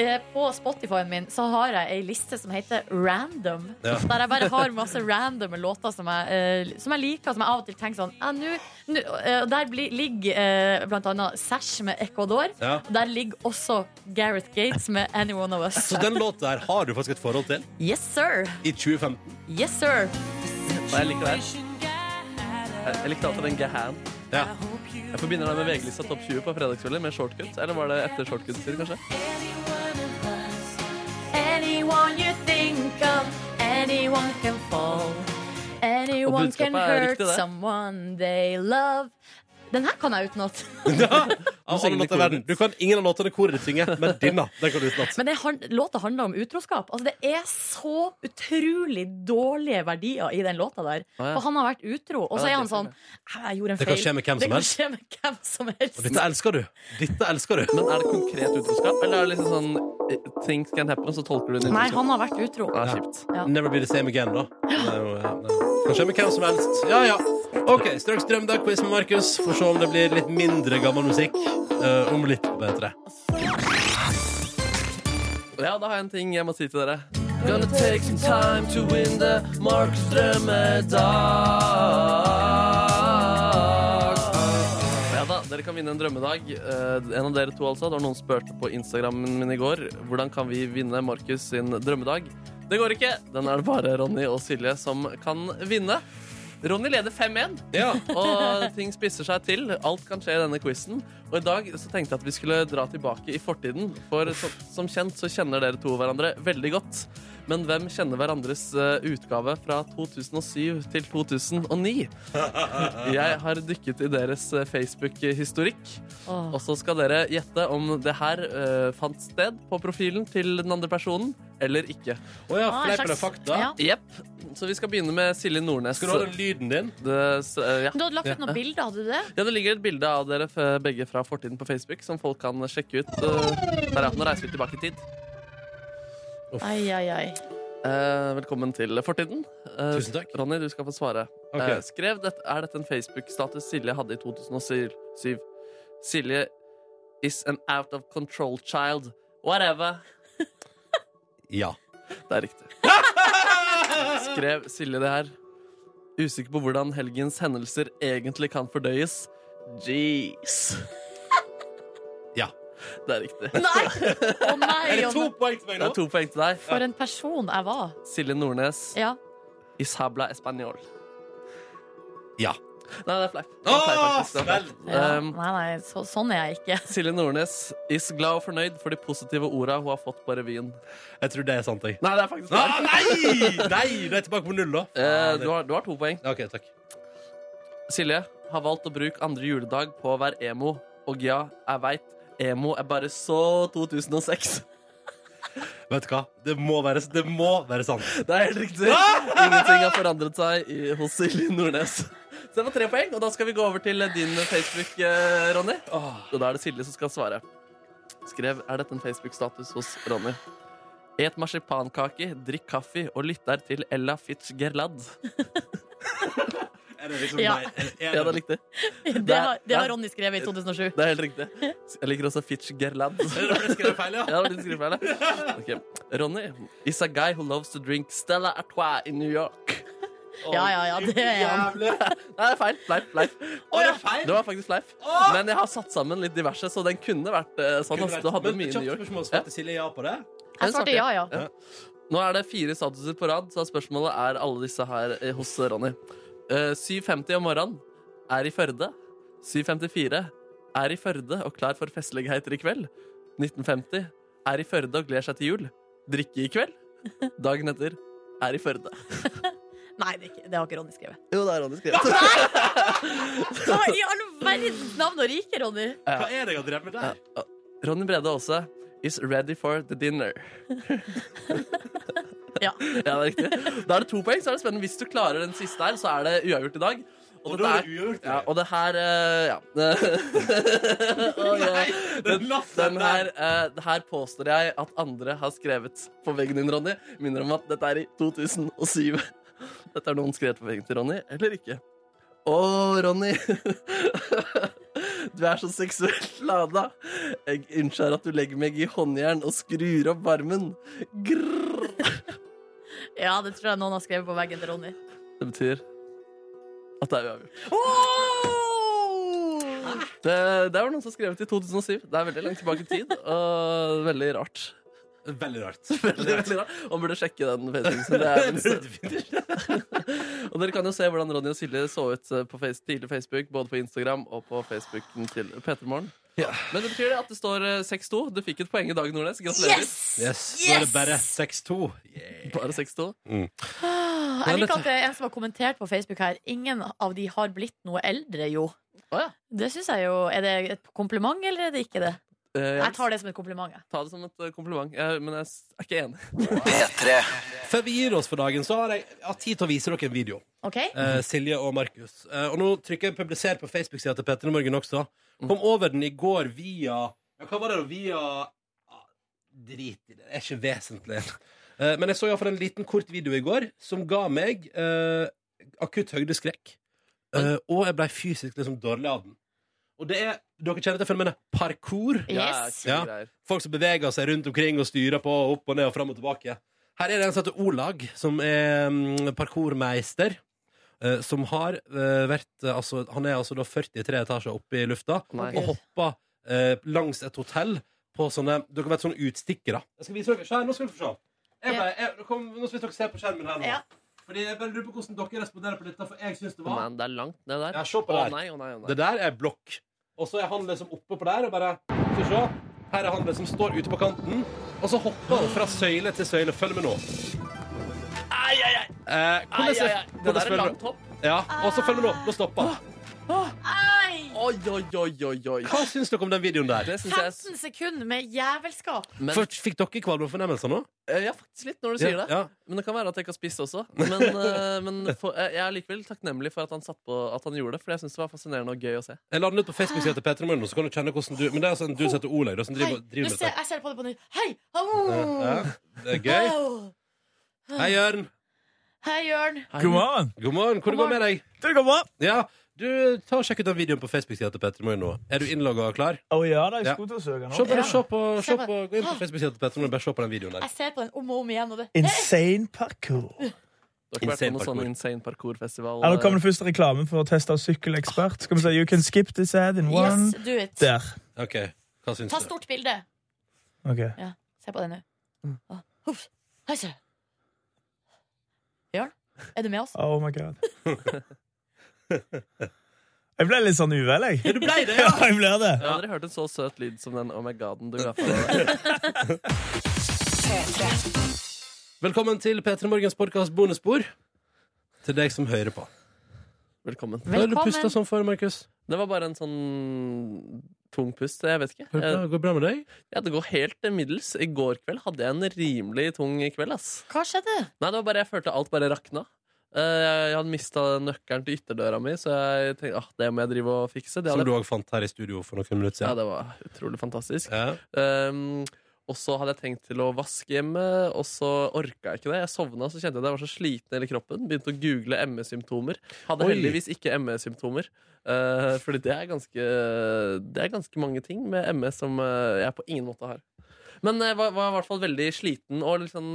[SPEAKER 2] Eh, På Spotify-en min så har jeg ei liste som heter Random.
[SPEAKER 1] Ja.
[SPEAKER 2] Der jeg bare har masse randome låter som jeg, eh, som jeg liker, som jeg av og til tenker sånn ja, nå, nå, eh, og Der blir, ligger eh, blant annet Sash med Ecuador.
[SPEAKER 1] Ja.
[SPEAKER 2] Og der ligger også Gareth Gates med Any One of Us.
[SPEAKER 1] Så den låta her har du faktisk et forhold til.
[SPEAKER 2] Yes, sir.
[SPEAKER 1] I 2015.
[SPEAKER 2] Yes, sir.
[SPEAKER 5] Og jeg liker det her. Jeg- Jeg likte alltid den Gahan.
[SPEAKER 1] Ja.
[SPEAKER 5] Jeg forbinder det med VG-lista topp 20 på fredagskvelder med shortcuts. Eller var det etter shortcuts tid, kanskje?
[SPEAKER 2] Anyone you think of, anyone can fall. Anyone
[SPEAKER 5] budskapet
[SPEAKER 2] can
[SPEAKER 5] er
[SPEAKER 2] hurt
[SPEAKER 5] riktig, det.
[SPEAKER 2] someone they love. Den her kan jeg utenat.
[SPEAKER 1] Av alle låter i verden. Du kan ingen av låtene koret ditt synge, men denne den kan du utenat.
[SPEAKER 2] Men det han, låta handler om utroskap. Altså, det er så utrolig dårlige verdier i den låta der.
[SPEAKER 5] Å, ja.
[SPEAKER 2] For han har vært utro, og så
[SPEAKER 5] Ja,
[SPEAKER 2] er
[SPEAKER 5] det
[SPEAKER 2] han
[SPEAKER 5] er
[SPEAKER 2] sånn Jeg gjorde en
[SPEAKER 1] Det
[SPEAKER 2] feil.
[SPEAKER 1] kan skje med hvem
[SPEAKER 2] Det
[SPEAKER 1] som
[SPEAKER 2] kan
[SPEAKER 1] helst.
[SPEAKER 2] skje med hvem som
[SPEAKER 1] Og
[SPEAKER 2] helst.
[SPEAKER 1] Dette elsker du. Dette elsker du.
[SPEAKER 5] Men er det konkret utroskap, eller er det liksom sånn eh, things can happen, og så tolker du det
[SPEAKER 2] Nei, han har vært utro.
[SPEAKER 5] Det er kjipt.
[SPEAKER 2] Ja.
[SPEAKER 1] Never be the same again, da. Det er jo- ja, det er- Kan skje med hvem som helst. Ja, ja. OK, straks drømdag-quiz med Markus. Får se om det blir litt mindre gammel musikk eh, om litt bedre.
[SPEAKER 5] Ja, da har jeg en ting jeg må si til dere. Gonna take some time to win the Marks drømmedag. Ja da, dere kan vinne en drømmedag. Eh, en av dere to, altså. Det var noen som spurte på Instagrammen min i går. Hvordan kan vi vinne Markus sin drømmedag? Det går ikke. Den er det bare Ronny og Silje som kan vinne. Ronny leder 5-1,
[SPEAKER 1] Ja.
[SPEAKER 5] og ting spisser seg til. Alt kan skje i denne quizen. Og i dag så tenkte jeg at vi skulle dra tilbake i fortiden, for som, som kjent så kjenner dere to hverandre veldig godt. Men hvem kjenner hverandres eh, utgave fra 2007 til 2009? Jeg har dykket i deres eh, Facebook-historikk.
[SPEAKER 2] Åh.
[SPEAKER 5] Og så skal dere gjette om det her eh, fant sted på profilen til den andre personen eller ikke.
[SPEAKER 1] Å ja,
[SPEAKER 2] Ah, en
[SPEAKER 1] fleip eller
[SPEAKER 2] slags-
[SPEAKER 1] fakta?
[SPEAKER 2] Ja.
[SPEAKER 5] Jepp. Så vi skal begynne med Silje Nordnes.
[SPEAKER 1] Skal du ha den lyden din?
[SPEAKER 5] Det, s- eh, ja.
[SPEAKER 2] Du hadde lagt ut noen bilder, hadde du det?
[SPEAKER 5] ja, det ligger et bilde av dere f- begge fra fortiden på Facebook som folk kan sjekke ut. eh, Der, ja. Nå reiser vi tilbake i tid.
[SPEAKER 2] Ai, ai, ai.
[SPEAKER 5] Eh, velkommen til fortiden. Eh,
[SPEAKER 1] Tusen takk.
[SPEAKER 5] Ronny, du skal få svare.
[SPEAKER 1] Ok.
[SPEAKER 5] Eh, skrev dette, Er dette en Facebook-status Silje hadde i 2007? Silje is an out of control child. Whatever.
[SPEAKER 1] Ja.
[SPEAKER 5] Det er riktig. Skrev Silje det her. Usikker på hvordan helgens hendelser egentlig kan fordøyes. Jeez.
[SPEAKER 1] Ja.
[SPEAKER 5] Det er riktig.
[SPEAKER 2] Nei! Å nei!
[SPEAKER 1] Er det
[SPEAKER 2] å
[SPEAKER 1] to
[SPEAKER 2] nei.
[SPEAKER 1] poeng til meg
[SPEAKER 5] Det
[SPEAKER 1] nå?
[SPEAKER 5] er to poeng til deg.
[SPEAKER 2] For en person jeg var.
[SPEAKER 5] Silje Nordnes,
[SPEAKER 2] Ja.
[SPEAKER 5] Ishabla Español.
[SPEAKER 1] Ja.
[SPEAKER 5] Nei, det er fleip. Det er fleip,
[SPEAKER 1] Åh,
[SPEAKER 5] faktisk. Det er fleip.
[SPEAKER 2] ja.
[SPEAKER 5] Um,
[SPEAKER 2] Nei, nei, så, sånn er jeg ikke.
[SPEAKER 5] Silje Nordnes is glad og fornøyd for de positive orda hun har fått på revyen.
[SPEAKER 1] Jeg tror det er sant, jeg.
[SPEAKER 5] Nei, det er faktisk
[SPEAKER 1] Ah, nei! Nei, du er tilbake på null, da.
[SPEAKER 5] Eh, du, har, du har to poeng.
[SPEAKER 1] OK, takk.
[SPEAKER 5] Silje har valgt å bruke andre juledag på å være emo. Og ja, jeg veit, emo er bare så 2006.
[SPEAKER 1] Vet du hva? Det må være, det må være sant.
[SPEAKER 5] Det er helt riktig. Ingenting har forandret seg i, hos Silje Nordnes. Så det var tre poeng, og da skal vi gå over til din Facebook, eh, Ronny. Og da er det Silje som skal svare. Skrev er dette en Facebook-status hos Ronny. Et marsipankake, drikk kaffe og lytt der til Ella Fitzgerald.
[SPEAKER 1] Er det liksom
[SPEAKER 2] Ja.
[SPEAKER 1] nei, er- er
[SPEAKER 5] Ja, det er
[SPEAKER 1] det-
[SPEAKER 5] riktig.
[SPEAKER 2] Det har, det har Ronny skrevet i 2007.
[SPEAKER 5] Det er helt riktig. Jeg liker også
[SPEAKER 1] Er
[SPEAKER 5] Fitzgerald.
[SPEAKER 1] det fordi jeg skrev feil, ja?
[SPEAKER 5] Ja, det var din skrivefeil, ja. Ok. Ronny is a guy who loves to drink Stella Artois in New York.
[SPEAKER 2] Ja, ja, ja, det er han.
[SPEAKER 5] Nei, det er feil. Fleip. fleip.
[SPEAKER 1] Å, det er feil.
[SPEAKER 5] Det var faktisk fleip. Men jeg har satt sammen litt diverse, så den kunne vært eh, sånn.
[SPEAKER 1] Kunne
[SPEAKER 5] altså.
[SPEAKER 1] vært-
[SPEAKER 5] Du hadde
[SPEAKER 1] Men
[SPEAKER 5] mye i
[SPEAKER 1] kjapt
[SPEAKER 5] New York.
[SPEAKER 1] spørsmål, svarte Silje ja på det?
[SPEAKER 5] Den
[SPEAKER 2] Jeg svarte
[SPEAKER 5] svarte
[SPEAKER 2] ja, ja.
[SPEAKER 5] Ja. Nå er det fire statuser på rad, så spørsmålet er alle disse her eh, hos Ronny. Eh, 7.50 om morgenen er i Førde. 7.54 er i Førde og klar for festligheter i kveld. 1950 er i Førde og gleder seg til jul. Drikke i kveld. Dagen etter er i Førde.
[SPEAKER 2] Nei, det, er ikke, det har ikke Ronny skrevet.
[SPEAKER 5] Jo, det er Ronny skrevet.
[SPEAKER 2] Hva i all verdens navn og rike, Ronny?
[SPEAKER 1] Hva er det jeg har drevet med der?
[SPEAKER 5] Ronny Brede Aase is ready for the dinner.
[SPEAKER 2] Ja.
[SPEAKER 5] Ja, det er riktig. Da er det to poeng, så er det spennende. Hvis du klarer den siste her, så er det uavgjort i dag.
[SPEAKER 1] Og
[SPEAKER 5] dette
[SPEAKER 1] da er
[SPEAKER 5] er-
[SPEAKER 1] det uavgjort.
[SPEAKER 5] Ja, og det her eh, Ja. Og, eh, den, den her, eh, det her påstår jeg at andre har skrevet på veggen din, Ronny. Minner om at dette er i 2007. Dette er noen skrevet på veggen til Ronny, eller ikke. Å, Ronny. Du er så seksuelt lada. Jeg innser at du legger meg i håndjern og skrur opp varmen. Grrr.
[SPEAKER 2] Ja, det tror jeg noen har skrevet på veggen til Ronny.
[SPEAKER 5] Det betyr at det er uavgjort. Det, det var noen som skrev det i 2007. Det er veldig langt tilbake i tid, og veldig rart.
[SPEAKER 1] Veldig rart.
[SPEAKER 5] Veldig, veldig rart. Og man burde sjekke den Facebooken. Det er og dere kan jo se hvordan Ronny og Silje så ut eh, på face, tidlig Facebook, både på Instagram og på Facebooken til Petermorgen. Men det betyr det at det står eh, 6-2. Du fikk et poeng i dag, Nordnes. Gratulerer.
[SPEAKER 1] Yes. Nå er det bare 6-2. Yeah.
[SPEAKER 5] Bare 6-2.
[SPEAKER 2] Jeg liker at det er en som har kommentert på Facebook her. Ingen av de har blitt noe eldre, jo.
[SPEAKER 5] Å ja.
[SPEAKER 2] Det syns jeg jo Er det et kompliment, eller er det ikke det?
[SPEAKER 5] Eh, Jeg
[SPEAKER 2] Jeg tar det som et kompliment, jeg.
[SPEAKER 5] ta det som et eh, kompliment, jeg, men jeg s- er ikke enig.
[SPEAKER 1] Før vi gir oss for dagen, så har jeg hatt tid til å vise dere en video.
[SPEAKER 2] OK?
[SPEAKER 1] Eh, Silje og Markus. Eh, og nå trykker jeg 'publiser' på Facebook-sida til Petter i morgen også. Kom over den i går via ja, Hva var det, da? Via ah, Drit i det. Det er ikke vesentlig. Eh, men jeg så iallfall en liten kort video i går som ga meg eh, akutt høydeskrekk. Eh, og jeg blei fysisk liksom dårlig av den. Og det er Dere kjenner til fenomenet parkour?
[SPEAKER 2] Yes.
[SPEAKER 5] Ja,
[SPEAKER 1] Ja.
[SPEAKER 5] kule greier.
[SPEAKER 1] Folk som beveger seg rundt omkring og styrer på opp og ned og fram og tilbake. Her er det en som heter Olag, som er mm, parkourmeister. eh, Som har eh, vært eh, altså, Han er altså da 43 etasjer oppe i lufta
[SPEAKER 5] Nei.
[SPEAKER 1] og hoppa eh, langs et hotell på sånne Dere vet sånne utstikkere. Jeg skal vise dere. Se her, nå skal dere få se. Jeg ble, jeg, nå, kom, nå skal dere se på skjermen her nå.
[SPEAKER 2] Ja.
[SPEAKER 1] Fordi jeg bare lurer på hvordan dere responderer på dette, for jeg syns det
[SPEAKER 5] Å,
[SPEAKER 1] var
[SPEAKER 5] nei, det er langt ned der.
[SPEAKER 1] Ja, se på
[SPEAKER 5] Å
[SPEAKER 1] det her.
[SPEAKER 5] nei, å nei, å nei.
[SPEAKER 1] Det der er blokk. Og så er han liksom oppe på der og bare Skal vi se. Her er han liksom står ute på kanten, og så hopper han fra søyle til søyle. Følg med nå.
[SPEAKER 5] Ai, ai, ai.
[SPEAKER 1] Eh,
[SPEAKER 5] Ai,
[SPEAKER 1] hvordan,
[SPEAKER 5] ai, ai.
[SPEAKER 1] hvordan
[SPEAKER 5] Det der er
[SPEAKER 1] føler du-
[SPEAKER 5] langt Ah. hopp.
[SPEAKER 1] Ja, og så følg med nå. Nå stopper han.
[SPEAKER 2] Ai!
[SPEAKER 5] Oi, oi, oi, oi, oi.
[SPEAKER 1] Hva syns dere om den videoen der?
[SPEAKER 5] Det syns jeg s-
[SPEAKER 2] 15 sekunder med jævelskap.
[SPEAKER 5] men,
[SPEAKER 1] For, fikk dere kvalmefornemmelser nå?
[SPEAKER 5] Eh, Ja, faktisk litt, når du sier det.
[SPEAKER 1] Ja.
[SPEAKER 5] Men det kan være at jeg ikke har spist også. Men, eh, men for, eh, jeg er likevel takknemlig for at han, satt på, at han gjorde det, for jeg syns det var fascinerende og gøy å se.
[SPEAKER 1] Jeg la den ut på Facebook-sida til Petra Morgen, så kan du kjenne hvordan du Men det er altså en du som heter Olaug, da, som
[SPEAKER 2] Hei,
[SPEAKER 1] driver,
[SPEAKER 2] nå
[SPEAKER 1] driver med
[SPEAKER 2] ser,
[SPEAKER 1] dette.
[SPEAKER 2] jeg ser på det på nytt. Hei! Au!
[SPEAKER 1] Ja, det er gøy.
[SPEAKER 2] Au!
[SPEAKER 1] Hei, Jørn.
[SPEAKER 2] Hei, Jørn.
[SPEAKER 9] God morgen.
[SPEAKER 1] God morgen. Hvordan går det med deg?
[SPEAKER 9] Det går bra.
[SPEAKER 1] Ja, du, ta og Sjekk ut den videoen på Facebook-sida til Petra Morgen nå. Er du innlogga og klar?
[SPEAKER 9] Å ja, da, jeg
[SPEAKER 1] Ja.
[SPEAKER 9] skulle til å søke
[SPEAKER 1] Se
[SPEAKER 9] nå.
[SPEAKER 1] på, se på, se
[SPEAKER 2] Se på-
[SPEAKER 1] på, gå inn på Facebook-sida til Petra Morgen, bare se på den videoen der.
[SPEAKER 2] Jeg ser på den om og om igjen, og det
[SPEAKER 9] Insane parkour.
[SPEAKER 5] Du har ikke vært på
[SPEAKER 1] Insane
[SPEAKER 5] noen
[SPEAKER 1] parkour.
[SPEAKER 5] sånn insane parkourfestival? eh.
[SPEAKER 9] Ja, nå kommer den første reklamen for å teste av sykkelekspert. Skal vi se, You can skip this ad in one.
[SPEAKER 2] Yes, do it.
[SPEAKER 9] Der.
[SPEAKER 1] OK, hva syns
[SPEAKER 2] Ta
[SPEAKER 1] du?
[SPEAKER 2] stort bilde.
[SPEAKER 9] Ok.
[SPEAKER 2] Se på det nå. Å, huff. Hei, se. Jørn, er du med oss?
[SPEAKER 9] Oh my god. Jeg ble litt sånn uvel, jeg.
[SPEAKER 1] Ja, du blei det,
[SPEAKER 9] Ja,
[SPEAKER 1] ja!
[SPEAKER 9] jeg ble det.
[SPEAKER 5] Jeg har aldri hørt en så søt lyd som den oh my god-en du ga fra deg.
[SPEAKER 1] Velkommen til P3 Morgens podkast bonusbord. Til deg som hører på.
[SPEAKER 5] Velkommen.
[SPEAKER 1] Hva er det du
[SPEAKER 2] Velkommen.
[SPEAKER 1] puster sånn for, Markus?
[SPEAKER 5] Det var bare en sånn tung pust. Jeg vet ikke.
[SPEAKER 1] Går det
[SPEAKER 5] Eh,
[SPEAKER 1] bra- Går det bra med deg?
[SPEAKER 5] Ja, det går helt middels. I går kveld hadde jeg en rimelig tung kveld, ass.
[SPEAKER 2] Hva skjedde?
[SPEAKER 5] Nei, det var bare jeg følte alt bare rakna. Eh, Jeg hadde mista nøkkelen til ytterdøra mi, så jeg tenkte ah, det må jeg drive og fikse. Det
[SPEAKER 1] Som
[SPEAKER 5] hadde,
[SPEAKER 1] du òg fant her i studio for noen minutter
[SPEAKER 5] ja,
[SPEAKER 1] siden.
[SPEAKER 5] det var utrolig fantastisk.
[SPEAKER 1] Ja.
[SPEAKER 5] Um, og så hadde jeg tenkt til å vaske hjemme, og så orka jeg ikke det. Jeg sovna, så kjente jeg at jeg var så sliten i hele kroppen. Begynte å google ME-symptomer. Hadde
[SPEAKER 1] Oi.
[SPEAKER 5] heldigvis ikke ME-symptomer. Uh, fordi det er, ganske, det er ganske mange ting med ME som uh, jeg på ingen måte har. Men jeg var, var i hvert fall veldig sliten og liksom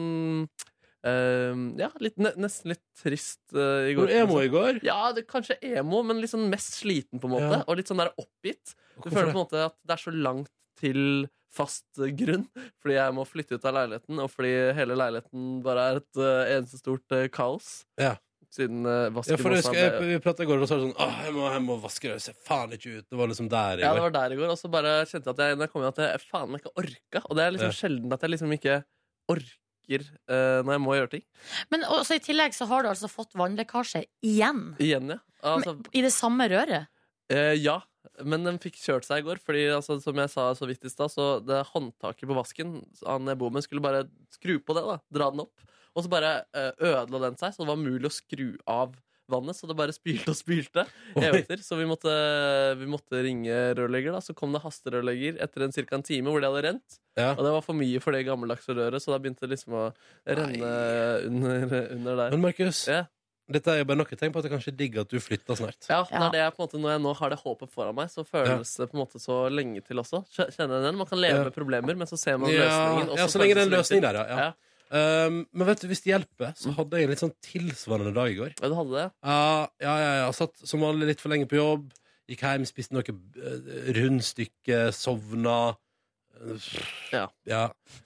[SPEAKER 5] um, Ja, litt, ne- nesten litt trist uh, i går.
[SPEAKER 1] Hvor emo i går?
[SPEAKER 5] Ja, det, kanskje emo, men liksom mest sliten, på en måte.
[SPEAKER 1] Ja.
[SPEAKER 5] Og litt sånn der oppgitt. Du føler på en måte at det er så langt til fast eh, grunn, fordi jeg må flytte ut av leiligheten, og fordi hele leiligheten bare er et eh, eneste stort eh, kaos.
[SPEAKER 1] Ja.
[SPEAKER 5] Siden eh, vasken
[SPEAKER 1] Ja, for jeg
[SPEAKER 5] også
[SPEAKER 1] husker,
[SPEAKER 5] ble-
[SPEAKER 1] jeg, vi pratet i går, og så var det sånn Åh, jeg må, jeg må vaske det, det ser faen ikke ut. Det var liksom der i
[SPEAKER 5] Ja, det
[SPEAKER 1] går.
[SPEAKER 5] var der i går, og så bare kjente jeg at jeg, når jeg kom hjem at jeg faen meg ikke orka. Og det er liksom sjelden at jeg liksom ikke orker eh, når jeg må gjøre ting.
[SPEAKER 2] Men også i tillegg så har du altså fått vannlekkasje igjen.
[SPEAKER 5] Igjen, ja. Altså,
[SPEAKER 2] I det samme røret.
[SPEAKER 5] Eh, ja, men den fikk kjørt seg i går. Fordi altså, som jeg sa så vidt i stad, så det håndtaket på vasken Han jeg bor med, skulle bare skru på det. da Dra den opp. Og så bare eh, ødela den seg, så det var mulig å skru av vannet. Så det bare spylte og spylte. Evigheter. Så vi måtte, vi måtte ringe rørlegger. da Så kom det hasterørlegger etter en, cirka en time hvor det hadde rent.
[SPEAKER 1] Ja.
[SPEAKER 5] Og det var for mye for det gammeldagse røret, så da begynte det liksom å renne under, under der.
[SPEAKER 1] Men Markus,
[SPEAKER 5] Ja.
[SPEAKER 1] dette er jo bare nok et tegn på at det kanskje er digg at du flytter snart.
[SPEAKER 5] Ja,
[SPEAKER 2] Ja.
[SPEAKER 5] Det er det jeg, på en måte, når jeg nå har det håpet foran meg, så føles det på en måte så lenge til også. Kj- Kjenner jeg den? Man kan leve
[SPEAKER 1] Ja.
[SPEAKER 5] med problemer, men så ser man
[SPEAKER 1] Ja,
[SPEAKER 5] løsningen. og
[SPEAKER 1] ja, så
[SPEAKER 5] føles
[SPEAKER 1] lenge det er en
[SPEAKER 5] lenge til.
[SPEAKER 1] løsning der, ja. ja.
[SPEAKER 5] Ja.
[SPEAKER 1] Um, men vet du, hvis det hjelper, så hadde jeg en litt sånn tilsvarende dag i går.
[SPEAKER 5] Ja, du hadde det?
[SPEAKER 1] Ja, ja, ja, ja. Satt som vanlig litt for lenge på jobb. Gikk hjem, spiste noe eh, rundstykke, sovna.
[SPEAKER 5] Ja.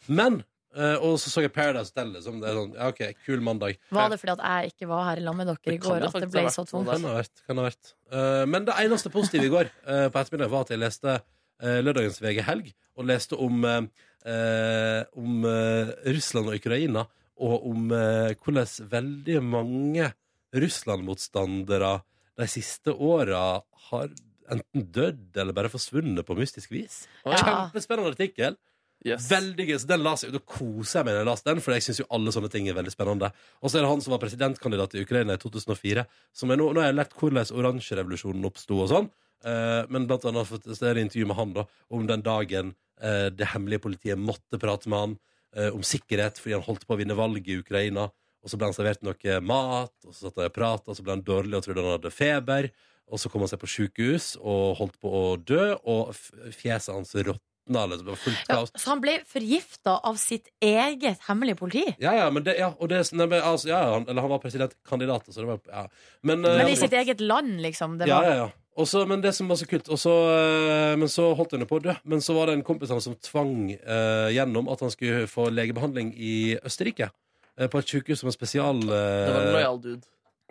[SPEAKER 1] Men eh, Og så så jeg Paradise Hotel. Liksom. Det er sånn, ja, OK, kul mandag.
[SPEAKER 2] Var det fordi at jeg ikke var her sammen med dere i
[SPEAKER 5] Det kan
[SPEAKER 2] går
[SPEAKER 5] det
[SPEAKER 2] at det
[SPEAKER 5] faktisk
[SPEAKER 2] ble
[SPEAKER 5] ha vært
[SPEAKER 2] så
[SPEAKER 5] noe
[SPEAKER 2] tungt?
[SPEAKER 5] der.
[SPEAKER 1] Kan ha vært. Kan ha vært. Eh, men det eneste positive i går eh, på ettermiddagen var at jeg leste eh, lørdagens VG Helg, og leste om, eh, eh, om eh, Russland og Ukraina, og om eh, hvordan veldig mange Russland-motstandere de siste åra har enten dødd eller bare forsvunnet på mystisk vis.
[SPEAKER 5] Oi.
[SPEAKER 2] Ja.
[SPEAKER 1] Kjempespennende artikkel.
[SPEAKER 5] Yes.
[SPEAKER 1] Veldig gøy, så den las jeg, Da koser jeg meg når jeg las den, for jeg syns jo alle sånne ting er veldig spennende. Og så er det han som var presidentkandidat i Ukraina i 2004. Som er nå, nå har jeg lært hvordan oransjerevolusjonen oppsto og sånn. Eh, men blant annet for, så er det intervju med han da om den dagen eh, det hemmelige politiet måtte prate med han eh, om sikkerhet fordi han holdt på å vinne valget i Ukraina. Og så ble han servert noe mat, og så satt han og pratet, og så ble han dårlig og trodde han hadde feber. Og så kom han seg på sjukehus og holdt på å dø, og f- fjeset hans råtna. Eller, så det var fullt
[SPEAKER 2] Ja,
[SPEAKER 1] kaos.
[SPEAKER 2] så han ble forgifta av sitt eget hemmelige politi?
[SPEAKER 1] Ja, ja, men det, ja, og det, er sånn- nei, men, altså, ja, ja, han, eller han var presidentkandidat, så det var ja. Men, eh,
[SPEAKER 2] Men i sitt eget land, liksom. Det
[SPEAKER 1] ja,
[SPEAKER 2] var.
[SPEAKER 1] ja, ja. Og så- men det som var så kult og så, eh, Men så holdt hun på å dø. Men så var det en kompis av han som tvang eh, gjennom at han skulle få legebehandling i Østerrike. eh, på et sykehus som har spesial... eh,
[SPEAKER 5] Det var en lojal dude.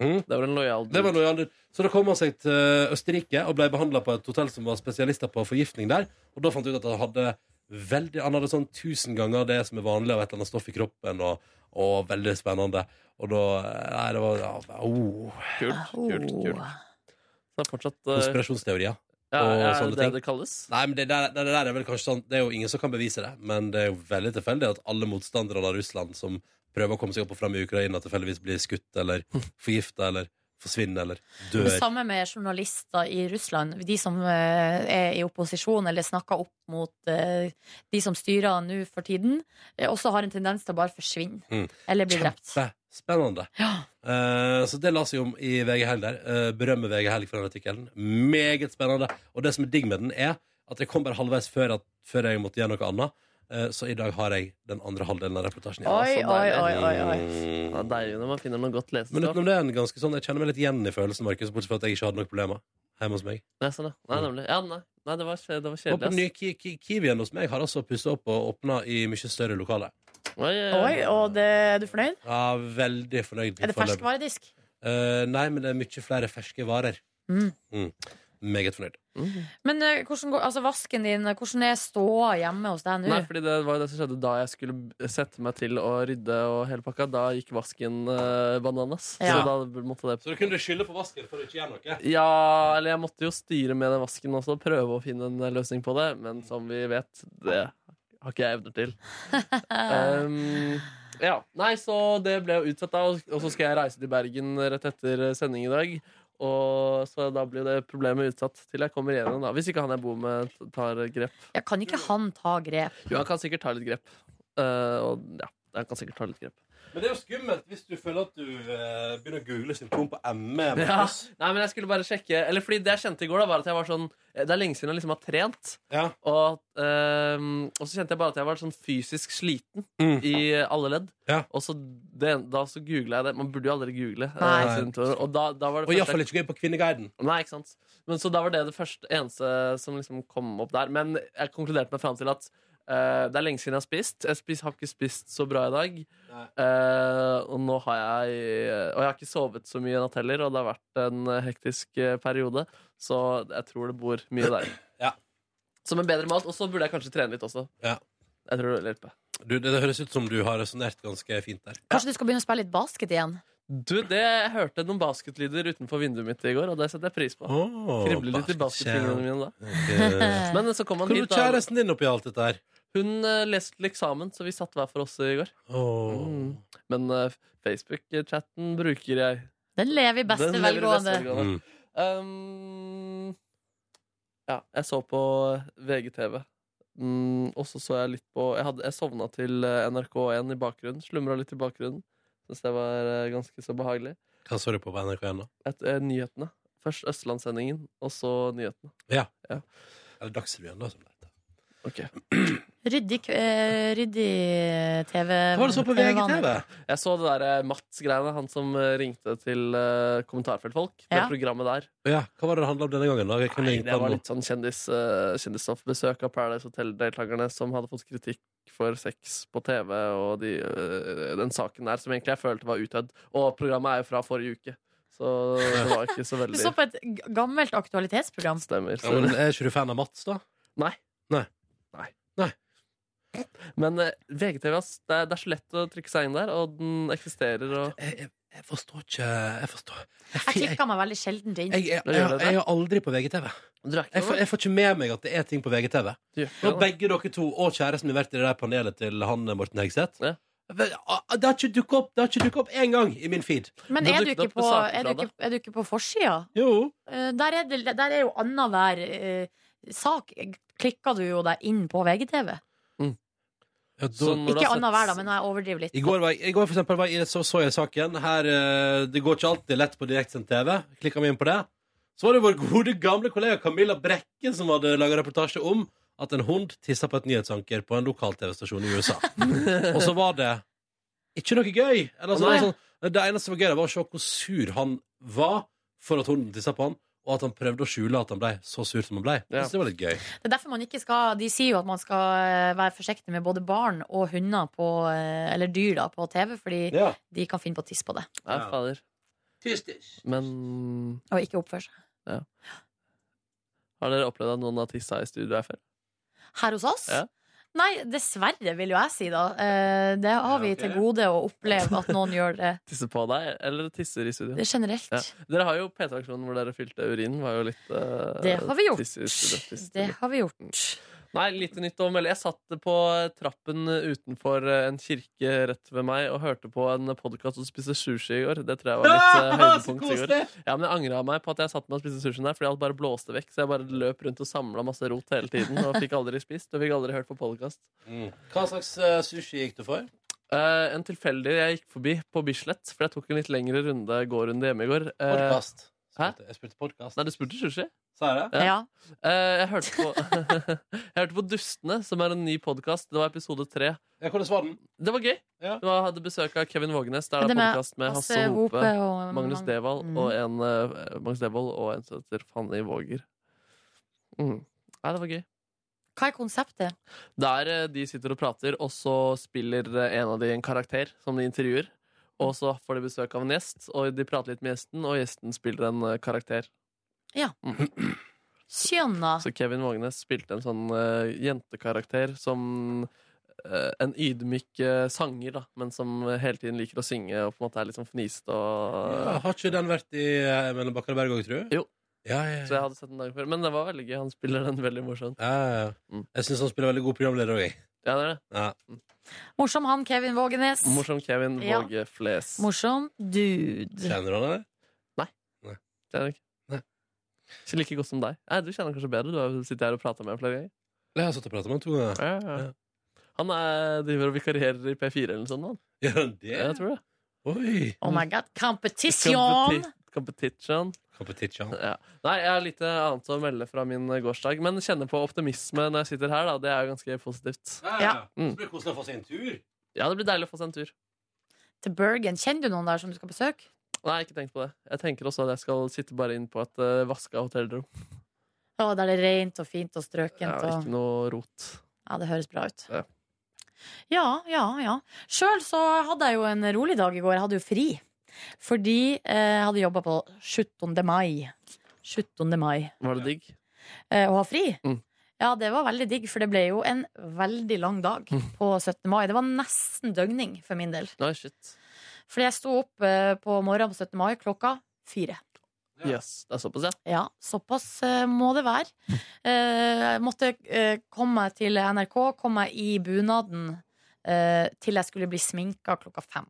[SPEAKER 1] Mm.
[SPEAKER 5] Det var en lojal dude.
[SPEAKER 1] Det var noe annet. Så da kom han seg til eh, Østerrike og ble behandla på et hotell som var spesialister på forgiftning der. Og da fant jeg ut at han hadde veldig Han hadde sånn tusen ganger det som er vanlig av et eller annet stoff i kroppen, og, og veldig spennende. Og da eh, Nei, det var ja, oh,
[SPEAKER 5] kult, kult, kult. Så det er fortsatt eh,
[SPEAKER 1] konspirasjonsteorier.
[SPEAKER 5] ja,
[SPEAKER 1] og
[SPEAKER 5] Er
[SPEAKER 1] sånne
[SPEAKER 5] det det
[SPEAKER 1] ting.
[SPEAKER 5] det kalles?
[SPEAKER 1] Nei, men det der, det der er vel kanskje sånn Det er jo ingen som kan bevise det, men det er jo veldig tilfeldig at alle motstanderne av Russland som prøver å komme seg opp og fram i Ukraina, tilfeldigvis blir skutt eller forgifta eller forsvinner eller dør.
[SPEAKER 2] Det samme med journalister i Russland. De som eh, er i opposisjon eller snakker opp mot eh, de som styrer nå for tiden, eh, også har en tendens til å bare forsvinne
[SPEAKER 1] Mm.
[SPEAKER 2] eller bli drept.
[SPEAKER 1] Kjempespennende.
[SPEAKER 2] Ja.
[SPEAKER 1] Eh, så det la seg om i VG Helg der. Eh, berømmer VG Helg for den artikkelen. Meget spennende. Og det som er digg med den, er at jeg kom bare halvveis før, at, før jeg måtte gjøre noe annet. Eh, så i dag har jeg den andre halvdelen av reportasjen. igjen.
[SPEAKER 2] Oi,
[SPEAKER 5] så
[SPEAKER 2] oi,
[SPEAKER 5] deilig.
[SPEAKER 2] oi, oi, oi.
[SPEAKER 5] Det er deilig når man finner noe godt
[SPEAKER 1] Men
[SPEAKER 5] lesestoff.
[SPEAKER 1] utenom det er den ganske sånn Jeg kjenner meg litt igjen i følelsen, Markus, bortsett fra at jeg ikke hadde noen problemer hjemme hos meg.
[SPEAKER 5] Nei, sånn, ja. nei, nemlig. Ja, nei. nei, det var, kje- det var
[SPEAKER 1] Og på den
[SPEAKER 5] kjedelig.
[SPEAKER 1] nye ki ki Kiwien hos meg har altså pussa opp og åpna i mye større lokale.
[SPEAKER 5] ass. Oi, oi, oi.
[SPEAKER 2] Oi, og det, er du fornøyd?
[SPEAKER 1] Ja, veldig fornøyd.
[SPEAKER 2] Er det
[SPEAKER 1] foreløpig.
[SPEAKER 2] ferskvaredisk?
[SPEAKER 1] Eh, nei, men det er mye flere ferske varer.
[SPEAKER 2] Mm.
[SPEAKER 1] Mm. Meget fornøyd.
[SPEAKER 5] Mhm.
[SPEAKER 2] Men eh, hvordan går, altså vasken din, hvordan er ståa hjemme hos deg nå?
[SPEAKER 5] Nei, fordi det var jo det som skjedde da jeg skulle b- sette meg til å rydde og hele pakka. Da gikk vasken eh, bananas.
[SPEAKER 2] Ja.
[SPEAKER 5] Så da måtte det
[SPEAKER 1] Så du kunne skylde på vasken for å ikke gjøre noe?
[SPEAKER 5] Ja, eller jeg måtte jo styre med den vasken også, prøve å finne en løsning på det. Men som vi vet, det har ikke jeg evner til.
[SPEAKER 2] Ah. eh,
[SPEAKER 5] Um, ja, Nei, så det ble jo utsatt, da. Og og så skal jeg reise til Bergen rett etter eh, sending i dag. Og så da blir det problemet utsatt til jeg kommer igjennom, da. Hvis ikke han jeg bor med, tar grep.
[SPEAKER 2] Ja, kan ikke han ta grep?
[SPEAKER 5] Jo, han kan sikkert ta litt grep. Eh, og ja, han kan sikkert ta litt grep.
[SPEAKER 1] Men det er jo skummelt hvis du føler at du eh, begynner å google symptom på ME.
[SPEAKER 5] Ja.
[SPEAKER 1] Markus.
[SPEAKER 5] Nei, men jeg skulle bare sjekke Eller fordi det jeg kjente i går, da, var at jeg var sånn Det er lenge siden jeg liksom har trent.
[SPEAKER 1] Ja.
[SPEAKER 5] Og, ehm, og så kjente jeg bare at jeg var sånn fysisk sliten
[SPEAKER 1] Mm.
[SPEAKER 5] i alle ledd.
[SPEAKER 1] Ja.
[SPEAKER 5] Og så det, da så googla jeg det. Man burde jo aldri google. eh,
[SPEAKER 2] Nei.
[SPEAKER 5] siden Tor- og da, da var det
[SPEAKER 1] Og
[SPEAKER 5] første-
[SPEAKER 1] iallfall ikke gøy på Kvinneguiden.
[SPEAKER 5] Nei, ikke sant. Men så da var det det første eneste som liksom kom opp der. Men jeg konkluderte meg fram til at eh, det er lenge siden jeg har spist. Jeg spis, har ikke spist så bra i dag.
[SPEAKER 1] Nei.
[SPEAKER 5] Eh, og nå har jeg Og jeg har ikke sovet så mye i natt heller, og det har vært en hektisk eh, periode. Så jeg tror det bor mye der.
[SPEAKER 1] Ja.
[SPEAKER 5] Som en bedre mat. Og så burde jeg kanskje trene litt også.
[SPEAKER 1] Ja.
[SPEAKER 5] Jeg tror det vil hjelpe.
[SPEAKER 1] Du, det, det høres ut som du har resonnert ganske fint der.
[SPEAKER 2] Kanskje du skal begynne å spille litt basket igjen?
[SPEAKER 5] Du, det, jeg hørte noen basketlyder utenfor vinduet mitt i går, og det setter jeg pris på.
[SPEAKER 1] Oh,
[SPEAKER 5] Kribler litt i basketfingrene mine da.
[SPEAKER 1] Hvor
[SPEAKER 5] Men så kom han
[SPEAKER 1] er
[SPEAKER 5] hit, da.
[SPEAKER 1] kjæresten din oppi alt dette her?
[SPEAKER 5] Hun eh, leste til eksamen, så vi satt hver for oss i går.
[SPEAKER 1] Åh.
[SPEAKER 5] Mm. Men eh, Facebook-chatten bruker jeg.
[SPEAKER 2] Den lever i beste
[SPEAKER 5] Den lever i
[SPEAKER 2] velgående.
[SPEAKER 5] beste
[SPEAKER 1] Mm.
[SPEAKER 5] velgående. Um, ja, jeg så på eh, VGTV. Mm, og så så jeg litt på Jeg, hadde, jeg sovna til eh, NRK1 i bakgrunnen. Slumra litt i bakgrunnen. Syns det var eh, ganske så behagelig.
[SPEAKER 1] Hva så du på på NRK1 da?
[SPEAKER 5] Et, eh, nyhetene. Først Østlandssendingen, og så nyhetene.
[SPEAKER 1] Eller Dagsrevyen, da. Som det heter.
[SPEAKER 2] Ryddig, eh, ryddig TV.
[SPEAKER 1] Hva var det så på VGTV?
[SPEAKER 5] Jeg så det der eh, Mats-greiene, han som eh, ringte til eh, kommentarfeltfolk. Det
[SPEAKER 2] Ja.
[SPEAKER 5] programmet der.
[SPEAKER 1] Ja, Hva var det det handla om denne gangen? da? Jeg kunne
[SPEAKER 5] Nei,
[SPEAKER 1] ringt
[SPEAKER 5] det
[SPEAKER 1] han
[SPEAKER 5] var
[SPEAKER 1] nå.
[SPEAKER 5] litt sånn kjendis, eh, kjendisstoffbesøk av Paradise Hotel-deltakerne som hadde fått kritikk for sex på TV og de, eh, den saken der, som egentlig jeg følte var utdødd. Og programmet er jo fra forrige uke, så det var ikke så
[SPEAKER 2] Du så
[SPEAKER 5] veldig
[SPEAKER 2] på et g- gammelt aktualitetsprogram.
[SPEAKER 5] Stemmer.
[SPEAKER 1] ja,
[SPEAKER 5] Så.
[SPEAKER 1] men Er ikke du fan av Mats, da?
[SPEAKER 5] Nei.
[SPEAKER 1] Nei.
[SPEAKER 5] Nei.
[SPEAKER 1] Nei.
[SPEAKER 5] Men eh, VGTV, ass, det er, det er så lett å trykke seg inn der, og den eksisterer og
[SPEAKER 1] Jeg, jeg, jeg forstår ikke Jeg forstår Jeg,
[SPEAKER 2] Jeg
[SPEAKER 1] fi- jeg,
[SPEAKER 2] klikka meg veldig sjelden inn.
[SPEAKER 1] jeg, jeg,
[SPEAKER 5] Nå gjør
[SPEAKER 1] jeg,
[SPEAKER 5] det det.
[SPEAKER 1] jeg er aldri på VGTV.
[SPEAKER 5] Du er
[SPEAKER 1] Jeg
[SPEAKER 5] ikke
[SPEAKER 1] får, jeg får ikke med meg at det er ting på VGTV.
[SPEAKER 5] Du gjør
[SPEAKER 1] Nå har
[SPEAKER 5] ikke det,
[SPEAKER 1] begge dere to og kjæresten min vært i det der panelet til han eh, Morten Hegseth.
[SPEAKER 5] Ja.
[SPEAKER 1] Vel, ah, Det har ikke dukket opp Det har ikke dukket opp én gang i min feed.
[SPEAKER 2] Men
[SPEAKER 5] Det
[SPEAKER 2] er du ikke
[SPEAKER 5] dukket opp
[SPEAKER 2] på,
[SPEAKER 5] på saker
[SPEAKER 2] er du
[SPEAKER 5] fra
[SPEAKER 2] ikke, er du ikke på forsida?
[SPEAKER 1] Jo.
[SPEAKER 2] Eh, Der er, det, der er jo annenhver eh, sak. Klikka du jo deg inn på VGTV?
[SPEAKER 1] Ja, da,
[SPEAKER 5] Så når du
[SPEAKER 2] Ikke
[SPEAKER 5] har sett-
[SPEAKER 2] annenhver, da, men jeg overdriver litt.
[SPEAKER 1] I går, var, jeg- I går for eksempel, var jeg, så, så jeg saken. Her, eh, det går ikke alltid lett på direktsendt TV. Klikka meg inn på det. Så var det vår gode, gamle kollega Camilla Brekke som hadde laga reportasje om at en hund tissa på et nyhetsanker på en lokal TV-stasjon i USA. Og så var det ikke noe gøy. Eller, altså, det, var sånn, det eneste som var gøy, det var å se hvor sur han var for at hunden tissa på han, og at han prøvde å skjule at han ble så sur som han ble.
[SPEAKER 5] Ja.
[SPEAKER 1] Jeg synes det var litt gøy.
[SPEAKER 2] Det er derfor man ikke skal De sier jo at man skal eh, være forsiktig med både barn og hunder på, eh, eller dyr da, på TV, fordi
[SPEAKER 1] Ja.
[SPEAKER 2] de kan finne på å tisse på det.
[SPEAKER 5] Nei,
[SPEAKER 1] Ja.
[SPEAKER 5] fader. Men
[SPEAKER 2] Og ikke oppføre seg.
[SPEAKER 5] har dere opplevd at noen har tissa i studio her før?
[SPEAKER 2] Her hos oss?
[SPEAKER 5] Ja.
[SPEAKER 2] Nei, dessverre, vil jo jeg si, da. Eh, Det har vi til gode å oppleve at noen gjør det
[SPEAKER 5] Tisser på deg, eller tisser i studio?
[SPEAKER 2] det generelt.
[SPEAKER 5] Ja. Dere har jo P3-aksjonen hvor dere fylte urinen. Var jo litt, eh,
[SPEAKER 2] Det har vi gjort.
[SPEAKER 5] tiss i studio, tiss i
[SPEAKER 2] Det
[SPEAKER 5] studio.
[SPEAKER 2] har vi gjort.
[SPEAKER 5] Nei, litt nytt om Jeg satt på trappen utenfor eh, en kirke rett ved meg og hørte på en podkast og spiste sushi i går. Det tror jeg var litt eh, høydepunkt i går. Ja, men jeg angra meg på at jeg satt meg og spiste sushien der, fordi alt bare blåste vekk. Så jeg bare løp rundt og samla masse rot hele tiden og fikk aldri spist og fikk aldri hørt på podkast. Mm.
[SPEAKER 1] Hva slags eh, sushi gikk du for?
[SPEAKER 5] Eh, en tilfeldig jeg gikk forbi på Bislett, for jeg tok en litt lengre runde gårunde hjemme i går. Eh,
[SPEAKER 1] Podcast.
[SPEAKER 5] hæ?
[SPEAKER 1] Jeg spurte podcast.
[SPEAKER 5] nei, du spurte sushi?
[SPEAKER 1] Sa jeg det?
[SPEAKER 5] Ja.
[SPEAKER 2] Ja.
[SPEAKER 5] Eh, jeg, hørte på, jeg hørte på Dustene, som er en ny podkast. Det var episode tre.
[SPEAKER 1] Ja, hvordan var den?
[SPEAKER 5] Det var gøy.
[SPEAKER 1] Ja.
[SPEAKER 5] Det var, jeg hadde besøk av Kevin Vågenes. Der
[SPEAKER 2] Men det
[SPEAKER 5] det er
[SPEAKER 2] med
[SPEAKER 5] podkast med Hasse Hope, eh,
[SPEAKER 2] og
[SPEAKER 5] Magnus
[SPEAKER 2] Mag-
[SPEAKER 5] Devold
[SPEAKER 2] Mm.
[SPEAKER 5] og en eh, Magnus Devold og en som heter Fanny Våger. Mm. Nei, det var gøy.
[SPEAKER 2] Hva er konseptet?
[SPEAKER 5] Der eh, de sitter og prater, og så spiller eh, en av de en karakter som de intervjuer. Og så får de besøk av en gjest, og de prater litt med gjesten, og gjesten spiller en eh, karakter.
[SPEAKER 2] Skjønna.
[SPEAKER 5] Så Kevin Vågenes spilte en sånn eh, jentekarakter som eh, en ydmyk eh, sanger, da, men som hele tiden liker å synge og på en måte er litt sånn fniste og
[SPEAKER 1] Ja, har ikke den vært i eh, mellom Bakker og Berg òg, tror du?
[SPEAKER 5] Eh, Jo.
[SPEAKER 1] Ja, ja,
[SPEAKER 5] Så
[SPEAKER 1] ja.
[SPEAKER 5] jeg hadde sett den dagen før. Men det var veldig gøy. Han spiller den veldig morsomt.
[SPEAKER 1] ja, ja.
[SPEAKER 5] Mm.
[SPEAKER 1] Jeg syns han spiller veldig god programleder òg, jeg.
[SPEAKER 5] Ja, det er det.
[SPEAKER 1] Ja.
[SPEAKER 2] Morsom han, Kevin Vågenes.
[SPEAKER 5] Morsom Kevin
[SPEAKER 2] Ja.
[SPEAKER 5] Våge Fles.
[SPEAKER 2] Morsom dude.
[SPEAKER 1] Kjenner du han, eller?
[SPEAKER 5] Kjenner du ikke?
[SPEAKER 1] Nei.
[SPEAKER 5] Ikke like godt som deg. Nei, du kjenner han kanskje bedre. Du har jo sittet her og prata med ham flere ganger.
[SPEAKER 1] Jeg har satt og pratet med han to ganger.
[SPEAKER 5] Ja, ja. Han er, driver og vikarierer i P4 eller noe sånt. Han.
[SPEAKER 1] Gjør han det?
[SPEAKER 5] Ja, jeg tror det.
[SPEAKER 1] Oi!
[SPEAKER 2] Oh my god. Competition!
[SPEAKER 5] Competi- Competition.
[SPEAKER 1] Competition.
[SPEAKER 5] Ja. Nei, jeg har litt eh, annet å melde fra min eh, gårsdag, men kjenner på optimisme når jeg sitter her. da, Det er jo ganske positivt.
[SPEAKER 2] Ja.
[SPEAKER 5] Mm.
[SPEAKER 1] blir det koselig å få seg en tur.
[SPEAKER 5] Ja, det blir deilig å få seg en tur.
[SPEAKER 2] Til Bergen. Kjenner du noen der som du skal besøke?
[SPEAKER 5] Nei, ikke tenkt på det. Jeg tenker også at jeg skal sitte bare inn på et uh, vaska hotellrom.
[SPEAKER 2] Å, der det er rent og fint og
[SPEAKER 5] Ja,
[SPEAKER 2] strøkent. Og...
[SPEAKER 5] ikke noe rot.
[SPEAKER 2] Ja, det høres bra ut.
[SPEAKER 5] Ja.
[SPEAKER 2] Ja, ja, ja. Sjøl så hadde jeg jo en rolig dag i går. Jeg hadde jo fri. Fordi eh, jeg hadde jobba på 17. mai. 17. mai.
[SPEAKER 5] Var det digg?
[SPEAKER 2] eh, å ha fri.
[SPEAKER 5] Mm.
[SPEAKER 2] Ja, det var veldig digg, for det ble jo en veldig lang dag på 17. mai. Det var nesten døgning for min del.
[SPEAKER 5] Nei, shit.
[SPEAKER 2] Fordi jeg sto opp eh, på morgenen på 17. mai klokka fire.
[SPEAKER 5] Yes. Det er såpass, ja.
[SPEAKER 2] Ja, såpass eh, må det være. Eh, måtte eh, komme meg til NRK, komme meg i bunaden eh, til jeg skulle bli sminka klokka fem.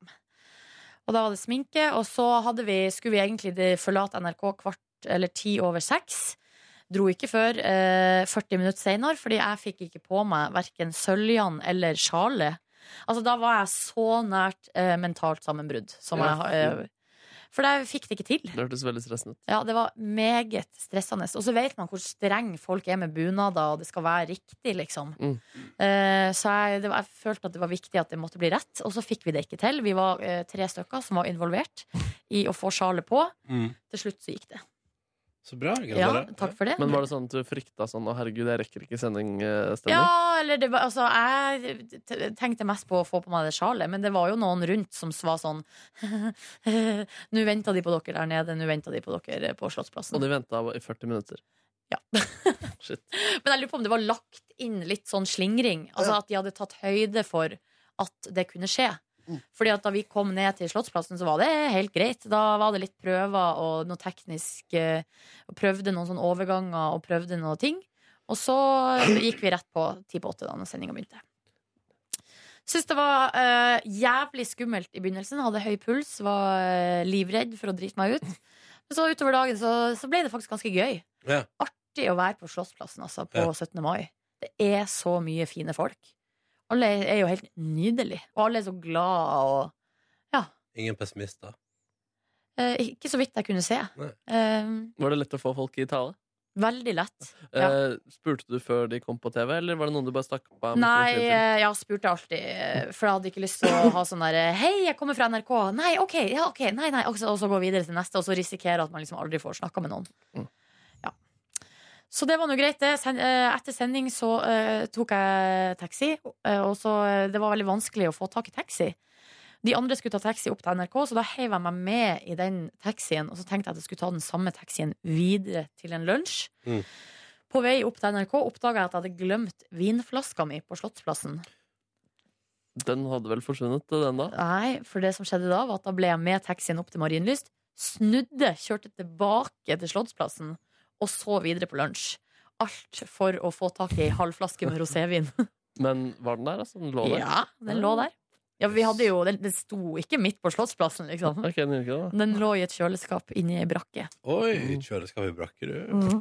[SPEAKER 2] Og da var det sminke, og så hadde vi, skulle vi egentlig de- forlate NRK kvart eller ti over seks. Dro ikke før eh, 40 minutter seinere, fordi jeg fikk ikke på meg verken sølvjan eller sjalet. Altså, da var jeg så nært eh, mentalt sammenbrudd. Som jeg,
[SPEAKER 5] Ja.
[SPEAKER 2] har- eh, for jeg fikk det ikke til.
[SPEAKER 5] Det hørtes veldig stressende ut.
[SPEAKER 2] Ja, det var meget stressende. Og så vet man hvor streng folk er med bunader, og det skal være riktig, liksom.
[SPEAKER 5] Mm.
[SPEAKER 2] Eh, så jeg, det var, jeg følte at det var viktig at det måtte bli rett, og så fikk vi det ikke til. Vi var eh, tre stykker som var involvert i å få sjalet på.
[SPEAKER 1] Mm.
[SPEAKER 2] Til slutt så gikk det.
[SPEAKER 1] Så bra.
[SPEAKER 2] Ja,
[SPEAKER 1] Gratulerer.
[SPEAKER 2] takk for det.
[SPEAKER 5] Men var det sånn at du frykta sånn 'Å, herregud, jeg rekker ikke eh, sending'-stemning?
[SPEAKER 2] Ja, eller det var, altså, jeg t- tenkte mest på å få på meg det sjalet, men det var jo noen rundt som var sånn Nå venter de på dere der nede, nå venter de på dere på Slottsplassen.
[SPEAKER 5] Og de venta i 40 minutter.
[SPEAKER 2] Ja.
[SPEAKER 5] Shit.
[SPEAKER 2] Men jeg lurer på om det var lagt inn litt sånn slingring. Altså At de hadde tatt høyde for at det kunne skje. Fordi at da vi kom ned til Slottsplassen, så var det helt greit. Da var det litt prøver og noe teknisk eh, og Prøvde noen sånne overganger og prøvde noen ting. Og så gikk vi rett på ti på åtte da når sendinga begynte. Syns det var eh, jævlig skummelt i begynnelsen. Hadde høy puls, var eh, livredd for å drite meg ut. Men så utover dagen så, så ble det faktisk ganske gøy artig å være på Slottsplassen altså, på
[SPEAKER 1] Ja.
[SPEAKER 2] 17. mai. Det er så mye fine folk. Alle er jo helt nydelige, og alle er så glad og
[SPEAKER 1] Ingen pessimister.
[SPEAKER 2] eh, Ikke så vidt jeg kunne se.
[SPEAKER 1] Nei.
[SPEAKER 2] Eh,
[SPEAKER 5] Var det lett å få folk i tale?
[SPEAKER 2] veldig lett. Ja.
[SPEAKER 5] Eh, spurte du før de kom på TV, eller var det noen du bare stakk på?
[SPEAKER 2] Nei, eh, jeg spurte alltid, eh, for jeg hadde ikke lyst til å ha sånn derre Hei, jeg kommer fra NRK. Nei, OK. Ja, ok, nei, nei Og så, og så gå videre til neste, og så risikere at man liksom aldri får snakka med noen. Så det var nå greit, det. Sen, eh, etter sending så eh, tok jeg taxi, eh, og så eh, Det var veldig vanskelig å få tak i taxi. De andre skulle ta taxi opp til NRK, så da heiv jeg meg med i den taxien. Og så tenkte jeg at jeg skulle ta den samme taxien videre til en lunsj.
[SPEAKER 1] Mm.
[SPEAKER 2] På vei opp til NRK oppdaga jeg at jeg hadde glemt vinflaska mi på Slottsplassen.
[SPEAKER 5] Den hadde vel forsvunnet, eh, den da?
[SPEAKER 2] Nei, for det som skjedde da, var at da ble jeg med taxien opp til Marienlyst, snudde, kjørte tilbake til Slottsplassen, og så videre på lunsj. Alt for å få tak i ei halv flaske med rosévin.
[SPEAKER 5] Men var den der, altså? Den lå der?
[SPEAKER 2] Ja, den lå der. Ja, vi hadde jo, den, den sto ikke midt på Slottsplassen, liksom.
[SPEAKER 5] Ok, den gjorde ikke det,
[SPEAKER 2] Den lå i et kjøleskap inni ei brakke.
[SPEAKER 1] Oi,
[SPEAKER 5] Mm.
[SPEAKER 1] kjøleskapet i brakke, du.
[SPEAKER 2] Mm.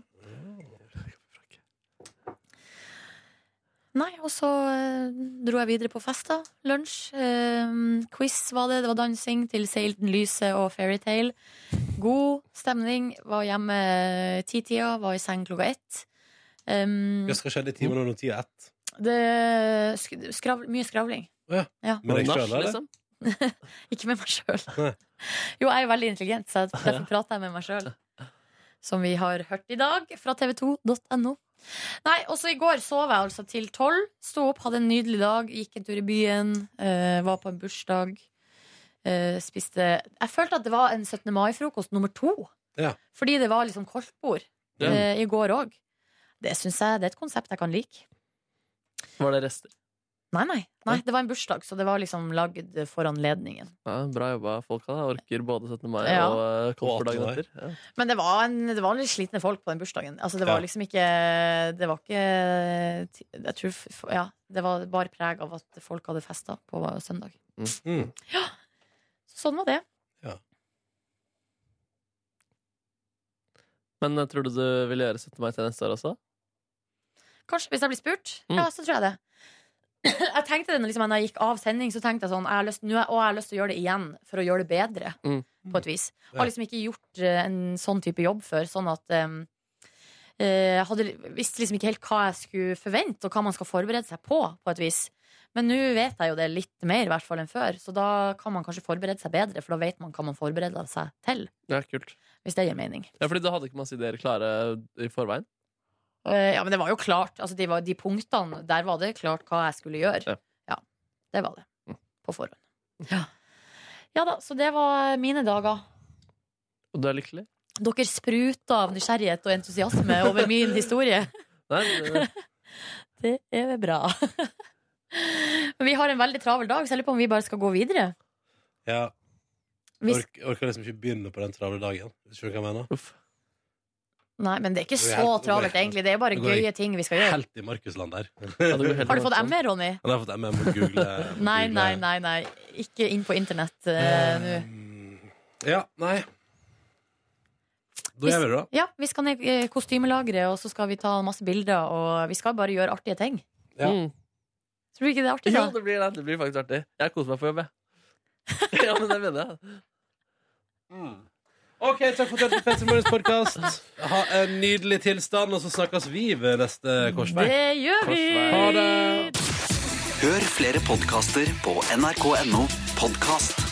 [SPEAKER 2] Nei, og så eh, dro jeg videre på fest, da. Lunsj. eh, quiz var det. Det var dansing til Seilten Lyse og Fairytale. God stemning. Var hjemme eh, ti-tida, var i seng klokka ett. Um,
[SPEAKER 1] Hva skal skje de timene når tida er ett?
[SPEAKER 2] det sk skravl, Mye skravling.
[SPEAKER 5] da.
[SPEAKER 1] Med deg
[SPEAKER 5] Nach,
[SPEAKER 1] sjøl, eller?
[SPEAKER 5] liksom?
[SPEAKER 2] Ikke med meg sjøl.
[SPEAKER 1] Nei.
[SPEAKER 2] Jo, jeg er veldig intelligent, så jeg- derfor prater jeg med meg sjøl. Som vi har hørt i dag fra tv2.no. Nei, også i går sov jeg altså til tolv. Sto opp, hadde en nydelig dag, gikk en tur i byen, eh, var på en bursdag. eh, spiste Jeg følte at det var en 17. mai-frokost nummer to.
[SPEAKER 1] Ja.
[SPEAKER 2] Fordi det var liksom koldtbord
[SPEAKER 5] Ja.
[SPEAKER 2] eh, i går òg. Det syns jeg det er et konsept jeg kan like.
[SPEAKER 5] Var det rester?
[SPEAKER 2] Nei, nei. nei det var en bursdag, så det var liksom lagd for anledningen.
[SPEAKER 5] Ja, bra jobba, folka. da. Orker både 17. mai
[SPEAKER 2] Ja.
[SPEAKER 5] og uh, dagen
[SPEAKER 1] Og 18.
[SPEAKER 5] etter. Ja.
[SPEAKER 2] Men det var, en, det var litt slitne folk på den bursdagen. Altså, det var
[SPEAKER 1] Ja. liksom
[SPEAKER 2] liksom ikke Det var ikke Jeg tror f- Ja, det var bare preg av at folk hadde festa på søndag.
[SPEAKER 1] Mm.
[SPEAKER 2] Ja. Sånn var det.
[SPEAKER 5] Men eh, tror du du vil gjøre 17. mai til neste år også?
[SPEAKER 2] Kanskje hvis jeg blir spurt.
[SPEAKER 5] Mm.
[SPEAKER 2] Ja, så tror jeg det. Jeg tenkte det når liksom, når jeg gikk av sending, så tenkte jeg sånn jeg har lyst, nå, har- Og jeg har lyst til å gjøre det igjen, for å gjøre det bedre,
[SPEAKER 5] Mm.
[SPEAKER 2] på et vis. Jeg
[SPEAKER 1] Ja.
[SPEAKER 2] har liksom ikke gjort eh, en sånn type jobb før, sånn at em, eh, jeg hadde, visste liksom ikke helt hva jeg skulle forvente, og hva man skal forberede seg på, på et vis. Men nå vet jeg jo det litt mer i hvert fall enn før, så da kan man kanskje forberede seg bedre, for da vet man hva man forbereder seg til,
[SPEAKER 5] Ja, kult.
[SPEAKER 2] hvis det gir mening.
[SPEAKER 5] Ja, fordi du hadde ikke masse ideer klare i forveien?
[SPEAKER 2] Eh, Ja, men det var jo klart. Altså, de, var, de punktene, der var det klart hva jeg skulle gjøre.
[SPEAKER 5] Ja.
[SPEAKER 2] Ja, det var det. På forhånd. Ja. ja da, så det var mine dager.
[SPEAKER 5] Og du er lykkelig?
[SPEAKER 2] Dere spruta av nysgjerrighet og entusiasme over min historie.
[SPEAKER 5] Nei, det-
[SPEAKER 2] Det er bra. Men vi har en veldig travel dag, så jeg lurer på om vi bare skal gå videre.
[SPEAKER 1] Ja.
[SPEAKER 2] Hvis,
[SPEAKER 1] Ork, orker liksom ikke begynne på den travle dagen. Skjønner du hva jeg mener?
[SPEAKER 5] uff.
[SPEAKER 2] nei, men det er ikke
[SPEAKER 1] Det går helt-
[SPEAKER 2] så
[SPEAKER 1] det går
[SPEAKER 2] travelt,
[SPEAKER 1] helt-
[SPEAKER 2] egentlig. Det er bare
[SPEAKER 1] det går
[SPEAKER 2] gøye ting vi skal gjøre.
[SPEAKER 1] Helt i Markusland der.
[SPEAKER 5] Ja, det går helt
[SPEAKER 2] Har du fått
[SPEAKER 5] annet.
[SPEAKER 2] ME, Ronny?
[SPEAKER 1] Han har fått MM og google.
[SPEAKER 2] Nei,
[SPEAKER 1] google.
[SPEAKER 2] nei, nei. nei Ikke inn på internett eh, nå.
[SPEAKER 1] Ja, nei. Da gjør vi det, da.
[SPEAKER 2] Ja, vi skal ned i kostymelageret, og så skal vi ta masse bilder, og vi skal bare gjøre artige ting.
[SPEAKER 1] Ja.
[SPEAKER 5] Mm.
[SPEAKER 2] Tror du ikke det er artig,
[SPEAKER 5] Jo,
[SPEAKER 2] da?
[SPEAKER 5] det blir, det. det blir faktisk artig. Jeg koser meg på jobb, jeg. ja, men det mener jeg.
[SPEAKER 1] OK, takk for at du hørte på Petter Morgens podkast. Ha en nydelig tilstand, og så snakkes vi ved neste korsvei.
[SPEAKER 2] Det gjør vi!
[SPEAKER 5] Korsvei.
[SPEAKER 1] Ha det!
[SPEAKER 10] Hør flere podkaster på nrk.no podkast.